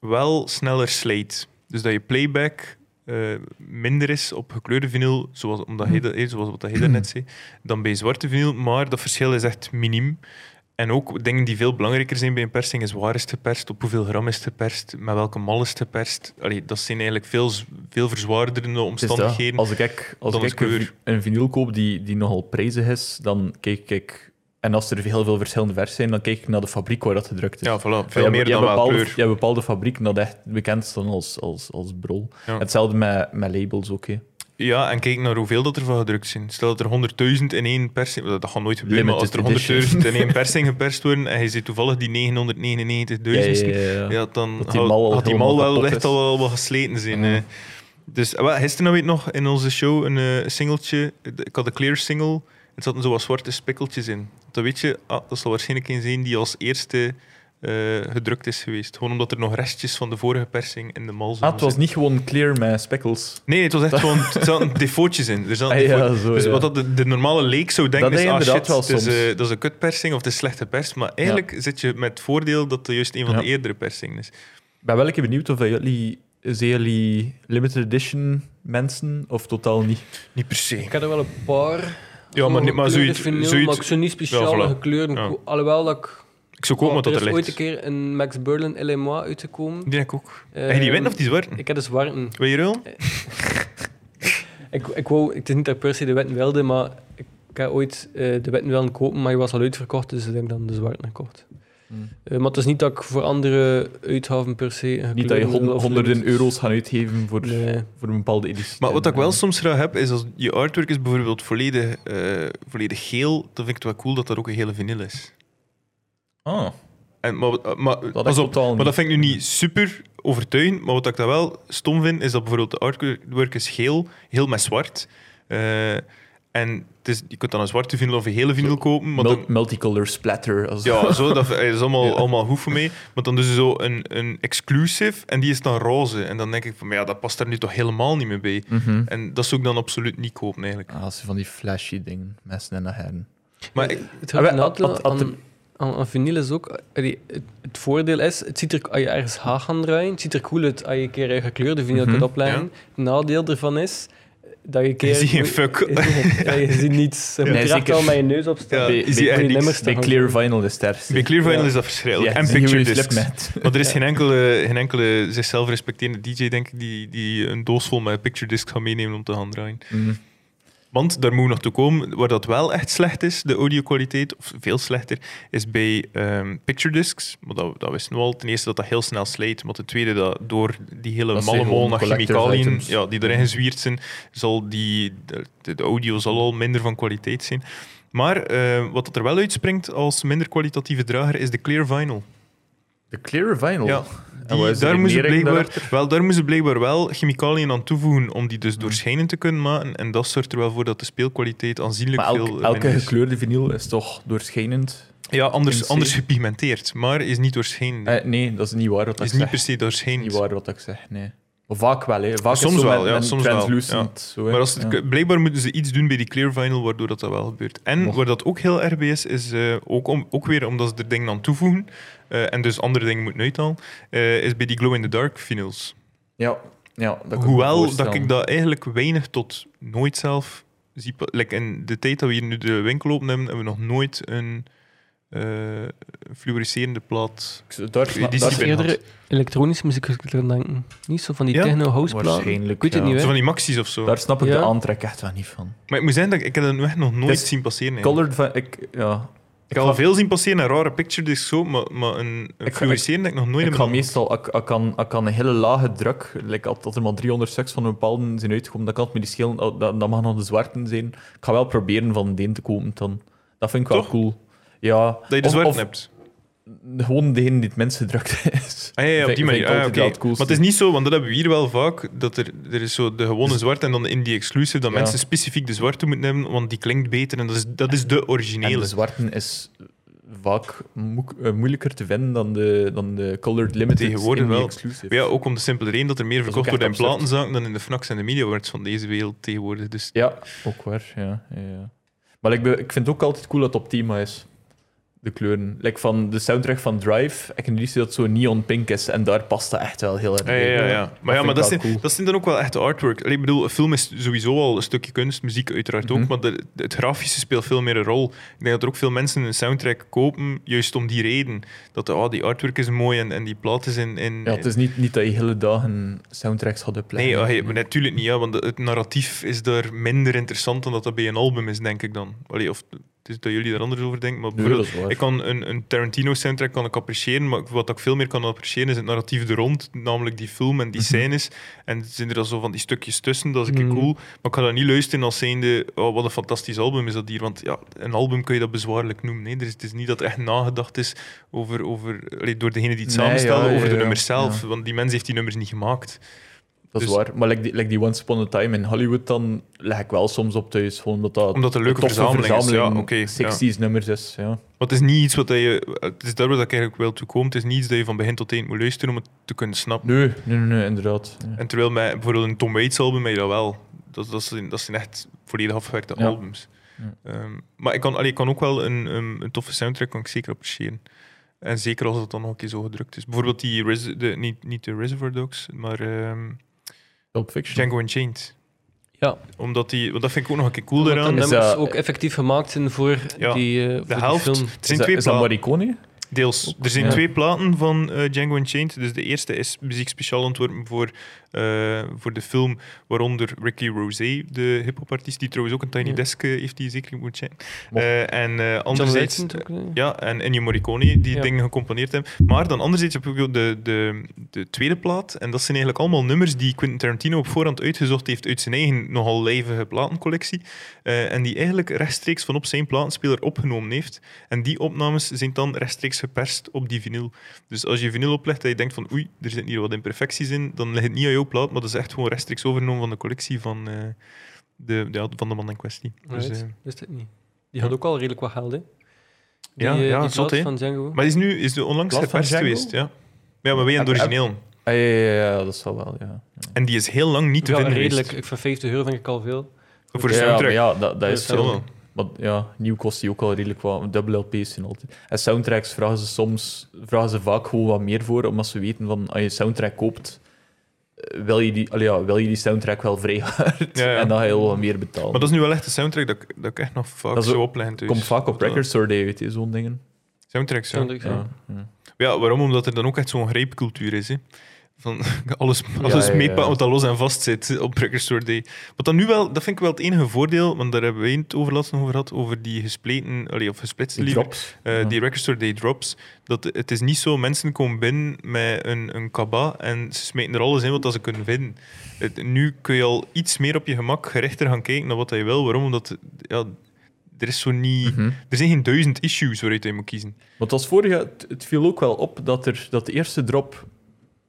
[SPEAKER 1] wel sneller slijt. Dus dat je playback eh, minder is op gekleurde vinyl, zoals, omdat hij, dat- eh, zoals wat hij daarnet zei, dan bij zwarte vinyl. Maar dat verschil is echt miniem. En ook dingen die veel belangrijker zijn bij een persing is waar is het geperst, op hoeveel gram is het geperst, met welke mal is het geperst. Allee, dat zijn eigenlijk veel, z- veel verzwaarderende
[SPEAKER 2] Het is dat.
[SPEAKER 1] omstandigheden.
[SPEAKER 2] Als ik, als
[SPEAKER 1] dan
[SPEAKER 2] ik
[SPEAKER 1] is
[SPEAKER 2] een,
[SPEAKER 1] kleur.
[SPEAKER 2] vi- een vinyl koop die, die nogal prijzig is, dan kijk ik... En als er heel veel verschillende versies zijn, dan kijk ik naar de fabriek waar dat gedrukt is.
[SPEAKER 1] Dus Ja, voilà. Veel
[SPEAKER 2] Je hebt-
[SPEAKER 1] meer
[SPEAKER 2] je
[SPEAKER 1] dan wel
[SPEAKER 2] hebt bepaalde,
[SPEAKER 1] kleur.
[SPEAKER 2] Je hebt bepaalde fabrieken dat echt bekend staan als, als, als brol.
[SPEAKER 1] Ja.
[SPEAKER 2] Hetzelfde met, met labels ook. hè.
[SPEAKER 1] Ja, en kijk naar hoeveel dat er van gedrukt zijn. Stel dat er 100.000 in één persing... Dat gaat nooit gebeuren,
[SPEAKER 2] Limited
[SPEAKER 1] maar als er
[SPEAKER 2] edition.
[SPEAKER 1] 100.000 in één persing geperst worden en je ziet toevallig die 999.000
[SPEAKER 2] Ja, ja,
[SPEAKER 1] ja,
[SPEAKER 2] ja, ja.
[SPEAKER 1] dan
[SPEAKER 2] Dat die
[SPEAKER 1] had-
[SPEAKER 2] mal al
[SPEAKER 1] had die
[SPEAKER 2] helemaal
[SPEAKER 1] mal wel
[SPEAKER 2] kapot
[SPEAKER 1] echt
[SPEAKER 2] is.
[SPEAKER 1] al wel wat gesleten zijn.
[SPEAKER 2] Ja.
[SPEAKER 1] eh. Dus eh, wel, gisteren weet ik nog in onze show een eh, singeltje. Ik had een clear single. Er zaten zo wat zwarte spikkeltjes in. Dan weet je, ah, dat zal waarschijnlijk een zijn die als eerste eh, gedrukt is geweest. Gewoon omdat er nog restjes van de vorige persing in de mal zaten.
[SPEAKER 2] Ah, het was niet gewoon clear met speckles.
[SPEAKER 1] Nee, het was echt gewoon. Er zaten defootjes in. Er zaten
[SPEAKER 2] Ah, ja,
[SPEAKER 1] defootjes.
[SPEAKER 2] zo,
[SPEAKER 1] dus
[SPEAKER 2] ja.
[SPEAKER 1] wat dat de, de normale leek zou denken
[SPEAKER 2] Dat
[SPEAKER 1] is: ah
[SPEAKER 2] heb je
[SPEAKER 1] shit,
[SPEAKER 2] inderdaad wel
[SPEAKER 1] het is,
[SPEAKER 2] soms.
[SPEAKER 1] eh, dat is een kutpersing of het is slechte pers. Maar eigenlijk zit je met het voordeel dat het juist een van de
[SPEAKER 2] Ja.
[SPEAKER 1] eerdere persingen is.
[SPEAKER 2] Ik ben wel een keer benieuwd of jullie, zijn jullie limited edition mensen of totaal niet?
[SPEAKER 1] Niet per se.
[SPEAKER 3] Ik had er wel een paar.
[SPEAKER 1] Ja, maar, niet- maar
[SPEAKER 3] gekleurde
[SPEAKER 1] zoiets.
[SPEAKER 3] vinyl,
[SPEAKER 1] zoiets
[SPEAKER 3] maar ik zou niet speciaal
[SPEAKER 1] Ja, voilà.
[SPEAKER 3] gekleurde.
[SPEAKER 1] Ja.
[SPEAKER 3] Alhoewel dat ik.
[SPEAKER 1] ik zou komen
[SPEAKER 3] Oh,
[SPEAKER 1] wat dat er
[SPEAKER 3] er is ooit een
[SPEAKER 1] ligt.
[SPEAKER 3] keer een Max Berlin LMA uitgekomen.
[SPEAKER 1] Die heb ik ook. Heb je die
[SPEAKER 3] Ehm,
[SPEAKER 1] winnen of die zwarte?
[SPEAKER 3] Ik had een zwarte.
[SPEAKER 1] Wil je ruilen?
[SPEAKER 3] Ik, ik wou, het is niet dat ik per se de wetten wilde, maar ik, ik had ooit eh, de wetten willen kopen, maar die was al uitverkocht, dus ik heb dan de zwarte gekocht.
[SPEAKER 2] Hmm.
[SPEAKER 3] Eh, maar het is niet dat ik voor andere uithaven per se... een
[SPEAKER 2] Niet dat je
[SPEAKER 3] gekleurde
[SPEAKER 2] hon-
[SPEAKER 3] wil of
[SPEAKER 2] honderden
[SPEAKER 3] limited-
[SPEAKER 2] euro's gaat uitgeven voor,
[SPEAKER 3] Nee.
[SPEAKER 2] voor een bepaalde editie.
[SPEAKER 1] Maar wat
[SPEAKER 2] En,
[SPEAKER 1] ik wel
[SPEAKER 2] eh,
[SPEAKER 1] soms graag heb, is als je artwork is bijvoorbeeld volledig, eh, volledig geel, dan vind ik het wel cool dat dat ook een hele vinyl is.
[SPEAKER 2] Ah,
[SPEAKER 1] En, maar, eh, maar,
[SPEAKER 2] dat
[SPEAKER 1] pas
[SPEAKER 2] is
[SPEAKER 1] op,
[SPEAKER 2] totaal
[SPEAKER 1] Maar
[SPEAKER 2] niet.
[SPEAKER 1] dat vind ik nu niet super overtuigend. Maar wat ik dat wel stom vind, is dat bijvoorbeeld de artwork is geel, heel met zwart. Eh, en het is, je kunt dan een zwarte vinyl of een hele vinyl kopen. Maar
[SPEAKER 2] Mul-
[SPEAKER 1] dan,
[SPEAKER 2] multicolor splatter. Als
[SPEAKER 1] ja, zo, dat is allemaal,
[SPEAKER 2] Ja.
[SPEAKER 1] allemaal goed voor mij. Maar dan dus zo een, een exclusive en die is dan roze. En dan denk ik van, maar ja, dat past daar nu toch helemaal niet meer bij.
[SPEAKER 2] Mhm.
[SPEAKER 1] En dat zou ik dan absoluut niet kopen, eigenlijk.
[SPEAKER 2] Ah, als ze van die flashy dingen, mensen en heren.
[SPEAKER 1] Maar ik-
[SPEAKER 3] Het
[SPEAKER 2] Ah, wel,
[SPEAKER 3] had,
[SPEAKER 2] had- had de-
[SPEAKER 3] aan, aan, aan vinyl is ook... eh, die- het, het voordeel is, het ziet er, als je ergens haag aan draait, het ziet er cool uit als je een keer een gekleurde vinyl
[SPEAKER 2] Mhm,
[SPEAKER 3] kunt opleggen. Het nadeel ervan is dat je een keer...
[SPEAKER 1] zie geen fuck.
[SPEAKER 3] Ja, je ziet niets. Je moet
[SPEAKER 2] Nee,
[SPEAKER 3] er echt
[SPEAKER 2] zeker.
[SPEAKER 3] al met je neus op staan.
[SPEAKER 1] Ja, je
[SPEAKER 2] bij,
[SPEAKER 1] ziet
[SPEAKER 2] bij-
[SPEAKER 1] echt
[SPEAKER 2] bij-
[SPEAKER 1] niks.
[SPEAKER 2] bij
[SPEAKER 3] staan.
[SPEAKER 2] Clear Vinyl is het
[SPEAKER 1] bij Clear Vinyl
[SPEAKER 3] Ja.
[SPEAKER 1] is dat verschrikkelijk.
[SPEAKER 2] Ja,
[SPEAKER 1] en
[SPEAKER 2] zie je hoe
[SPEAKER 1] Picture
[SPEAKER 2] je slip
[SPEAKER 1] Discs.
[SPEAKER 2] met.
[SPEAKER 1] Maar er is geen, enkele, geen enkele zichzelf respecterende DJ, denk ik, die, die een doos vol met picture discs gaat meenemen om te gaan draaien.
[SPEAKER 2] Mhm.
[SPEAKER 1] Want daar moet nog toe komen, waar dat wel echt slecht is, de audiokwaliteit, of veel slechter, is bij ehm, picture discs. Maar dat, dat wisten we al. Ten eerste dat dat heel snel slijt, maar ten tweede dat door die hele
[SPEAKER 2] Dat zijn
[SPEAKER 1] malle mol
[SPEAKER 2] gewoon
[SPEAKER 1] naar
[SPEAKER 2] collector's
[SPEAKER 1] chemicaliën
[SPEAKER 2] items. Mhm.
[SPEAKER 1] ja, die erin gezwierd zijn, zal die, de, de audio zal al minder van kwaliteit zijn. Maar eh, wat dat er wel uitspringt als minder kwalitatieve drager is de clear vinyl.
[SPEAKER 2] De Clear Vinyl?
[SPEAKER 1] Ja,
[SPEAKER 2] Oh. En wat
[SPEAKER 1] Die-
[SPEAKER 2] is de
[SPEAKER 1] daar, moest ze
[SPEAKER 2] redenering
[SPEAKER 1] blijkbaar, wel, daar moesten blijkbaar wel chemicaliën aan toevoegen om die
[SPEAKER 2] Hmm.
[SPEAKER 1] dus doorschijnend te kunnen maken. En dat zorgt er wel voor dat de speelkwaliteit aanzienlijk
[SPEAKER 2] Maar elk-
[SPEAKER 1] veel eh,
[SPEAKER 2] elke
[SPEAKER 1] minder is.
[SPEAKER 2] gekleurde vinyl is toch doorschijnend?
[SPEAKER 1] Ja,
[SPEAKER 2] in
[SPEAKER 1] anders,
[SPEAKER 2] C.
[SPEAKER 1] anders gepigmenteerd, maar is niet doorschijnend.
[SPEAKER 2] Eh, nee, dat is niet waar wat ik
[SPEAKER 1] is
[SPEAKER 2] zeg.
[SPEAKER 1] niet per se
[SPEAKER 2] niet
[SPEAKER 1] doorschijnend.
[SPEAKER 2] waar wat ik zeg, nee. Maar vaak wel, hè. Vaak is
[SPEAKER 1] Soms
[SPEAKER 2] zo
[SPEAKER 1] wel,
[SPEAKER 2] met-
[SPEAKER 1] ja,
[SPEAKER 2] met
[SPEAKER 1] soms wel,
[SPEAKER 2] translucent.
[SPEAKER 1] ja.
[SPEAKER 2] Zo, hè.
[SPEAKER 1] Maar als
[SPEAKER 2] Ja.
[SPEAKER 1] het- blijkbaar moeten ze iets doen bij die clear vinyl, waardoor dat, dat wel gebeurt. En
[SPEAKER 2] Mocht.
[SPEAKER 1] waar dat ook heel erg bij is, is eh, ook, om, ook weer omdat ze er dingen aan toevoegen eh, en dus andere dingen moeten uithalen, eh, is bij die glow-in-the-dark vinyls.
[SPEAKER 2] Ja, ja, dat kan ik me
[SPEAKER 1] Hoewel dat
[SPEAKER 2] voorstellen.
[SPEAKER 1] ik dat eigenlijk weinig tot nooit zelf zie. pa- Like in de tijd dat we hier nu de winkel open hebben, hebben we nog nooit een eh, fluoriserende plaat.
[SPEAKER 2] Ik- Daar,
[SPEAKER 1] Die- die
[SPEAKER 2] daar-
[SPEAKER 1] zie ik
[SPEAKER 2] daar-
[SPEAKER 1] ben
[SPEAKER 3] eerder elektronische muziek als ik eraan denken. Niet zo van die
[SPEAKER 1] Ja?
[SPEAKER 3] techno house platen.
[SPEAKER 2] Waarschijnlijk,
[SPEAKER 3] Ik weet het
[SPEAKER 2] ja.
[SPEAKER 3] niet,
[SPEAKER 1] Zo
[SPEAKER 3] hè.
[SPEAKER 1] van die maxis of zo.
[SPEAKER 2] daar snap ik
[SPEAKER 3] Ja.
[SPEAKER 2] de aantrek echt wel niet van.
[SPEAKER 1] Maar ik moet zeggen dat ik, ik heb dat nog echt nog nooit
[SPEAKER 2] is
[SPEAKER 1] zien passeren. eigenlijk.
[SPEAKER 2] Colored van... Ik, ja,
[SPEAKER 1] Ik heb al veel zien passeren en rare picture discs zo, maar, maar een, een
[SPEAKER 2] Ik-
[SPEAKER 1] fluoriserende heb ik nog nooit
[SPEAKER 2] ik
[SPEAKER 1] in
[SPEAKER 2] ga
[SPEAKER 1] mijn
[SPEAKER 2] meestal... Ik, ik, kan, ik kan een hele lage druk... Like, als dat er maar 300 stuks van een bepaalde zijn uitgekomen, dan kan het me die schelen. Dat, dat dat mag nog de zwarten zijn. Ik ga wel proberen van de een te komen dan. Dat vind ik wel
[SPEAKER 1] Toch?
[SPEAKER 2] cool. Ja.
[SPEAKER 1] Dat je de
[SPEAKER 2] Of-
[SPEAKER 1] zwart
[SPEAKER 2] of
[SPEAKER 1] hebt.
[SPEAKER 2] Gewoon degene die het minst gedrukt is.
[SPEAKER 1] Ah, ja, ja, op
[SPEAKER 2] Vind-
[SPEAKER 1] die
[SPEAKER 2] vind
[SPEAKER 1] manier.
[SPEAKER 2] ik
[SPEAKER 1] Ah,
[SPEAKER 2] altijd
[SPEAKER 1] oké.
[SPEAKER 2] wel het
[SPEAKER 1] maar
[SPEAKER 2] coolste.
[SPEAKER 1] het is niet zo, want dat hebben we hier wel vaak. Dat er, er is zo de gewone zwart en dan de indie exclusive. Dat
[SPEAKER 2] Dus- Ja.
[SPEAKER 1] mensen specifiek de zwarte moeten hebben, want die klinkt beter en dat is, dat is de
[SPEAKER 2] En
[SPEAKER 1] originele.
[SPEAKER 2] de zwarten is vaak moek- eh, moeilijker te vinden dan de, dan de Colored Limited
[SPEAKER 1] Tegenwoordig
[SPEAKER 2] in die
[SPEAKER 1] wel.
[SPEAKER 2] exclusive.
[SPEAKER 1] Maar Ja, ook om de simpele reden dat er meer
[SPEAKER 2] is
[SPEAKER 1] verkocht
[SPEAKER 2] ook
[SPEAKER 1] wordt
[SPEAKER 2] echt
[SPEAKER 1] in
[SPEAKER 2] absurd.
[SPEAKER 1] platenzaken dan in de Fnacs en de Mediawarts van deze wereld tegenwoordig. Dus
[SPEAKER 2] Ja, ook waar. Ja, ja, ja. Maar ik, be- ik vind het ook altijd cool dat het op thema is. de kleuren. Like van de soundtrack van Drive, ik heb niet dat het zo neon pink is en daar past dat echt wel heel erg
[SPEAKER 1] Ja, ja, ja, ja. Maar,
[SPEAKER 2] bij.
[SPEAKER 1] ja,
[SPEAKER 2] vind
[SPEAKER 1] maar
[SPEAKER 2] ik
[SPEAKER 1] dat,
[SPEAKER 2] wel
[SPEAKER 1] zijn,
[SPEAKER 2] cool.
[SPEAKER 1] dat zijn dan ook wel echt artwork. Allee, ik bedoel, een film is sowieso al een stukje kunst, muziek uiteraard ook,
[SPEAKER 2] Mhm.
[SPEAKER 1] maar de- de- het grafische speelt veel meer een rol. Ik denk dat er ook veel mensen een soundtrack kopen, juist om die reden. Dat oh, die artwork is mooi en, en die plaat is in... in
[SPEAKER 2] Ja, het is niet, niet dat je hele dagen soundtracks hadden
[SPEAKER 1] Nee,
[SPEAKER 2] plannen.
[SPEAKER 1] ah, je- maar natuurlijk niet, ja, want het narratief is daar minder interessant dan dat dat bij een album is, denk ik dan. Allee, of het is dat jullie er anders over denken, maar bijvoorbeeld-
[SPEAKER 2] dat is waar.
[SPEAKER 1] ik kan een, een Tarantino-soundtrack kan ik appreciëren, maar wat ik veel meer kan appreciëren is het narratief er rond, namelijk die film en die
[SPEAKER 2] Mhm.
[SPEAKER 1] scènes. En er zijn er dan zo van die stukjes tussen, dat is een keer
[SPEAKER 3] Mhm.
[SPEAKER 1] cool. Maar ik ga dat niet luisteren als zijnde, oh, wat een fantastisch album is dat hier. Want ja, een album kun je dat bezwaarlijk noemen. Nee, het is niet dat echt nagedacht is over, over, allee, door degene die het
[SPEAKER 2] Nee,
[SPEAKER 1] samenstellen,
[SPEAKER 2] ja, ja,
[SPEAKER 1] over de
[SPEAKER 2] ja.
[SPEAKER 1] nummers zelf.
[SPEAKER 2] Ja.
[SPEAKER 1] Want die mens heeft die nummers niet gemaakt.
[SPEAKER 2] Dat is
[SPEAKER 1] Dus-
[SPEAKER 2] waar. Maar like die, like die Once Upon a Time in Hollywood, dan leg ik wel soms op thuis. Gewoon omdat dat
[SPEAKER 1] Omdat het een leuke
[SPEAKER 2] toffe
[SPEAKER 1] verzameling is. Ja, oké, ja.
[SPEAKER 2] 60s nummers is. Ja.
[SPEAKER 1] Maar het is niet iets wat dat je... Het is daar waar ik eigenlijk wil toe komen. Het is niet iets dat je van begin tot eind moet luisteren om het te kunnen snappen.
[SPEAKER 2] Nee, nee, nee, nee, inderdaad. Ja.
[SPEAKER 1] En terwijl met bijvoorbeeld een Tom Waits album, heb je dat wel. Dat, dat, zijn, dat zijn echt volledig afgewerkte
[SPEAKER 2] Ja.
[SPEAKER 1] albums.
[SPEAKER 2] Ja.
[SPEAKER 1] Ehm, maar ik kan, allee, ik kan ook wel een, een, een toffe soundtrack kan ik zeker appreciëren. En zeker als het dan nog een keer zo gedrukt is. Bijvoorbeeld die, Res- de, niet, niet de Reservoir Dogs, maar ehm,
[SPEAKER 2] Pulp Fiction.
[SPEAKER 1] Django Unchained.
[SPEAKER 3] Ja,
[SPEAKER 1] Omdat die, want dat vind ik ook nog een keer cool
[SPEAKER 3] omdat de
[SPEAKER 1] daaraan.
[SPEAKER 2] dat-
[SPEAKER 3] nummers
[SPEAKER 2] Is
[SPEAKER 3] ook effectief gemaakt zijn voor
[SPEAKER 1] Ja,
[SPEAKER 3] die, eh voor
[SPEAKER 1] De
[SPEAKER 3] die
[SPEAKER 1] helft,
[SPEAKER 3] film.
[SPEAKER 1] het
[SPEAKER 2] is
[SPEAKER 1] zijn
[SPEAKER 2] dat,
[SPEAKER 1] twee
[SPEAKER 2] is dat
[SPEAKER 1] platen.
[SPEAKER 2] Morricone?
[SPEAKER 1] Deels. Er zijn
[SPEAKER 2] Ja.
[SPEAKER 1] twee platen van eh, Django Unchained. Dus de eerste is muziek speciaal ontworpen voor, eh, voor de film, waaronder Ricky Rosé, de hip-hop-artiest, die trouwens ook een Tiny
[SPEAKER 3] Ja.
[SPEAKER 1] Desk eh, heeft, die je zeker moet checken.
[SPEAKER 2] Mo-
[SPEAKER 1] Eh, en eh,
[SPEAKER 3] John
[SPEAKER 1] anderzijds...
[SPEAKER 3] Legend ook. nee.
[SPEAKER 1] Ja, en Ennio Morricone, die
[SPEAKER 3] Ja.
[SPEAKER 1] dingen gecomponeerd hebben. Maar dan anderzijds heb ik ook de, de, de tweede plaat. En dat zijn eigenlijk allemaal nummers die Quentin Tarantino op voorhand uitgezocht heeft uit zijn eigen nogal lijvige platencollectie. Eh, en die eigenlijk rechtstreeks van op zijn platenspeler opgenomen heeft. En die opnames zijn dan rechtstreeks geperst op die vinyl. Dus als je vinyl oplegt en je denkt van oei, er zitten hier wat imperfecties in, dan ligt het niet aan jouw plaat, maar dat is echt gewoon rechtstreeks overgenomen van de collectie van, eh, de, ja, van de man in kwestie. Dus,
[SPEAKER 3] Right,
[SPEAKER 1] eh,
[SPEAKER 3] wist het niet. Die had ook al redelijk wat geld, hè? Die,
[SPEAKER 1] Ja,
[SPEAKER 3] eh,
[SPEAKER 1] ja,
[SPEAKER 3] die
[SPEAKER 1] zot,
[SPEAKER 3] plaat
[SPEAKER 1] hè?
[SPEAKER 3] van Django.
[SPEAKER 1] Maar die is nu is de onlangs
[SPEAKER 2] Plaat van
[SPEAKER 1] geperst
[SPEAKER 2] Django?
[SPEAKER 1] geweest, ja. Ja, maar wij een
[SPEAKER 2] Heb- heb-
[SPEAKER 1] origineel.
[SPEAKER 2] Ah, ja, ja, ja, ja, dat zal wel. Ja,
[SPEAKER 1] En die is heel lang niet te
[SPEAKER 3] Ja,
[SPEAKER 1] vinden
[SPEAKER 3] redelijk.
[SPEAKER 1] geweest.
[SPEAKER 3] Ik, voor 50 euro vind ik al veel.
[SPEAKER 1] Voor de
[SPEAKER 2] ja, maar
[SPEAKER 1] soundtrack.
[SPEAKER 2] ja dat, dat
[SPEAKER 1] Dat
[SPEAKER 2] is
[SPEAKER 1] zal
[SPEAKER 2] wel.
[SPEAKER 1] wel.
[SPEAKER 2] Maar ja, nieuw kost die ook al redelijk wat. Dubbele LP's zijn altijd. En soundtracks vragen ze soms, vragen ze vaak gewoon wat meer voor, omdat ze weten van als je een soundtrack koopt, eh, wil je die, allee, ja, wil je die soundtrack wel vrij hard.
[SPEAKER 1] Ja, ja.
[SPEAKER 2] En dan ga je heel wat meer betalen.
[SPEAKER 1] Maar dat is nu wel echt een soundtrack dat, ik- dat ik echt nog vaak
[SPEAKER 2] Dat is
[SPEAKER 1] zo
[SPEAKER 2] ook-
[SPEAKER 1] opleggen thuis.
[SPEAKER 2] Komt vaak op
[SPEAKER 1] Dat-
[SPEAKER 2] Record Store Day, weet je, zo'n dingen.
[SPEAKER 1] Soundtracks, ja.
[SPEAKER 3] Zonder-
[SPEAKER 2] Ja. ja.
[SPEAKER 1] Ja, waarom? Omdat er dan ook echt zo'n greepcultuur is. Hè. Van alles, alles
[SPEAKER 2] ja, ja.
[SPEAKER 1] meepakken wat dat los en vast zit op Record Store Day. Wat dan nu wel, dat vind ik wel het enige voordeel, want daar hebben we het over laatst nog over gehad, over die gespleten, allee, of gesplitste
[SPEAKER 2] Die
[SPEAKER 1] liever,
[SPEAKER 2] drops.
[SPEAKER 1] eh,
[SPEAKER 2] Ja.
[SPEAKER 1] die Record Store Day drops. Dat, het is niet zo, mensen komen binnen met een, een kaba en ze smeten er alles in wat dat ze kunnen vinden. Het- nu kun je al iets meer op je gemak gerichter gaan kijken naar wat dat je wil. Waarom? Omdat ja, er, is zo niet,
[SPEAKER 2] Mhm.
[SPEAKER 1] er zijn geen duizend issues waaruit je moet kiezen.
[SPEAKER 2] Want als vorige, het, het viel ook wel op dat, er, dat de eerste drop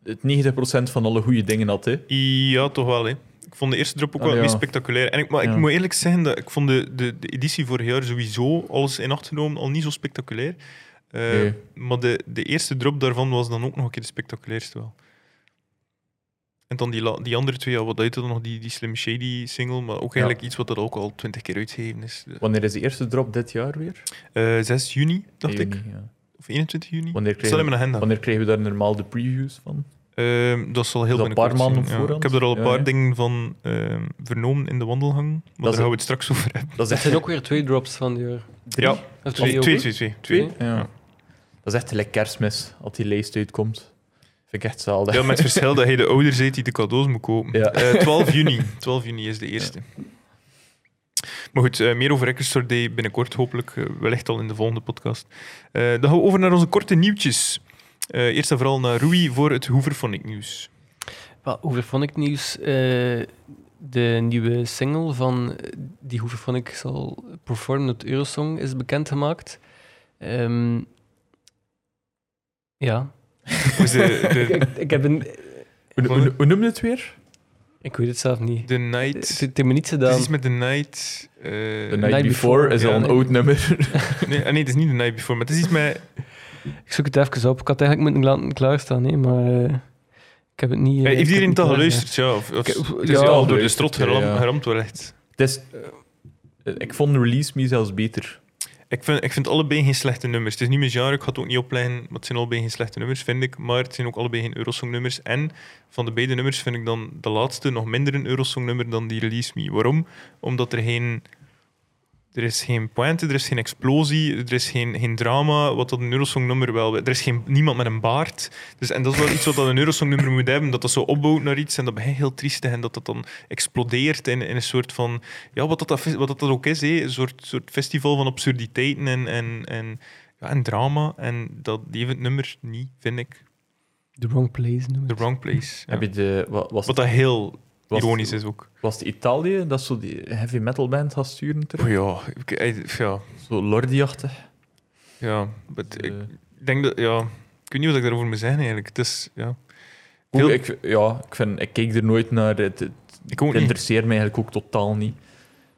[SPEAKER 2] het 90% van alle goede dingen had. Hè.
[SPEAKER 1] Ja, toch wel. Hè. Ik vond de eerste drop ook
[SPEAKER 2] Ah,
[SPEAKER 1] wel het
[SPEAKER 2] ja.
[SPEAKER 1] meest spectaculair. En ik, maar
[SPEAKER 2] Ja.
[SPEAKER 1] ik moet eerlijk zeggen, dat ik vond de, de, de editie vorig jaar sowieso, alles in acht genomen, al niet zo spectaculair. Eh,
[SPEAKER 2] Nee.
[SPEAKER 1] Maar de, de eerste drop daarvan was dan ook nog een keer de spectaculairste wel. En dan die, la- die andere twee, ja, wat uit dan nog, die, die Slim Shady single, maar ook eigenlijk iets wat er ook al twintig keer uitgegeven is.
[SPEAKER 2] Wanneer is de eerste drop dit jaar weer?
[SPEAKER 1] Eh 6 juni, dacht
[SPEAKER 2] In
[SPEAKER 1] ik.
[SPEAKER 2] juni, ja.
[SPEAKER 1] Of 21 juni.
[SPEAKER 2] Wanneer
[SPEAKER 1] Dat staat in
[SPEAKER 2] krijgen,
[SPEAKER 1] mijn agenda.
[SPEAKER 2] wanneer krijgen we daar normaal de previews van?
[SPEAKER 1] Ehm, dat zal heel
[SPEAKER 2] Dat
[SPEAKER 1] binnenkort
[SPEAKER 2] paar maanden
[SPEAKER 1] zijn,
[SPEAKER 2] op
[SPEAKER 1] ja.
[SPEAKER 2] voorhand?
[SPEAKER 1] Ik heb er al een
[SPEAKER 2] Ja,
[SPEAKER 1] paar
[SPEAKER 2] ja.
[SPEAKER 1] dingen van ehm, vernomen in de wandelgang, maar daar
[SPEAKER 2] is-
[SPEAKER 1] gaan we het straks over hebben.
[SPEAKER 2] Dat is
[SPEAKER 3] Dat
[SPEAKER 2] echt
[SPEAKER 3] zijn ook weer twee drops van die jaar.
[SPEAKER 2] drie.
[SPEAKER 1] Ja.
[SPEAKER 3] Of
[SPEAKER 1] Twee,
[SPEAKER 3] ook,
[SPEAKER 1] twee,
[SPEAKER 3] hè?
[SPEAKER 1] twee, twee,
[SPEAKER 3] Twee?
[SPEAKER 1] twee.
[SPEAKER 2] Ja. Dat is echt gelijk kerstmis, als die lijst uitkomt. Vind ik echt zelden.
[SPEAKER 1] Ja, met het verschil dat hij de ouder zit die de cadeaus moet kopen.
[SPEAKER 2] Ja.
[SPEAKER 1] Eh, 12 juni. 12 juni is de eerste. Maar goed, eh, meer over Record Store Day binnenkort hopelijk. eh, wellicht al in de volgende podcast. Eh, dan gaan we over naar onze korte nieuwtjes. Eh, eerst en vooral naar Rui voor het Hooverphonic nieuws.
[SPEAKER 3] Wel, Hooverphonic nieuws. eh, de nieuwe single van eh, die Hooverphonic zal performen op het Eurosong is bekendgemaakt. Ehm, ja.
[SPEAKER 1] Dus de, de,
[SPEAKER 3] ik, ik heb een...
[SPEAKER 2] Hoe, hoe, hoe noemde het
[SPEAKER 1] Eh,
[SPEAKER 2] weer?
[SPEAKER 3] Ik weet het zelf niet.
[SPEAKER 1] de
[SPEAKER 3] Het
[SPEAKER 1] Night.
[SPEAKER 3] het heeft me niet
[SPEAKER 1] Het is
[SPEAKER 3] gedaan.
[SPEAKER 1] iets met de Night. eh,
[SPEAKER 2] The Night,
[SPEAKER 1] nee,
[SPEAKER 3] Night
[SPEAKER 2] Before,
[SPEAKER 3] Before,
[SPEAKER 2] is
[SPEAKER 1] ja.
[SPEAKER 2] al een oud nummer.
[SPEAKER 1] ah, nee, het is niet de Night Before, maar het is iets met.
[SPEAKER 3] Ik zoek het even op. Ik had eigenlijk moeten laten klaarstaan, hè, maar eh, ik heb het niet... eh,
[SPEAKER 1] Eh, heeft
[SPEAKER 3] ik heb
[SPEAKER 1] iedereen
[SPEAKER 3] het
[SPEAKER 1] het al
[SPEAKER 3] niet
[SPEAKER 1] geluisterd? Ja, of, of,
[SPEAKER 3] Ik-
[SPEAKER 1] het
[SPEAKER 3] ja,
[SPEAKER 1] is al door de
[SPEAKER 2] geluisterd,
[SPEAKER 1] strot
[SPEAKER 2] ja,
[SPEAKER 1] geram,
[SPEAKER 2] ja.
[SPEAKER 1] geramd, wellicht.
[SPEAKER 2] eh, Het is, ik vond Release Me zelfs beter.
[SPEAKER 1] Ik vind, ik vind allebei geen slechte nummers. Het is niet mijn genre, ik ga het ook niet opleggen, maar het zijn allebei geen slechte nummers, vind ik. Maar het zijn ook allebei geen Eurosong-nummers. En van de beide nummers vind ik dan de laatste nog minder een Eurosong-nummer dan die Release Me. Waarom? Omdat er geen... Er is geen pointe, er is geen explosie, er is geen, geen drama, wat dat een Eurosong-nummer wel... Er is geen, niemand met een baard. Dus, en dat is wel iets wat dat een Eurosong-nummer moet hebben, dat dat zo opbouwt naar iets en dat begint heel triestig en dat dat dan explodeert in, in een soort van... Ja, wat dat, dat, wat dat, dat ook is, hé, een soort, soort festival van absurditeiten en, en, en, ja, en drama. En dat heeft het nummer niet, vind ik.
[SPEAKER 3] The Wrong Place noemen
[SPEAKER 1] The Wrong Place. ja.
[SPEAKER 2] Heb je de, wa- was,
[SPEAKER 1] Wat dat heel
[SPEAKER 2] was-
[SPEAKER 1] ironisch is ook.
[SPEAKER 2] was het Italië dat zo die heavy metal band gaat sturen? terug?
[SPEAKER 1] Oh ja, ik- ik- ja,
[SPEAKER 2] Zo lordiachtig.
[SPEAKER 1] ja. but
[SPEAKER 2] Eh,
[SPEAKER 1] ik denk dat... Ja, ik weet niet wat ik daarover moet zeggen, eigenlijk. Het is... Ja.
[SPEAKER 2] hoe-
[SPEAKER 1] Veel-
[SPEAKER 2] ik, ja, ik, vind, ik keek er nooit naar. Het, het
[SPEAKER 1] Ik ook niet.
[SPEAKER 2] interesseert mij eigenlijk ook totaal niet.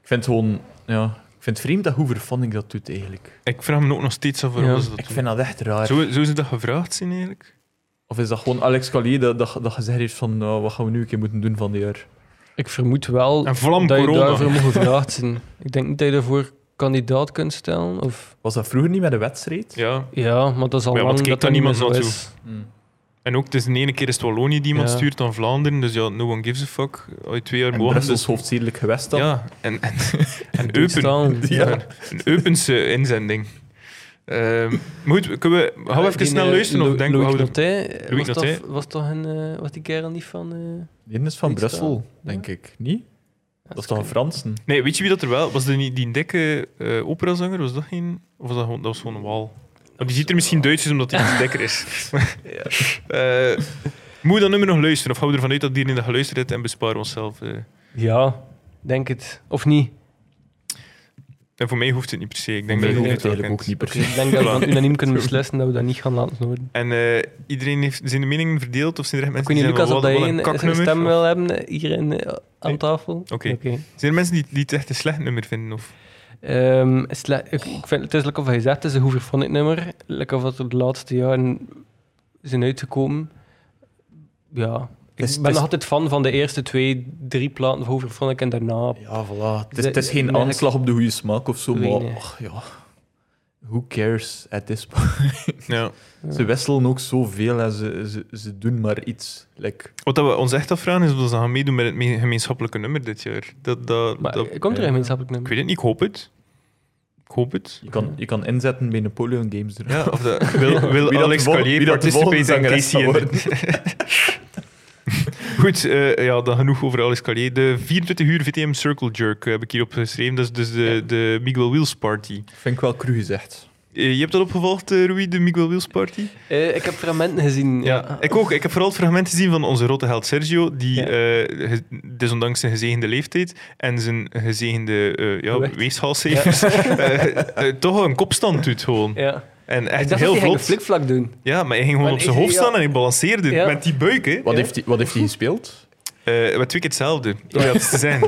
[SPEAKER 2] Ik vind het gewoon... Ja, ik vind het vreemd dat hoe verfanning dat doet, eigenlijk.
[SPEAKER 1] Ik vraag me ook nog steeds af waarom
[SPEAKER 3] Ja,
[SPEAKER 1] ze dat
[SPEAKER 2] Ik
[SPEAKER 1] doen.
[SPEAKER 2] vind dat echt raar.
[SPEAKER 1] Zou, zou ze dat gevraagd zijn, eigenlijk?
[SPEAKER 2] Of is dat gewoon Alex Calier dat, dat, dat gezegd heeft van nou, wat gaan we nu een keer moeten doen van dit jaar?
[SPEAKER 3] Ik vermoed wel
[SPEAKER 1] En vlam
[SPEAKER 3] dat je
[SPEAKER 1] corona.
[SPEAKER 3] daarvoor moet gevraagd zijn. Ik denk niet dat je daarvoor kandidaat kunt stellen. Of...
[SPEAKER 2] Was dat vroeger niet met een wedstrijd?
[SPEAKER 1] Ja.
[SPEAKER 3] Ja, maar dat is al
[SPEAKER 1] Ja, want
[SPEAKER 3] lang
[SPEAKER 1] kijkt daar
[SPEAKER 3] dat dat niet meer zo
[SPEAKER 1] niemand naartoe?
[SPEAKER 3] is.
[SPEAKER 1] En ook, het is de ene keer is het Wallonië die iemand
[SPEAKER 3] Ja.
[SPEAKER 1] stuurt dan Vlaanderen. Dus ja, no one gives a fuck. Al je twee jaar
[SPEAKER 2] En
[SPEAKER 1] mogen,
[SPEAKER 2] Brussels
[SPEAKER 1] dus-
[SPEAKER 2] hoofdzedelijk gewest dan?
[SPEAKER 1] Ja, en, en, en Eupen.
[SPEAKER 3] Toestaan.
[SPEAKER 1] Ja. Een Eupense inzending. Ehm, maar goed, kunnen we, gaan we even
[SPEAKER 3] Die,
[SPEAKER 1] snel
[SPEAKER 3] eh,
[SPEAKER 1] luisteren? Of
[SPEAKER 3] Lou-
[SPEAKER 1] denk, we
[SPEAKER 3] Louis
[SPEAKER 1] houden-
[SPEAKER 3] Notet,
[SPEAKER 1] Louis
[SPEAKER 3] was, dat,
[SPEAKER 1] Notet.
[SPEAKER 3] was toch een... eh, was die kerel niet van... eh,
[SPEAKER 2] Die is van
[SPEAKER 3] Iets
[SPEAKER 2] Brussel,
[SPEAKER 3] wel.
[SPEAKER 2] denk ik. Niet? Dat is toch een
[SPEAKER 3] kunnen.
[SPEAKER 2] Fransen?
[SPEAKER 1] nee, weet je wie dat er wel was? Dat niet die dikke eh, operazanger? Was dat geen... Of was dat gewoon, dat was gewoon een wal? Maar die ziet er misschien Duits uit omdat hij iets dikker is. Eh, moet je dat nummer nog luisteren? Of houden we ervan uit dat die in de geluisterd heeft en besparen we onszelf? eh?
[SPEAKER 3] Ja, denk het. Of niet.
[SPEAKER 1] En voor mij hoeft het niet per se. Ik denk
[SPEAKER 2] Nee,
[SPEAKER 1] dat
[SPEAKER 2] dat
[SPEAKER 1] je
[SPEAKER 2] hoeft
[SPEAKER 1] het wel
[SPEAKER 2] eigenlijk ook
[SPEAKER 1] kent.
[SPEAKER 2] niet per
[SPEAKER 3] Dus
[SPEAKER 2] se.
[SPEAKER 3] ik denk dat we dan
[SPEAKER 1] Voilà.
[SPEAKER 3] unaniem kunnen beslissen dat we dat niet gaan laten horen.
[SPEAKER 1] En eh, iedereen heeft zijn de meningen verdeeld? Of zijn er echt
[SPEAKER 3] Ik
[SPEAKER 1] mensen
[SPEAKER 3] weet niet,
[SPEAKER 1] die
[SPEAKER 3] Lucas,
[SPEAKER 1] zeggen,
[SPEAKER 3] of dat
[SPEAKER 1] wel,
[SPEAKER 3] je
[SPEAKER 1] wat een
[SPEAKER 3] een, een
[SPEAKER 1] kaknummer?
[SPEAKER 3] stem
[SPEAKER 1] Of
[SPEAKER 3] wil hebben eh, hier in, eh, aan
[SPEAKER 1] Nee.
[SPEAKER 3] tafel?
[SPEAKER 1] Oké. zijn er mensen die, die het echt een slecht nummer vinden? Of?
[SPEAKER 3] Ehm, het is le- ik, ik vind, het is lekker of hij zegt, het is een hoever van het nummer. Lekker of dat er de laatste jaren zijn uitgekomen. Ja, ik
[SPEAKER 2] is- het
[SPEAKER 3] ben
[SPEAKER 2] is-
[SPEAKER 3] nog altijd fan van de eerste twee, drie platen van Hoever Vonnik en daarna.
[SPEAKER 2] Ja, voilà. Het is,
[SPEAKER 3] Ze-
[SPEAKER 2] het is
[SPEAKER 3] ik
[SPEAKER 2] geen
[SPEAKER 3] merk-
[SPEAKER 2] aanslag op de goede smaak of zo,
[SPEAKER 3] Weet
[SPEAKER 2] maar
[SPEAKER 3] niet.
[SPEAKER 2] ach, ja. Who cares at this point?
[SPEAKER 1] Ja.
[SPEAKER 2] Ze wisselen ook zoveel en ze, ze, ze doen maar iets. Like,
[SPEAKER 1] Wat dat we ons echt afvragen is of dat ze gaan meedoen met het me- gemeenschappelijke nummer dit jaar. Dat, dat,
[SPEAKER 3] Maar
[SPEAKER 1] dat-
[SPEAKER 3] er komt er
[SPEAKER 2] ja.
[SPEAKER 3] een gemeenschappelijk
[SPEAKER 1] ik
[SPEAKER 3] nummer?
[SPEAKER 1] weet het niet, ik hoop het. Ik hoop het.
[SPEAKER 2] je, kan, je kan inzetten bij Napoleon Games. Er.
[SPEAKER 1] Ja, of dat, wil
[SPEAKER 2] Wie
[SPEAKER 1] wil
[SPEAKER 2] dat
[SPEAKER 1] Alex
[SPEAKER 2] de vol-
[SPEAKER 1] Collier
[SPEAKER 2] wie dat de
[SPEAKER 1] participate in
[SPEAKER 2] volgende
[SPEAKER 1] Casey?
[SPEAKER 2] zangeres
[SPEAKER 1] in de- Goed, eh, ja, dan genoeg over Alex Collier. De 24 uur VTM Circle Jerk eh, heb ik hierop geschreven. Dat is dus de, de Miguel Wheels Party.
[SPEAKER 2] Vind ik wel cru gezegd.
[SPEAKER 1] Eh, je hebt dat opgevolgd, eh, Louis, de Miguel Wheels Party?
[SPEAKER 3] Eh, ik heb fragmenten gezien. Ja.
[SPEAKER 1] Ja, ik ook. Ik heb vooral het fragment gezien van onze rotte held Sergio, die
[SPEAKER 3] Ja.
[SPEAKER 1] eh, ge- desondanks zijn gezegende leeftijd en zijn gezegende eh ja,
[SPEAKER 3] Gewicht.
[SPEAKER 1] weeshalscijfers eh, eh, toch wel een kopstand doet gewoon.
[SPEAKER 3] Ja.
[SPEAKER 1] En
[SPEAKER 3] Ik
[SPEAKER 1] echt
[SPEAKER 3] dacht
[SPEAKER 1] heel
[SPEAKER 3] dat hij een
[SPEAKER 1] vlot.
[SPEAKER 3] flikvlak doen.
[SPEAKER 1] Ja, maar hij ging gewoon
[SPEAKER 3] Maar
[SPEAKER 1] op zijn
[SPEAKER 3] is-
[SPEAKER 1] hoofd
[SPEAKER 3] ja.
[SPEAKER 1] staan en hij balanceerde
[SPEAKER 3] Ja.
[SPEAKER 1] met die buik. Hè.
[SPEAKER 2] Wat, heeft, hij, wat heeft hij gespeeld?
[SPEAKER 1] Eh, maar twee keer hetzelfde. Ja, het is te zijn.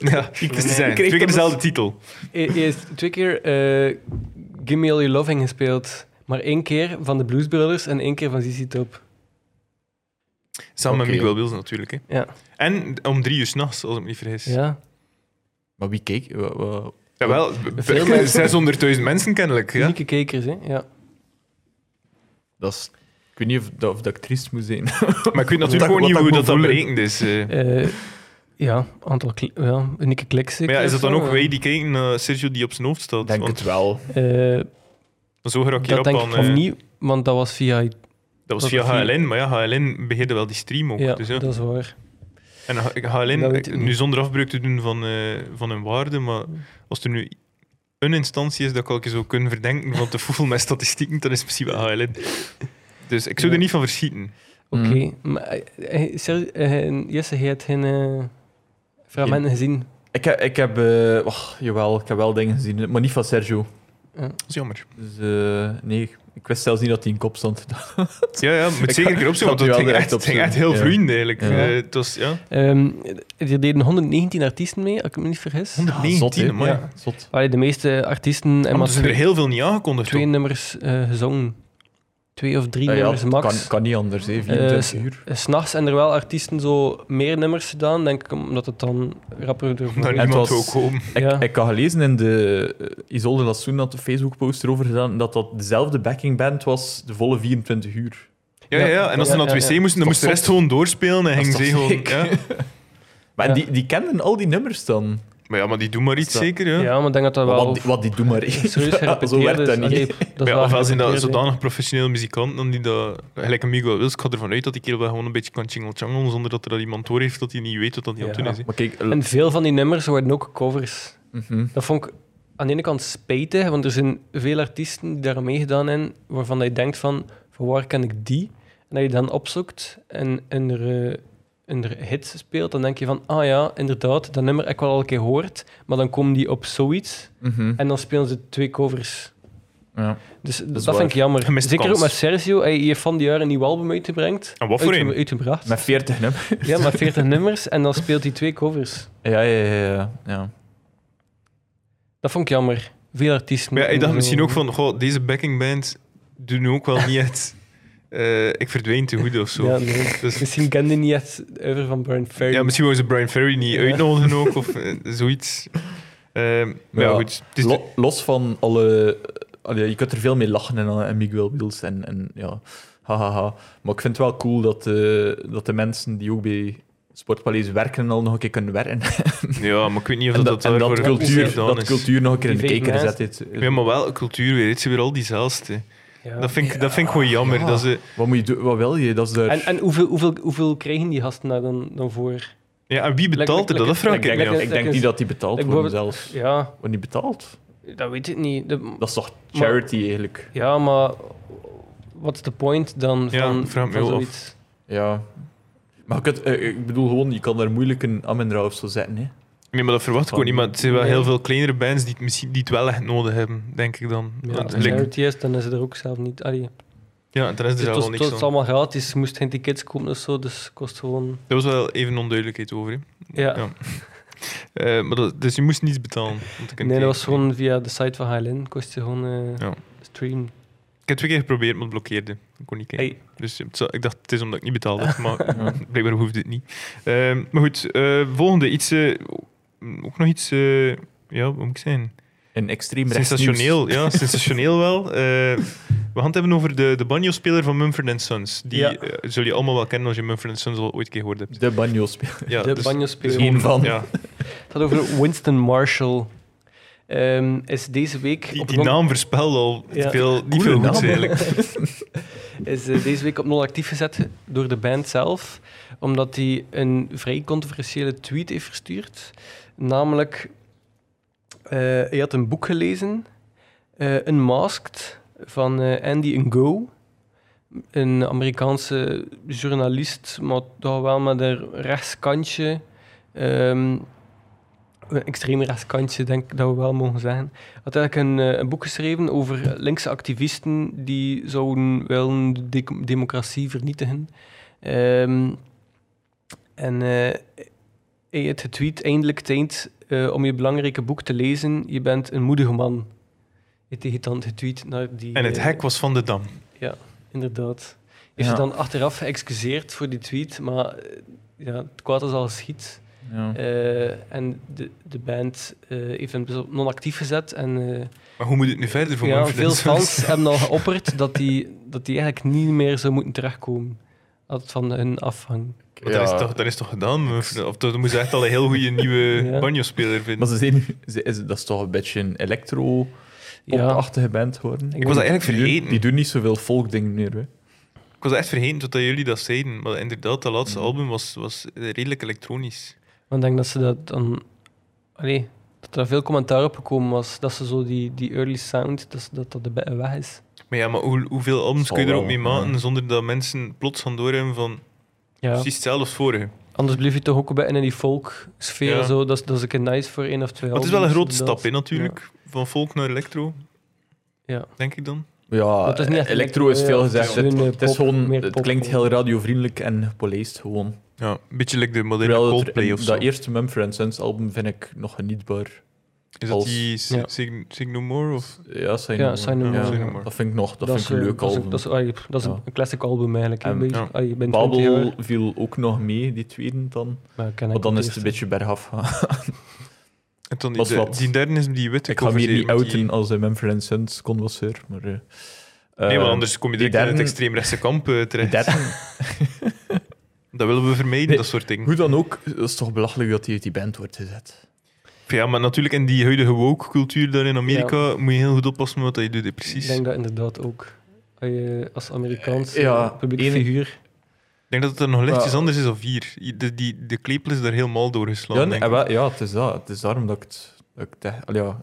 [SPEAKER 1] ja, het is te zijn. Twee keer dezelfde
[SPEAKER 3] dus-
[SPEAKER 1] titel.
[SPEAKER 3] Hij hij heeft twee keer eh, Give Me All Your Loving gespeeld. Maar één keer van de Blues Brothers en één keer van ZZ Top.
[SPEAKER 1] Samen
[SPEAKER 2] Oké.
[SPEAKER 1] met Miguel Wilson natuurlijk. Hè.
[SPEAKER 3] Ja.
[SPEAKER 1] En om drie uur s'nachts, als ik me niet vergis.
[SPEAKER 3] Ja.
[SPEAKER 2] Maar wie keek? Wa- wa-
[SPEAKER 1] Jawel,
[SPEAKER 3] Veel mensen.
[SPEAKER 1] 600.000 mensen kennelijk. Ja.
[SPEAKER 3] Unieke kijkers, hè. Ja.
[SPEAKER 2] Dat is, ik weet niet of, dat- of dat ik triest moet zijn.
[SPEAKER 1] Maar ik weet
[SPEAKER 2] Wat dat-
[SPEAKER 1] natuurlijk ook
[SPEAKER 2] wat
[SPEAKER 1] niet
[SPEAKER 2] dat
[SPEAKER 1] hoe
[SPEAKER 2] moet
[SPEAKER 1] dat, dat
[SPEAKER 2] voelen.
[SPEAKER 1] berekend is. eh.
[SPEAKER 3] Eh, ja, aantal kli- ja, unieke kliks.
[SPEAKER 1] Maar ja, is dat dan ook wij die kijken naar Sergio die op zijn hoofd staat?
[SPEAKER 2] Ik denk
[SPEAKER 1] Want
[SPEAKER 2] het wel.
[SPEAKER 1] zo raak je
[SPEAKER 3] Eh, dat
[SPEAKER 1] op
[SPEAKER 3] denk
[SPEAKER 1] aan...
[SPEAKER 3] ik van
[SPEAKER 1] eh,
[SPEAKER 3] niet, want dat was via...
[SPEAKER 1] dat was
[SPEAKER 3] dat
[SPEAKER 1] via
[SPEAKER 3] het niet-
[SPEAKER 1] HLN, maar ja, HLN beheerde wel die stream ook.
[SPEAKER 3] ja,
[SPEAKER 1] dus ja.
[SPEAKER 3] dat is waar.
[SPEAKER 1] En H-
[SPEAKER 3] Dat
[SPEAKER 1] HLN,
[SPEAKER 3] weet ik
[SPEAKER 1] nu
[SPEAKER 3] niet.
[SPEAKER 1] zonder afbreuk te doen van, eh, van hun waarde, maar als er nu een instantie is dat ik elke zo kunnen verdenken van te foefel met statistieken, dan is het misschien wel HLN. Dus ik zou er niet van verschieten.
[SPEAKER 3] Oké.
[SPEAKER 2] Mm.
[SPEAKER 3] Maar eh, eh, Ser- eh, Jesse, hij had geen eh, fragmenten gezien.
[SPEAKER 2] Ik heb, ik heb eh, och, jawel, ik heb wel dingen gezien, maar niet van Sergio.
[SPEAKER 1] Dat is jammer.
[SPEAKER 2] Dus eh, nee, ik wist zelfs niet dat hij in kop stond.
[SPEAKER 1] Ja, ja, moet zeker een keer opzoeken,
[SPEAKER 2] ga
[SPEAKER 1] want dat
[SPEAKER 2] het nu
[SPEAKER 1] ging
[SPEAKER 2] wel
[SPEAKER 1] echt,
[SPEAKER 2] direct
[SPEAKER 1] het ging echt
[SPEAKER 2] opzoeken.
[SPEAKER 1] heel
[SPEAKER 2] Ja.
[SPEAKER 1] vloeiend eigenlijk.
[SPEAKER 2] Ja.
[SPEAKER 1] Eh, het was, ja,
[SPEAKER 3] Ehm, er deden 119 artiesten mee, als ik me niet vergis.
[SPEAKER 1] 119, amai.
[SPEAKER 2] ja, Ah, zot.
[SPEAKER 3] Allee, de meeste artiesten en
[SPEAKER 1] Maar
[SPEAKER 3] maar
[SPEAKER 1] er zijn er
[SPEAKER 3] twee,
[SPEAKER 1] heel veel niet aangekondigd.
[SPEAKER 3] twee
[SPEAKER 1] ook.
[SPEAKER 3] nummers eh, gezongen. twee of drie
[SPEAKER 2] Ja, ja,
[SPEAKER 3] nummers
[SPEAKER 2] het
[SPEAKER 3] max.
[SPEAKER 2] Kan, kan niet anders, hè. 24 uur.
[SPEAKER 3] Eh, S'nachts zijn er wel artiesten zo meer nummers gedaan, denk ik, omdat het dan rapper
[SPEAKER 1] Daar
[SPEAKER 3] ervoor
[SPEAKER 2] het
[SPEAKER 1] niemand
[SPEAKER 2] was-
[SPEAKER 1] ook komen.
[SPEAKER 2] Ik,
[SPEAKER 3] Ja.
[SPEAKER 2] ik had gelezen in de eh, Isolde Lassoen had de Facebook-post erover gedaan dat dat dezelfde backingband was de volle 24 uur.
[SPEAKER 1] Ja, ja, ja. En als ze
[SPEAKER 3] Ja,
[SPEAKER 1] naar het
[SPEAKER 3] ja,
[SPEAKER 1] wc moesten, dan
[SPEAKER 2] Toch
[SPEAKER 1] moest de rest
[SPEAKER 2] zot.
[SPEAKER 1] gewoon doorspelen en
[SPEAKER 2] Dat is
[SPEAKER 1] ging ze
[SPEAKER 2] toch
[SPEAKER 1] gewoon...
[SPEAKER 2] ziek?
[SPEAKER 1] Ja.
[SPEAKER 2] Maar
[SPEAKER 3] Ja.
[SPEAKER 2] die, die kenden al die nummers dan.
[SPEAKER 1] Maar ja, maar die doen maar iets
[SPEAKER 2] Dat-
[SPEAKER 1] zeker, ja.
[SPEAKER 3] Ja, maar ik denk dat dat wel...
[SPEAKER 2] Wat die, wat die doen maar één.
[SPEAKER 3] serieus gerepeteerd
[SPEAKER 2] Zo werkt
[SPEAKER 3] is.
[SPEAKER 2] dat niet.
[SPEAKER 3] Allee, dat is
[SPEAKER 1] Maar ja,
[SPEAKER 3] wel
[SPEAKER 1] ofwel zijn dat
[SPEAKER 3] gerepeteerd, hè.
[SPEAKER 1] zodanig professionele muzikanten dan die dat... Gelijk een Miguel Wilks, ik ga ervan uit dat die kerel wel gewoon een beetje kan chingle zonder dat er dat iemand door heeft dat hij niet weet wat dat hij aan het
[SPEAKER 3] Ja.
[SPEAKER 1] doen is. hè.
[SPEAKER 2] Maar kijk,
[SPEAKER 3] En veel van die nummers worden ook covers.
[SPEAKER 2] mhm.
[SPEAKER 3] Dat vond ik aan de ene kant spijtig, want er zijn veel artiesten die daar aan meegedaan hebben, waarvan dat je denkt van, van waar ken ik die? En dat je dan opzoekt en in de, eh, in de hit speelt, dan denk je van, ah ja, inderdaad, dat nummer heb ik wel al een keer gehoord, maar dan komen die op zoiets
[SPEAKER 2] Mhm.
[SPEAKER 3] en dan spelen ze twee covers.
[SPEAKER 2] Ja.
[SPEAKER 3] Dus dat,
[SPEAKER 2] is waar.
[SPEAKER 3] vind ik jammer.
[SPEAKER 1] Gemiste
[SPEAKER 3] Zeker
[SPEAKER 1] kans.
[SPEAKER 3] ook met Sergio, hij heeft van die jaren een nieuw album uitgebracht.
[SPEAKER 1] En wat voor
[SPEAKER 3] Uitge-
[SPEAKER 1] een?
[SPEAKER 3] Uitgebracht.
[SPEAKER 2] Met 40 nummers.
[SPEAKER 3] Ja, met 40 nummers en dan speelt hij twee covers.
[SPEAKER 2] Ja, ja, ja. ja, ja.
[SPEAKER 3] Dat vond ik jammer. Veel artiesten.
[SPEAKER 1] Maar ja, ik
[SPEAKER 3] doen
[SPEAKER 1] dacht
[SPEAKER 3] zo-
[SPEAKER 1] misschien ook van, goh, deze backingband doet nu ook wel niet echt... eh, ik verdween te goed of zo.
[SPEAKER 3] Ja, nee.
[SPEAKER 1] Dus-
[SPEAKER 3] Misschien kende hij niet het over van Brian Ferry.
[SPEAKER 1] Ja, misschien wou ze Brian Ferry niet
[SPEAKER 3] Ja.
[SPEAKER 1] uitnodigen ook, of eh, zoiets. Ehm, maar ja,
[SPEAKER 2] Ja.
[SPEAKER 1] goed. Het is
[SPEAKER 2] Lo- los van alle... allee, je kunt er veel mee lachen en, en Miguel Wils en, en ja, hahaha. Maar ik vind het wel cool dat, eh, dat de mensen die ook bij Sportpaleis werken en al nog een keer kunnen werken.
[SPEAKER 1] ja, maar ik weet niet of
[SPEAKER 2] en
[SPEAKER 1] dat,
[SPEAKER 2] dat,
[SPEAKER 1] dat,
[SPEAKER 2] en dat
[SPEAKER 1] daarvoor
[SPEAKER 2] cultuur,
[SPEAKER 1] gedaan
[SPEAKER 2] dat
[SPEAKER 1] is.
[SPEAKER 2] cultuur nog een keer in de
[SPEAKER 3] Die
[SPEAKER 2] kijker
[SPEAKER 3] vijf
[SPEAKER 2] zet. dit.
[SPEAKER 1] Ja, maar wel, cultuur weer. Het zijn weer al diezelfde.
[SPEAKER 3] Ja.
[SPEAKER 1] Dat vind ik, dat vind ik gewoon jammer.
[SPEAKER 2] Ja.
[SPEAKER 1] Dat ze,
[SPEAKER 2] Wat, moet je doen? Wat wil je? Dat is daar...
[SPEAKER 3] En, en hoeveel, hoeveel, hoeveel kregen die gasten daar dan, dan voor?
[SPEAKER 1] ja, en wie betaalt er dat? Dat vraag
[SPEAKER 2] ik
[SPEAKER 1] ik
[SPEAKER 2] denk,
[SPEAKER 1] me af.
[SPEAKER 2] ik denk niet dat die betaald
[SPEAKER 3] Ik
[SPEAKER 2] worden
[SPEAKER 3] bijvoorbeeld-
[SPEAKER 2] zelfs.
[SPEAKER 3] Ja,
[SPEAKER 2] Wordt niet betaald?
[SPEAKER 3] dat weet ik niet. De-
[SPEAKER 2] Dat is toch
[SPEAKER 3] Maar-
[SPEAKER 2] charity eigenlijk?
[SPEAKER 3] ja, maar wat is de point dan
[SPEAKER 1] Ja,
[SPEAKER 3] van,
[SPEAKER 1] vraag me
[SPEAKER 3] van
[SPEAKER 1] wel af.
[SPEAKER 3] zoiets?
[SPEAKER 2] Ja. Maar je kunt, eh, ik bedoel gewoon, je kan daar moeilijk een Amendra of zo zetten. Hè.
[SPEAKER 1] Nee, maar dat verwacht ik ook niet. Maar het zijn wel
[SPEAKER 3] Nee.
[SPEAKER 1] heel veel kleinere bands die het, misschien, die het wel echt nodig hebben, denk ik dan.
[SPEAKER 3] Ja,
[SPEAKER 1] Want
[SPEAKER 3] als
[SPEAKER 1] gelijk-
[SPEAKER 3] charity is, dan is het er ook zelf niet. Allee,
[SPEAKER 1] ja dan is er zelf
[SPEAKER 3] het was,
[SPEAKER 1] wel
[SPEAKER 3] het
[SPEAKER 1] niks
[SPEAKER 3] was
[SPEAKER 1] aan.
[SPEAKER 3] allemaal gratis, je moest geen tickets kopen of zo, dus het kost gewoon.
[SPEAKER 1] Er was wel even onduidelijkheid over. hè.
[SPEAKER 3] Ja,
[SPEAKER 1] Ja. Eh, maar dat, dus je moest niets betalen. om te kunnen
[SPEAKER 3] nee, dat
[SPEAKER 1] kijken.
[SPEAKER 3] was gewoon via de site van HLN, kost je gewoon eh,
[SPEAKER 1] Ja.
[SPEAKER 3] stream.
[SPEAKER 1] Ik heb twee keer geprobeerd, maar het blokkeerde. Ik kon niet kijken.
[SPEAKER 3] Hey,
[SPEAKER 1] Dus het zou- ik dacht, het is omdat ik niet betaald heb, maar blijkbaar hoeft het niet. Ehm, maar goed, eh, volgende. Iets, eh, ook nog iets, eh, ja, wat moet ik zijn?
[SPEAKER 2] Een extreem rechts
[SPEAKER 1] Sensationeel, ja, sensationeel wel. Eh, we gaan het hebben over de, de banjo-speler van Mumford Sons. Die
[SPEAKER 3] Ja.
[SPEAKER 1] eh, zul je allemaal wel kennen als je Mumford Sons al ooit een keer gehoord hebt.
[SPEAKER 2] De banjo speler.
[SPEAKER 1] Ja,
[SPEAKER 3] de
[SPEAKER 1] dus-
[SPEAKER 3] banjo-speler.
[SPEAKER 2] Geen van.
[SPEAKER 1] Ja,
[SPEAKER 3] Het gaat over Winston Marshall. Ehm, is deze week
[SPEAKER 1] die,
[SPEAKER 3] op
[SPEAKER 1] die
[SPEAKER 3] non-
[SPEAKER 1] naam voorspelde al
[SPEAKER 3] Ja.
[SPEAKER 1] veel, niet
[SPEAKER 2] Coole
[SPEAKER 1] veel
[SPEAKER 2] naam.
[SPEAKER 1] goeds eigenlijk.
[SPEAKER 3] is eh, deze week op nul actief gezet door de band zelf, omdat hij een vrij controversiële tweet heeft verstuurd. Namelijk, eh, hij had een boek gelezen, eh Unmasked, van eh, Andy Ngo, een Amerikaanse journalist, maar toch wel met een rechtskantje. ehm, een extreem rechtskantje, denk ik dat we wel mogen zeggen had eigenlijk een, eh, een boek geschreven over linkse activisten die zouden willen de dec- democratie vernietigen. Ehm, en eh hij heeft getweet, eindelijk tijd eh, om je belangrijke boek te lezen. Je bent een moedige man. Heeft hij dan getweet naar die...
[SPEAKER 1] En het
[SPEAKER 3] eh,
[SPEAKER 1] hek was van de dam.
[SPEAKER 3] Inderdaad. Heeft
[SPEAKER 2] Ja.
[SPEAKER 3] zich dan achteraf geëxcuseerd voor die tweet, maar eh, ja, het kwaad is al geschied.
[SPEAKER 2] Ja.
[SPEAKER 3] Eh, en de, de band eh, heeft hem dus op non-actief gezet en... eh,
[SPEAKER 1] Maar hoe moet het nu verder voor
[SPEAKER 3] ja,
[SPEAKER 1] Mumford
[SPEAKER 3] veel
[SPEAKER 1] Sons?
[SPEAKER 3] fans hebben al geopperd dat die, dat die eigenlijk niet meer zou moeten terechtkomen. Dat het van hun afhangt.
[SPEAKER 1] Want dat, is toch, dat is toch gedaan? Mumford- Of dat moet ze echt al een heel goede nieuwe
[SPEAKER 3] Ja.
[SPEAKER 1] banjo-speler vinden.
[SPEAKER 2] Maar ze zijn nu, ze, is, dat is toch een beetje een electro-pop-achtige
[SPEAKER 3] Ja,
[SPEAKER 2] band geworden.
[SPEAKER 1] Ik was dat eigenlijk
[SPEAKER 2] Die doen-
[SPEAKER 1] vergeten.
[SPEAKER 2] Die doen niet zoveel folkdingen meer. Hè.
[SPEAKER 1] Ik was echt vergeten totdat jullie dat zeiden. Maar inderdaad, dat laatste album was, was redelijk elektronisch.
[SPEAKER 3] want ik denk dat ze dat dan... Allee, dat er veel commentaar op gekomen was. Dat ze zo die, die early sound, dat ze- dat, dat de be- weg is.
[SPEAKER 1] Maar ja, maar hoe, hoeveel albums
[SPEAKER 2] Zal
[SPEAKER 1] kun je er ook
[SPEAKER 2] wel,
[SPEAKER 1] mee maken
[SPEAKER 2] ja.
[SPEAKER 1] zonder dat mensen plots gaan doorhebben van
[SPEAKER 3] Ja.
[SPEAKER 1] precies hetzelfde als vorige?
[SPEAKER 3] Anders blijf je toch ook een beetje in die folk-sfeer.
[SPEAKER 1] Ja.
[SPEAKER 3] Zo. Dat, is- dat is een keer nice voor één of twee
[SPEAKER 1] Maar het is wel een grote
[SPEAKER 3] albums,
[SPEAKER 1] stap,
[SPEAKER 3] inderdaad.
[SPEAKER 1] hè, natuurlijk. Van folk naar electro.
[SPEAKER 3] Ja.
[SPEAKER 1] Denk ik dan.
[SPEAKER 2] Ja,
[SPEAKER 3] Dat is niet echt
[SPEAKER 2] electro is
[SPEAKER 3] electro,
[SPEAKER 2] veel
[SPEAKER 3] ja.
[SPEAKER 2] gezegd.
[SPEAKER 3] Het is
[SPEAKER 2] Het,
[SPEAKER 3] gewoon, eh,
[SPEAKER 2] het is
[SPEAKER 3] pop,
[SPEAKER 2] gewoon,
[SPEAKER 3] meer
[SPEAKER 2] het
[SPEAKER 3] pop.
[SPEAKER 2] klinkt heel radiovriendelijk en gepolijst gewoon.
[SPEAKER 1] Ja, een beetje like de moderne
[SPEAKER 2] Terwijl het-
[SPEAKER 1] Coldplay of zo.
[SPEAKER 2] dat eerste Mumford Sons album vind ik nog genietbaar.
[SPEAKER 1] Is dat
[SPEAKER 2] Als-
[SPEAKER 1] die Si-
[SPEAKER 3] Ja.
[SPEAKER 1] Sig- Signomore? Of?
[SPEAKER 2] Ja, zijn
[SPEAKER 3] Ja,
[SPEAKER 2] nummer.
[SPEAKER 3] zijn nummer.
[SPEAKER 1] Ja,
[SPEAKER 3] Ja.
[SPEAKER 1] Signo More.
[SPEAKER 2] Dat vind ik nog, dat,
[SPEAKER 3] is,
[SPEAKER 2] vind ik een
[SPEAKER 3] eh,
[SPEAKER 2] leuk
[SPEAKER 3] dat is-
[SPEAKER 2] album.
[SPEAKER 3] Dat is, ah, je- dat is
[SPEAKER 2] Ja.
[SPEAKER 3] een classic album eigenlijk. hè,
[SPEAKER 2] En-
[SPEAKER 3] een beetje,
[SPEAKER 1] ja.
[SPEAKER 3] ah, je bent 20
[SPEAKER 2] Babel
[SPEAKER 3] jaar,
[SPEAKER 2] viel ook nog mee, die tweede dan.
[SPEAKER 3] maar ken ik
[SPEAKER 2] Maar dan
[SPEAKER 3] de
[SPEAKER 2] is het een
[SPEAKER 3] eerste.
[SPEAKER 2] beetje bergaf. gegaan.
[SPEAKER 1] En dan die,
[SPEAKER 2] Dat is
[SPEAKER 1] de-
[SPEAKER 2] wat.
[SPEAKER 1] die derde is die witte
[SPEAKER 2] ik ga me
[SPEAKER 1] cover
[SPEAKER 2] hier niet
[SPEAKER 1] zeker, want die-
[SPEAKER 2] outen als een Manfred Sons converseur, maar... eh,
[SPEAKER 1] Nee, want
[SPEAKER 2] eh,
[SPEAKER 1] anders kom je
[SPEAKER 2] die
[SPEAKER 1] direct in het
[SPEAKER 2] derde-
[SPEAKER 1] extreemrechtse kamp eh,
[SPEAKER 2] die
[SPEAKER 1] terecht.
[SPEAKER 2] derde-
[SPEAKER 1] Dat willen we vermijden,
[SPEAKER 2] Nee.
[SPEAKER 1] dat soort dingen.
[SPEAKER 2] Hoe dan ook, dat is toch belachelijk dat hij uit die band wordt gezet.
[SPEAKER 1] Ja, maar natuurlijk in die huidige woke-cultuur daar in Amerika moet je heel goed oppassen wat je doet. hè, Precies.
[SPEAKER 3] Ik denk dat inderdaad ook. Als je als Amerikaans
[SPEAKER 2] Eh, ja,
[SPEAKER 3] eh, publieke
[SPEAKER 2] enig-
[SPEAKER 3] figuur.
[SPEAKER 1] Ik denk dat het er nog lichtjes
[SPEAKER 2] Maar-
[SPEAKER 1] anders is of hier. De, die, de klepel is daar helemaal doorgeslagen.
[SPEAKER 2] Ja,
[SPEAKER 1] Ja,
[SPEAKER 2] nee, eh, wel, ja, het is dat. Het is daarom dat ik het... Dat ik, het- allee, ja,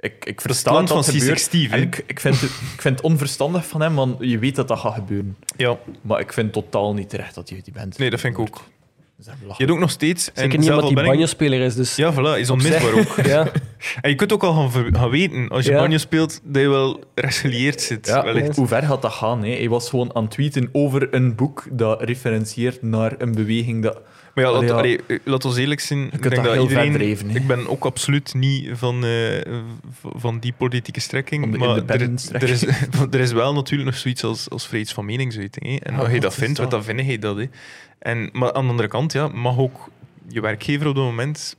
[SPEAKER 2] ik, ik versta
[SPEAKER 1] Klant
[SPEAKER 2] dat
[SPEAKER 1] van
[SPEAKER 2] dat
[SPEAKER 1] C6
[SPEAKER 2] gebeurt.
[SPEAKER 1] Steve.
[SPEAKER 2] En
[SPEAKER 1] hè.
[SPEAKER 2] ik, ik, vind het, ik vind het onverstandig van hem, want je weet dat dat gaat gebeuren.
[SPEAKER 1] Ja,
[SPEAKER 2] Maar ik vind totaal niet terecht dat je uit die band
[SPEAKER 1] nee, dat vind ik ook.
[SPEAKER 2] wordt. Dat is echt belachelijk.
[SPEAKER 1] Je hebt ook nog steeds... en
[SPEAKER 3] Zeker niet
[SPEAKER 1] zelf
[SPEAKER 3] omdat
[SPEAKER 1] al
[SPEAKER 3] hij
[SPEAKER 1] ben ik-
[SPEAKER 3] banjo-speler is, dus...
[SPEAKER 1] Ja, voilà, is
[SPEAKER 3] op zich-
[SPEAKER 1] onmisbaar ook.
[SPEAKER 3] ja,
[SPEAKER 1] En je kunt ook al gaan, ver- gaan weten, als je
[SPEAKER 3] Ja.
[SPEAKER 1] banjo speelt, dat je wel rechtsgelieerd zit,
[SPEAKER 2] Ja,
[SPEAKER 1] wellicht.
[SPEAKER 2] Hoe ver gaat dat gaan? Hè? Hij was gewoon aan het tweeten over een boek dat referentieert naar een beweging dat...
[SPEAKER 1] Maar ja, laat,
[SPEAKER 2] Allee, ja.
[SPEAKER 1] allee, eh, laat ons eerlijk zijn. Ik
[SPEAKER 2] kunt
[SPEAKER 1] denk
[SPEAKER 2] dat
[SPEAKER 1] dat
[SPEAKER 2] heel
[SPEAKER 1] iedereen,
[SPEAKER 2] verdreven, hè.
[SPEAKER 1] Ik ben ook absoluut niet van, eh, v- van die politieke strekking.
[SPEAKER 2] Van de
[SPEAKER 1] maar er, er, is,
[SPEAKER 2] independence-strekking.
[SPEAKER 1] er is wel natuurlijk nog zoiets als, als vrijheid van meningsuiting. Hè. En
[SPEAKER 2] Ja,
[SPEAKER 1] als je
[SPEAKER 2] dat
[SPEAKER 1] dat
[SPEAKER 2] is
[SPEAKER 1] vindt, wat
[SPEAKER 2] dat.
[SPEAKER 1] dan vind je dat. Hè. En, maar aan de andere kant, ja, mag ook je werkgever op dat moment...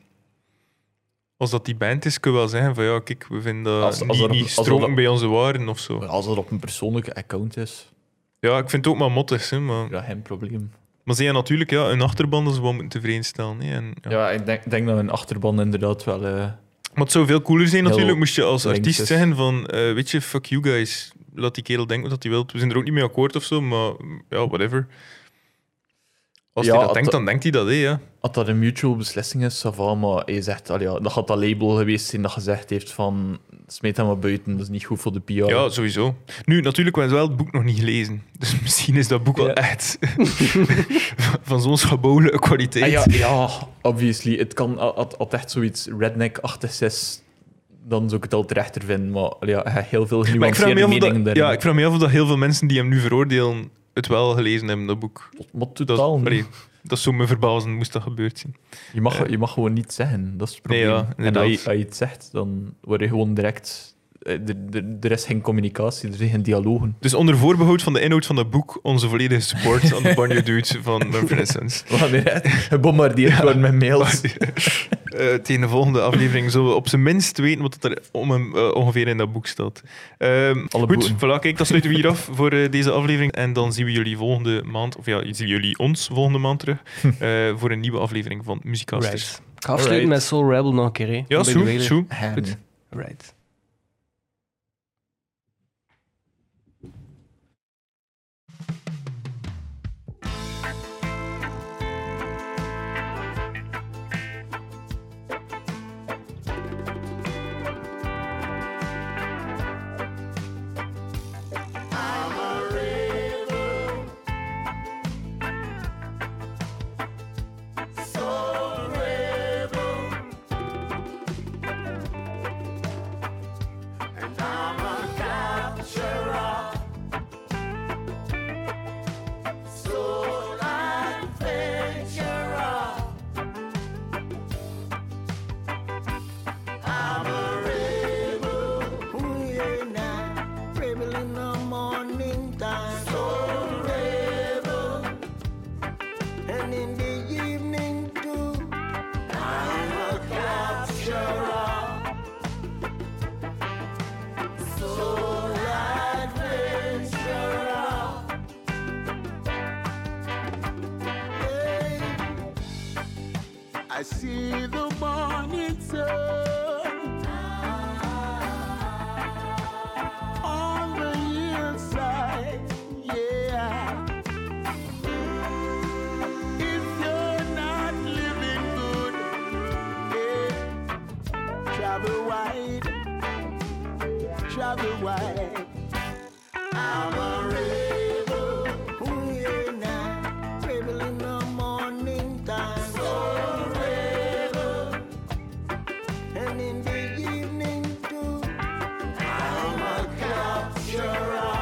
[SPEAKER 1] Als dat die band is, kun je wel zeggen van ja, kijk, we vinden dat
[SPEAKER 2] Als- als
[SPEAKER 1] niet,
[SPEAKER 2] er-
[SPEAKER 1] niet
[SPEAKER 2] als er-
[SPEAKER 1] stroken bij onze waarden of zo.
[SPEAKER 2] Maar Als dat op een persoonlijke account is,
[SPEAKER 1] Ja, ik vind het ook maar mottig, hè, maar...
[SPEAKER 2] ja, geen probleem.
[SPEAKER 1] Maar ze hebben natuurlijk ja, een achterban dat ze wel moeten tevredenstellen. hè. En,
[SPEAKER 2] Ja,
[SPEAKER 1] ja.
[SPEAKER 2] ik denk, denk dat een achterban inderdaad wel... eh,
[SPEAKER 1] Maar het zou veel cooler zijn
[SPEAKER 2] Heel
[SPEAKER 1] natuurlijk, moest je als
[SPEAKER 2] links
[SPEAKER 1] artiest
[SPEAKER 2] is.
[SPEAKER 1] zeggen van, eh, weet je, fuck you guys. Laat die kerel denken wat hij wil. We zijn er ook niet mee akkoord of zo, maar mm, ja, whatever. Als
[SPEAKER 2] Ja,
[SPEAKER 1] hij dat
[SPEAKER 2] het-
[SPEAKER 1] denkt, dan denkt hij dat, hè, ja.
[SPEAKER 2] Als dat een mutual beslissing is, ça va, maar je zegt, allee, ja, dat gaat dat label geweest zijn dat gezegd heeft van smeet hem maar buiten, dat is niet goed voor de PR.
[SPEAKER 1] Ja, sowieso. Nu, natuurlijk, we hebben wel het boek nog niet gelezen. Dus misschien is dat boek wel
[SPEAKER 3] Ja.
[SPEAKER 1] echt van zo'n schabouwelijke kwaliteit.
[SPEAKER 2] Ah, ja, ja, obviously. Het kan, had, had echt zoiets redneck-achtigs is, dan zou ik het al terechter vinden, maar allee, ja, heel veel
[SPEAKER 1] maar ik vraag, me
[SPEAKER 2] genuanceerde
[SPEAKER 1] af of
[SPEAKER 2] meningen
[SPEAKER 1] dat,
[SPEAKER 2] daarin.
[SPEAKER 1] ja, ik vraag me af of dat heel veel mensen die hem nu veroordelen het wel gelezen hebben, dat boek.
[SPEAKER 2] Maar
[SPEAKER 1] Dat,
[SPEAKER 2] totaal niet.
[SPEAKER 1] allee, dat zou me verbazen, moest dat gebeurd zijn.
[SPEAKER 2] Je mag, je mag gewoon niet zeggen, dat is het probleem.
[SPEAKER 1] Nee, ja,
[SPEAKER 2] en
[SPEAKER 1] inderdaad.
[SPEAKER 2] als je, als je het zegt, dan word je gewoon direct... eh, Er, er, er is geen communicatie, er zijn geen dialogen.
[SPEAKER 1] Dus onder voorbehoud van de inhoud van dat boek, onze volledige support aan de Barney Dude van Manfred Essence.
[SPEAKER 2] We gaan direct gebombardeerd worden met mails.
[SPEAKER 1] Eh tegen de volgende aflevering zullen we op zijn minst weten wat er om hem, eh, ongeveer in dat boek staat. Ehm,
[SPEAKER 2] Alle
[SPEAKER 1] goed,
[SPEAKER 2] boeken.
[SPEAKER 1] voilà, kijk, dat sluiten we hier af voor eh, deze aflevering. En dan zien we jullie volgende maand, of ja, zien jullie ons volgende maand terug eh, voor een nieuwe aflevering van Muzikasters.
[SPEAKER 3] right. Ik ga afsluiten
[SPEAKER 2] Alright.
[SPEAKER 3] met Soul Rebel nog een keer, hè.
[SPEAKER 1] Ja,
[SPEAKER 3] Van Billy
[SPEAKER 1] zo,
[SPEAKER 3] Wheeler.
[SPEAKER 1] zo.
[SPEAKER 2] Goed.
[SPEAKER 3] Right.
[SPEAKER 7] Rebel in the morning time. So rebel. And in the evening too. I'm a capturer. Soul adventurer. Hey, I see the morning sun. on the inside, yeah. If you're not living good, yeah, travel wide, travel wide. I'm a rebel, ooh yeah, now, rebel in the morning time. So rebel, and in the evening too. I'm a capturer,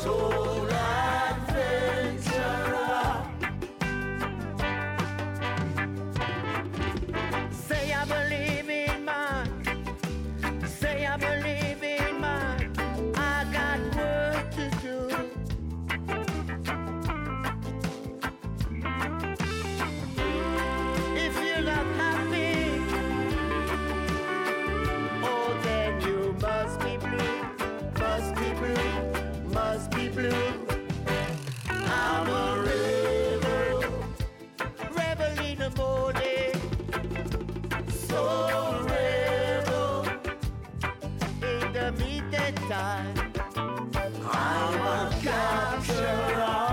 [SPEAKER 7] soul adventurer, oh, sky. I'm a capturer.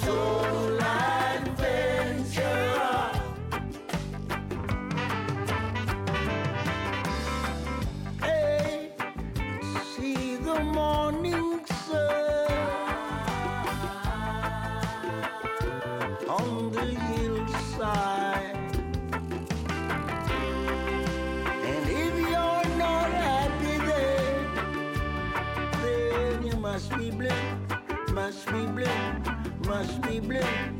[SPEAKER 7] Soul adventurer. Hey, see the morning sun on the hillside. And if you're not happy there, then you must be blue, must be blue, must be blue. Oh,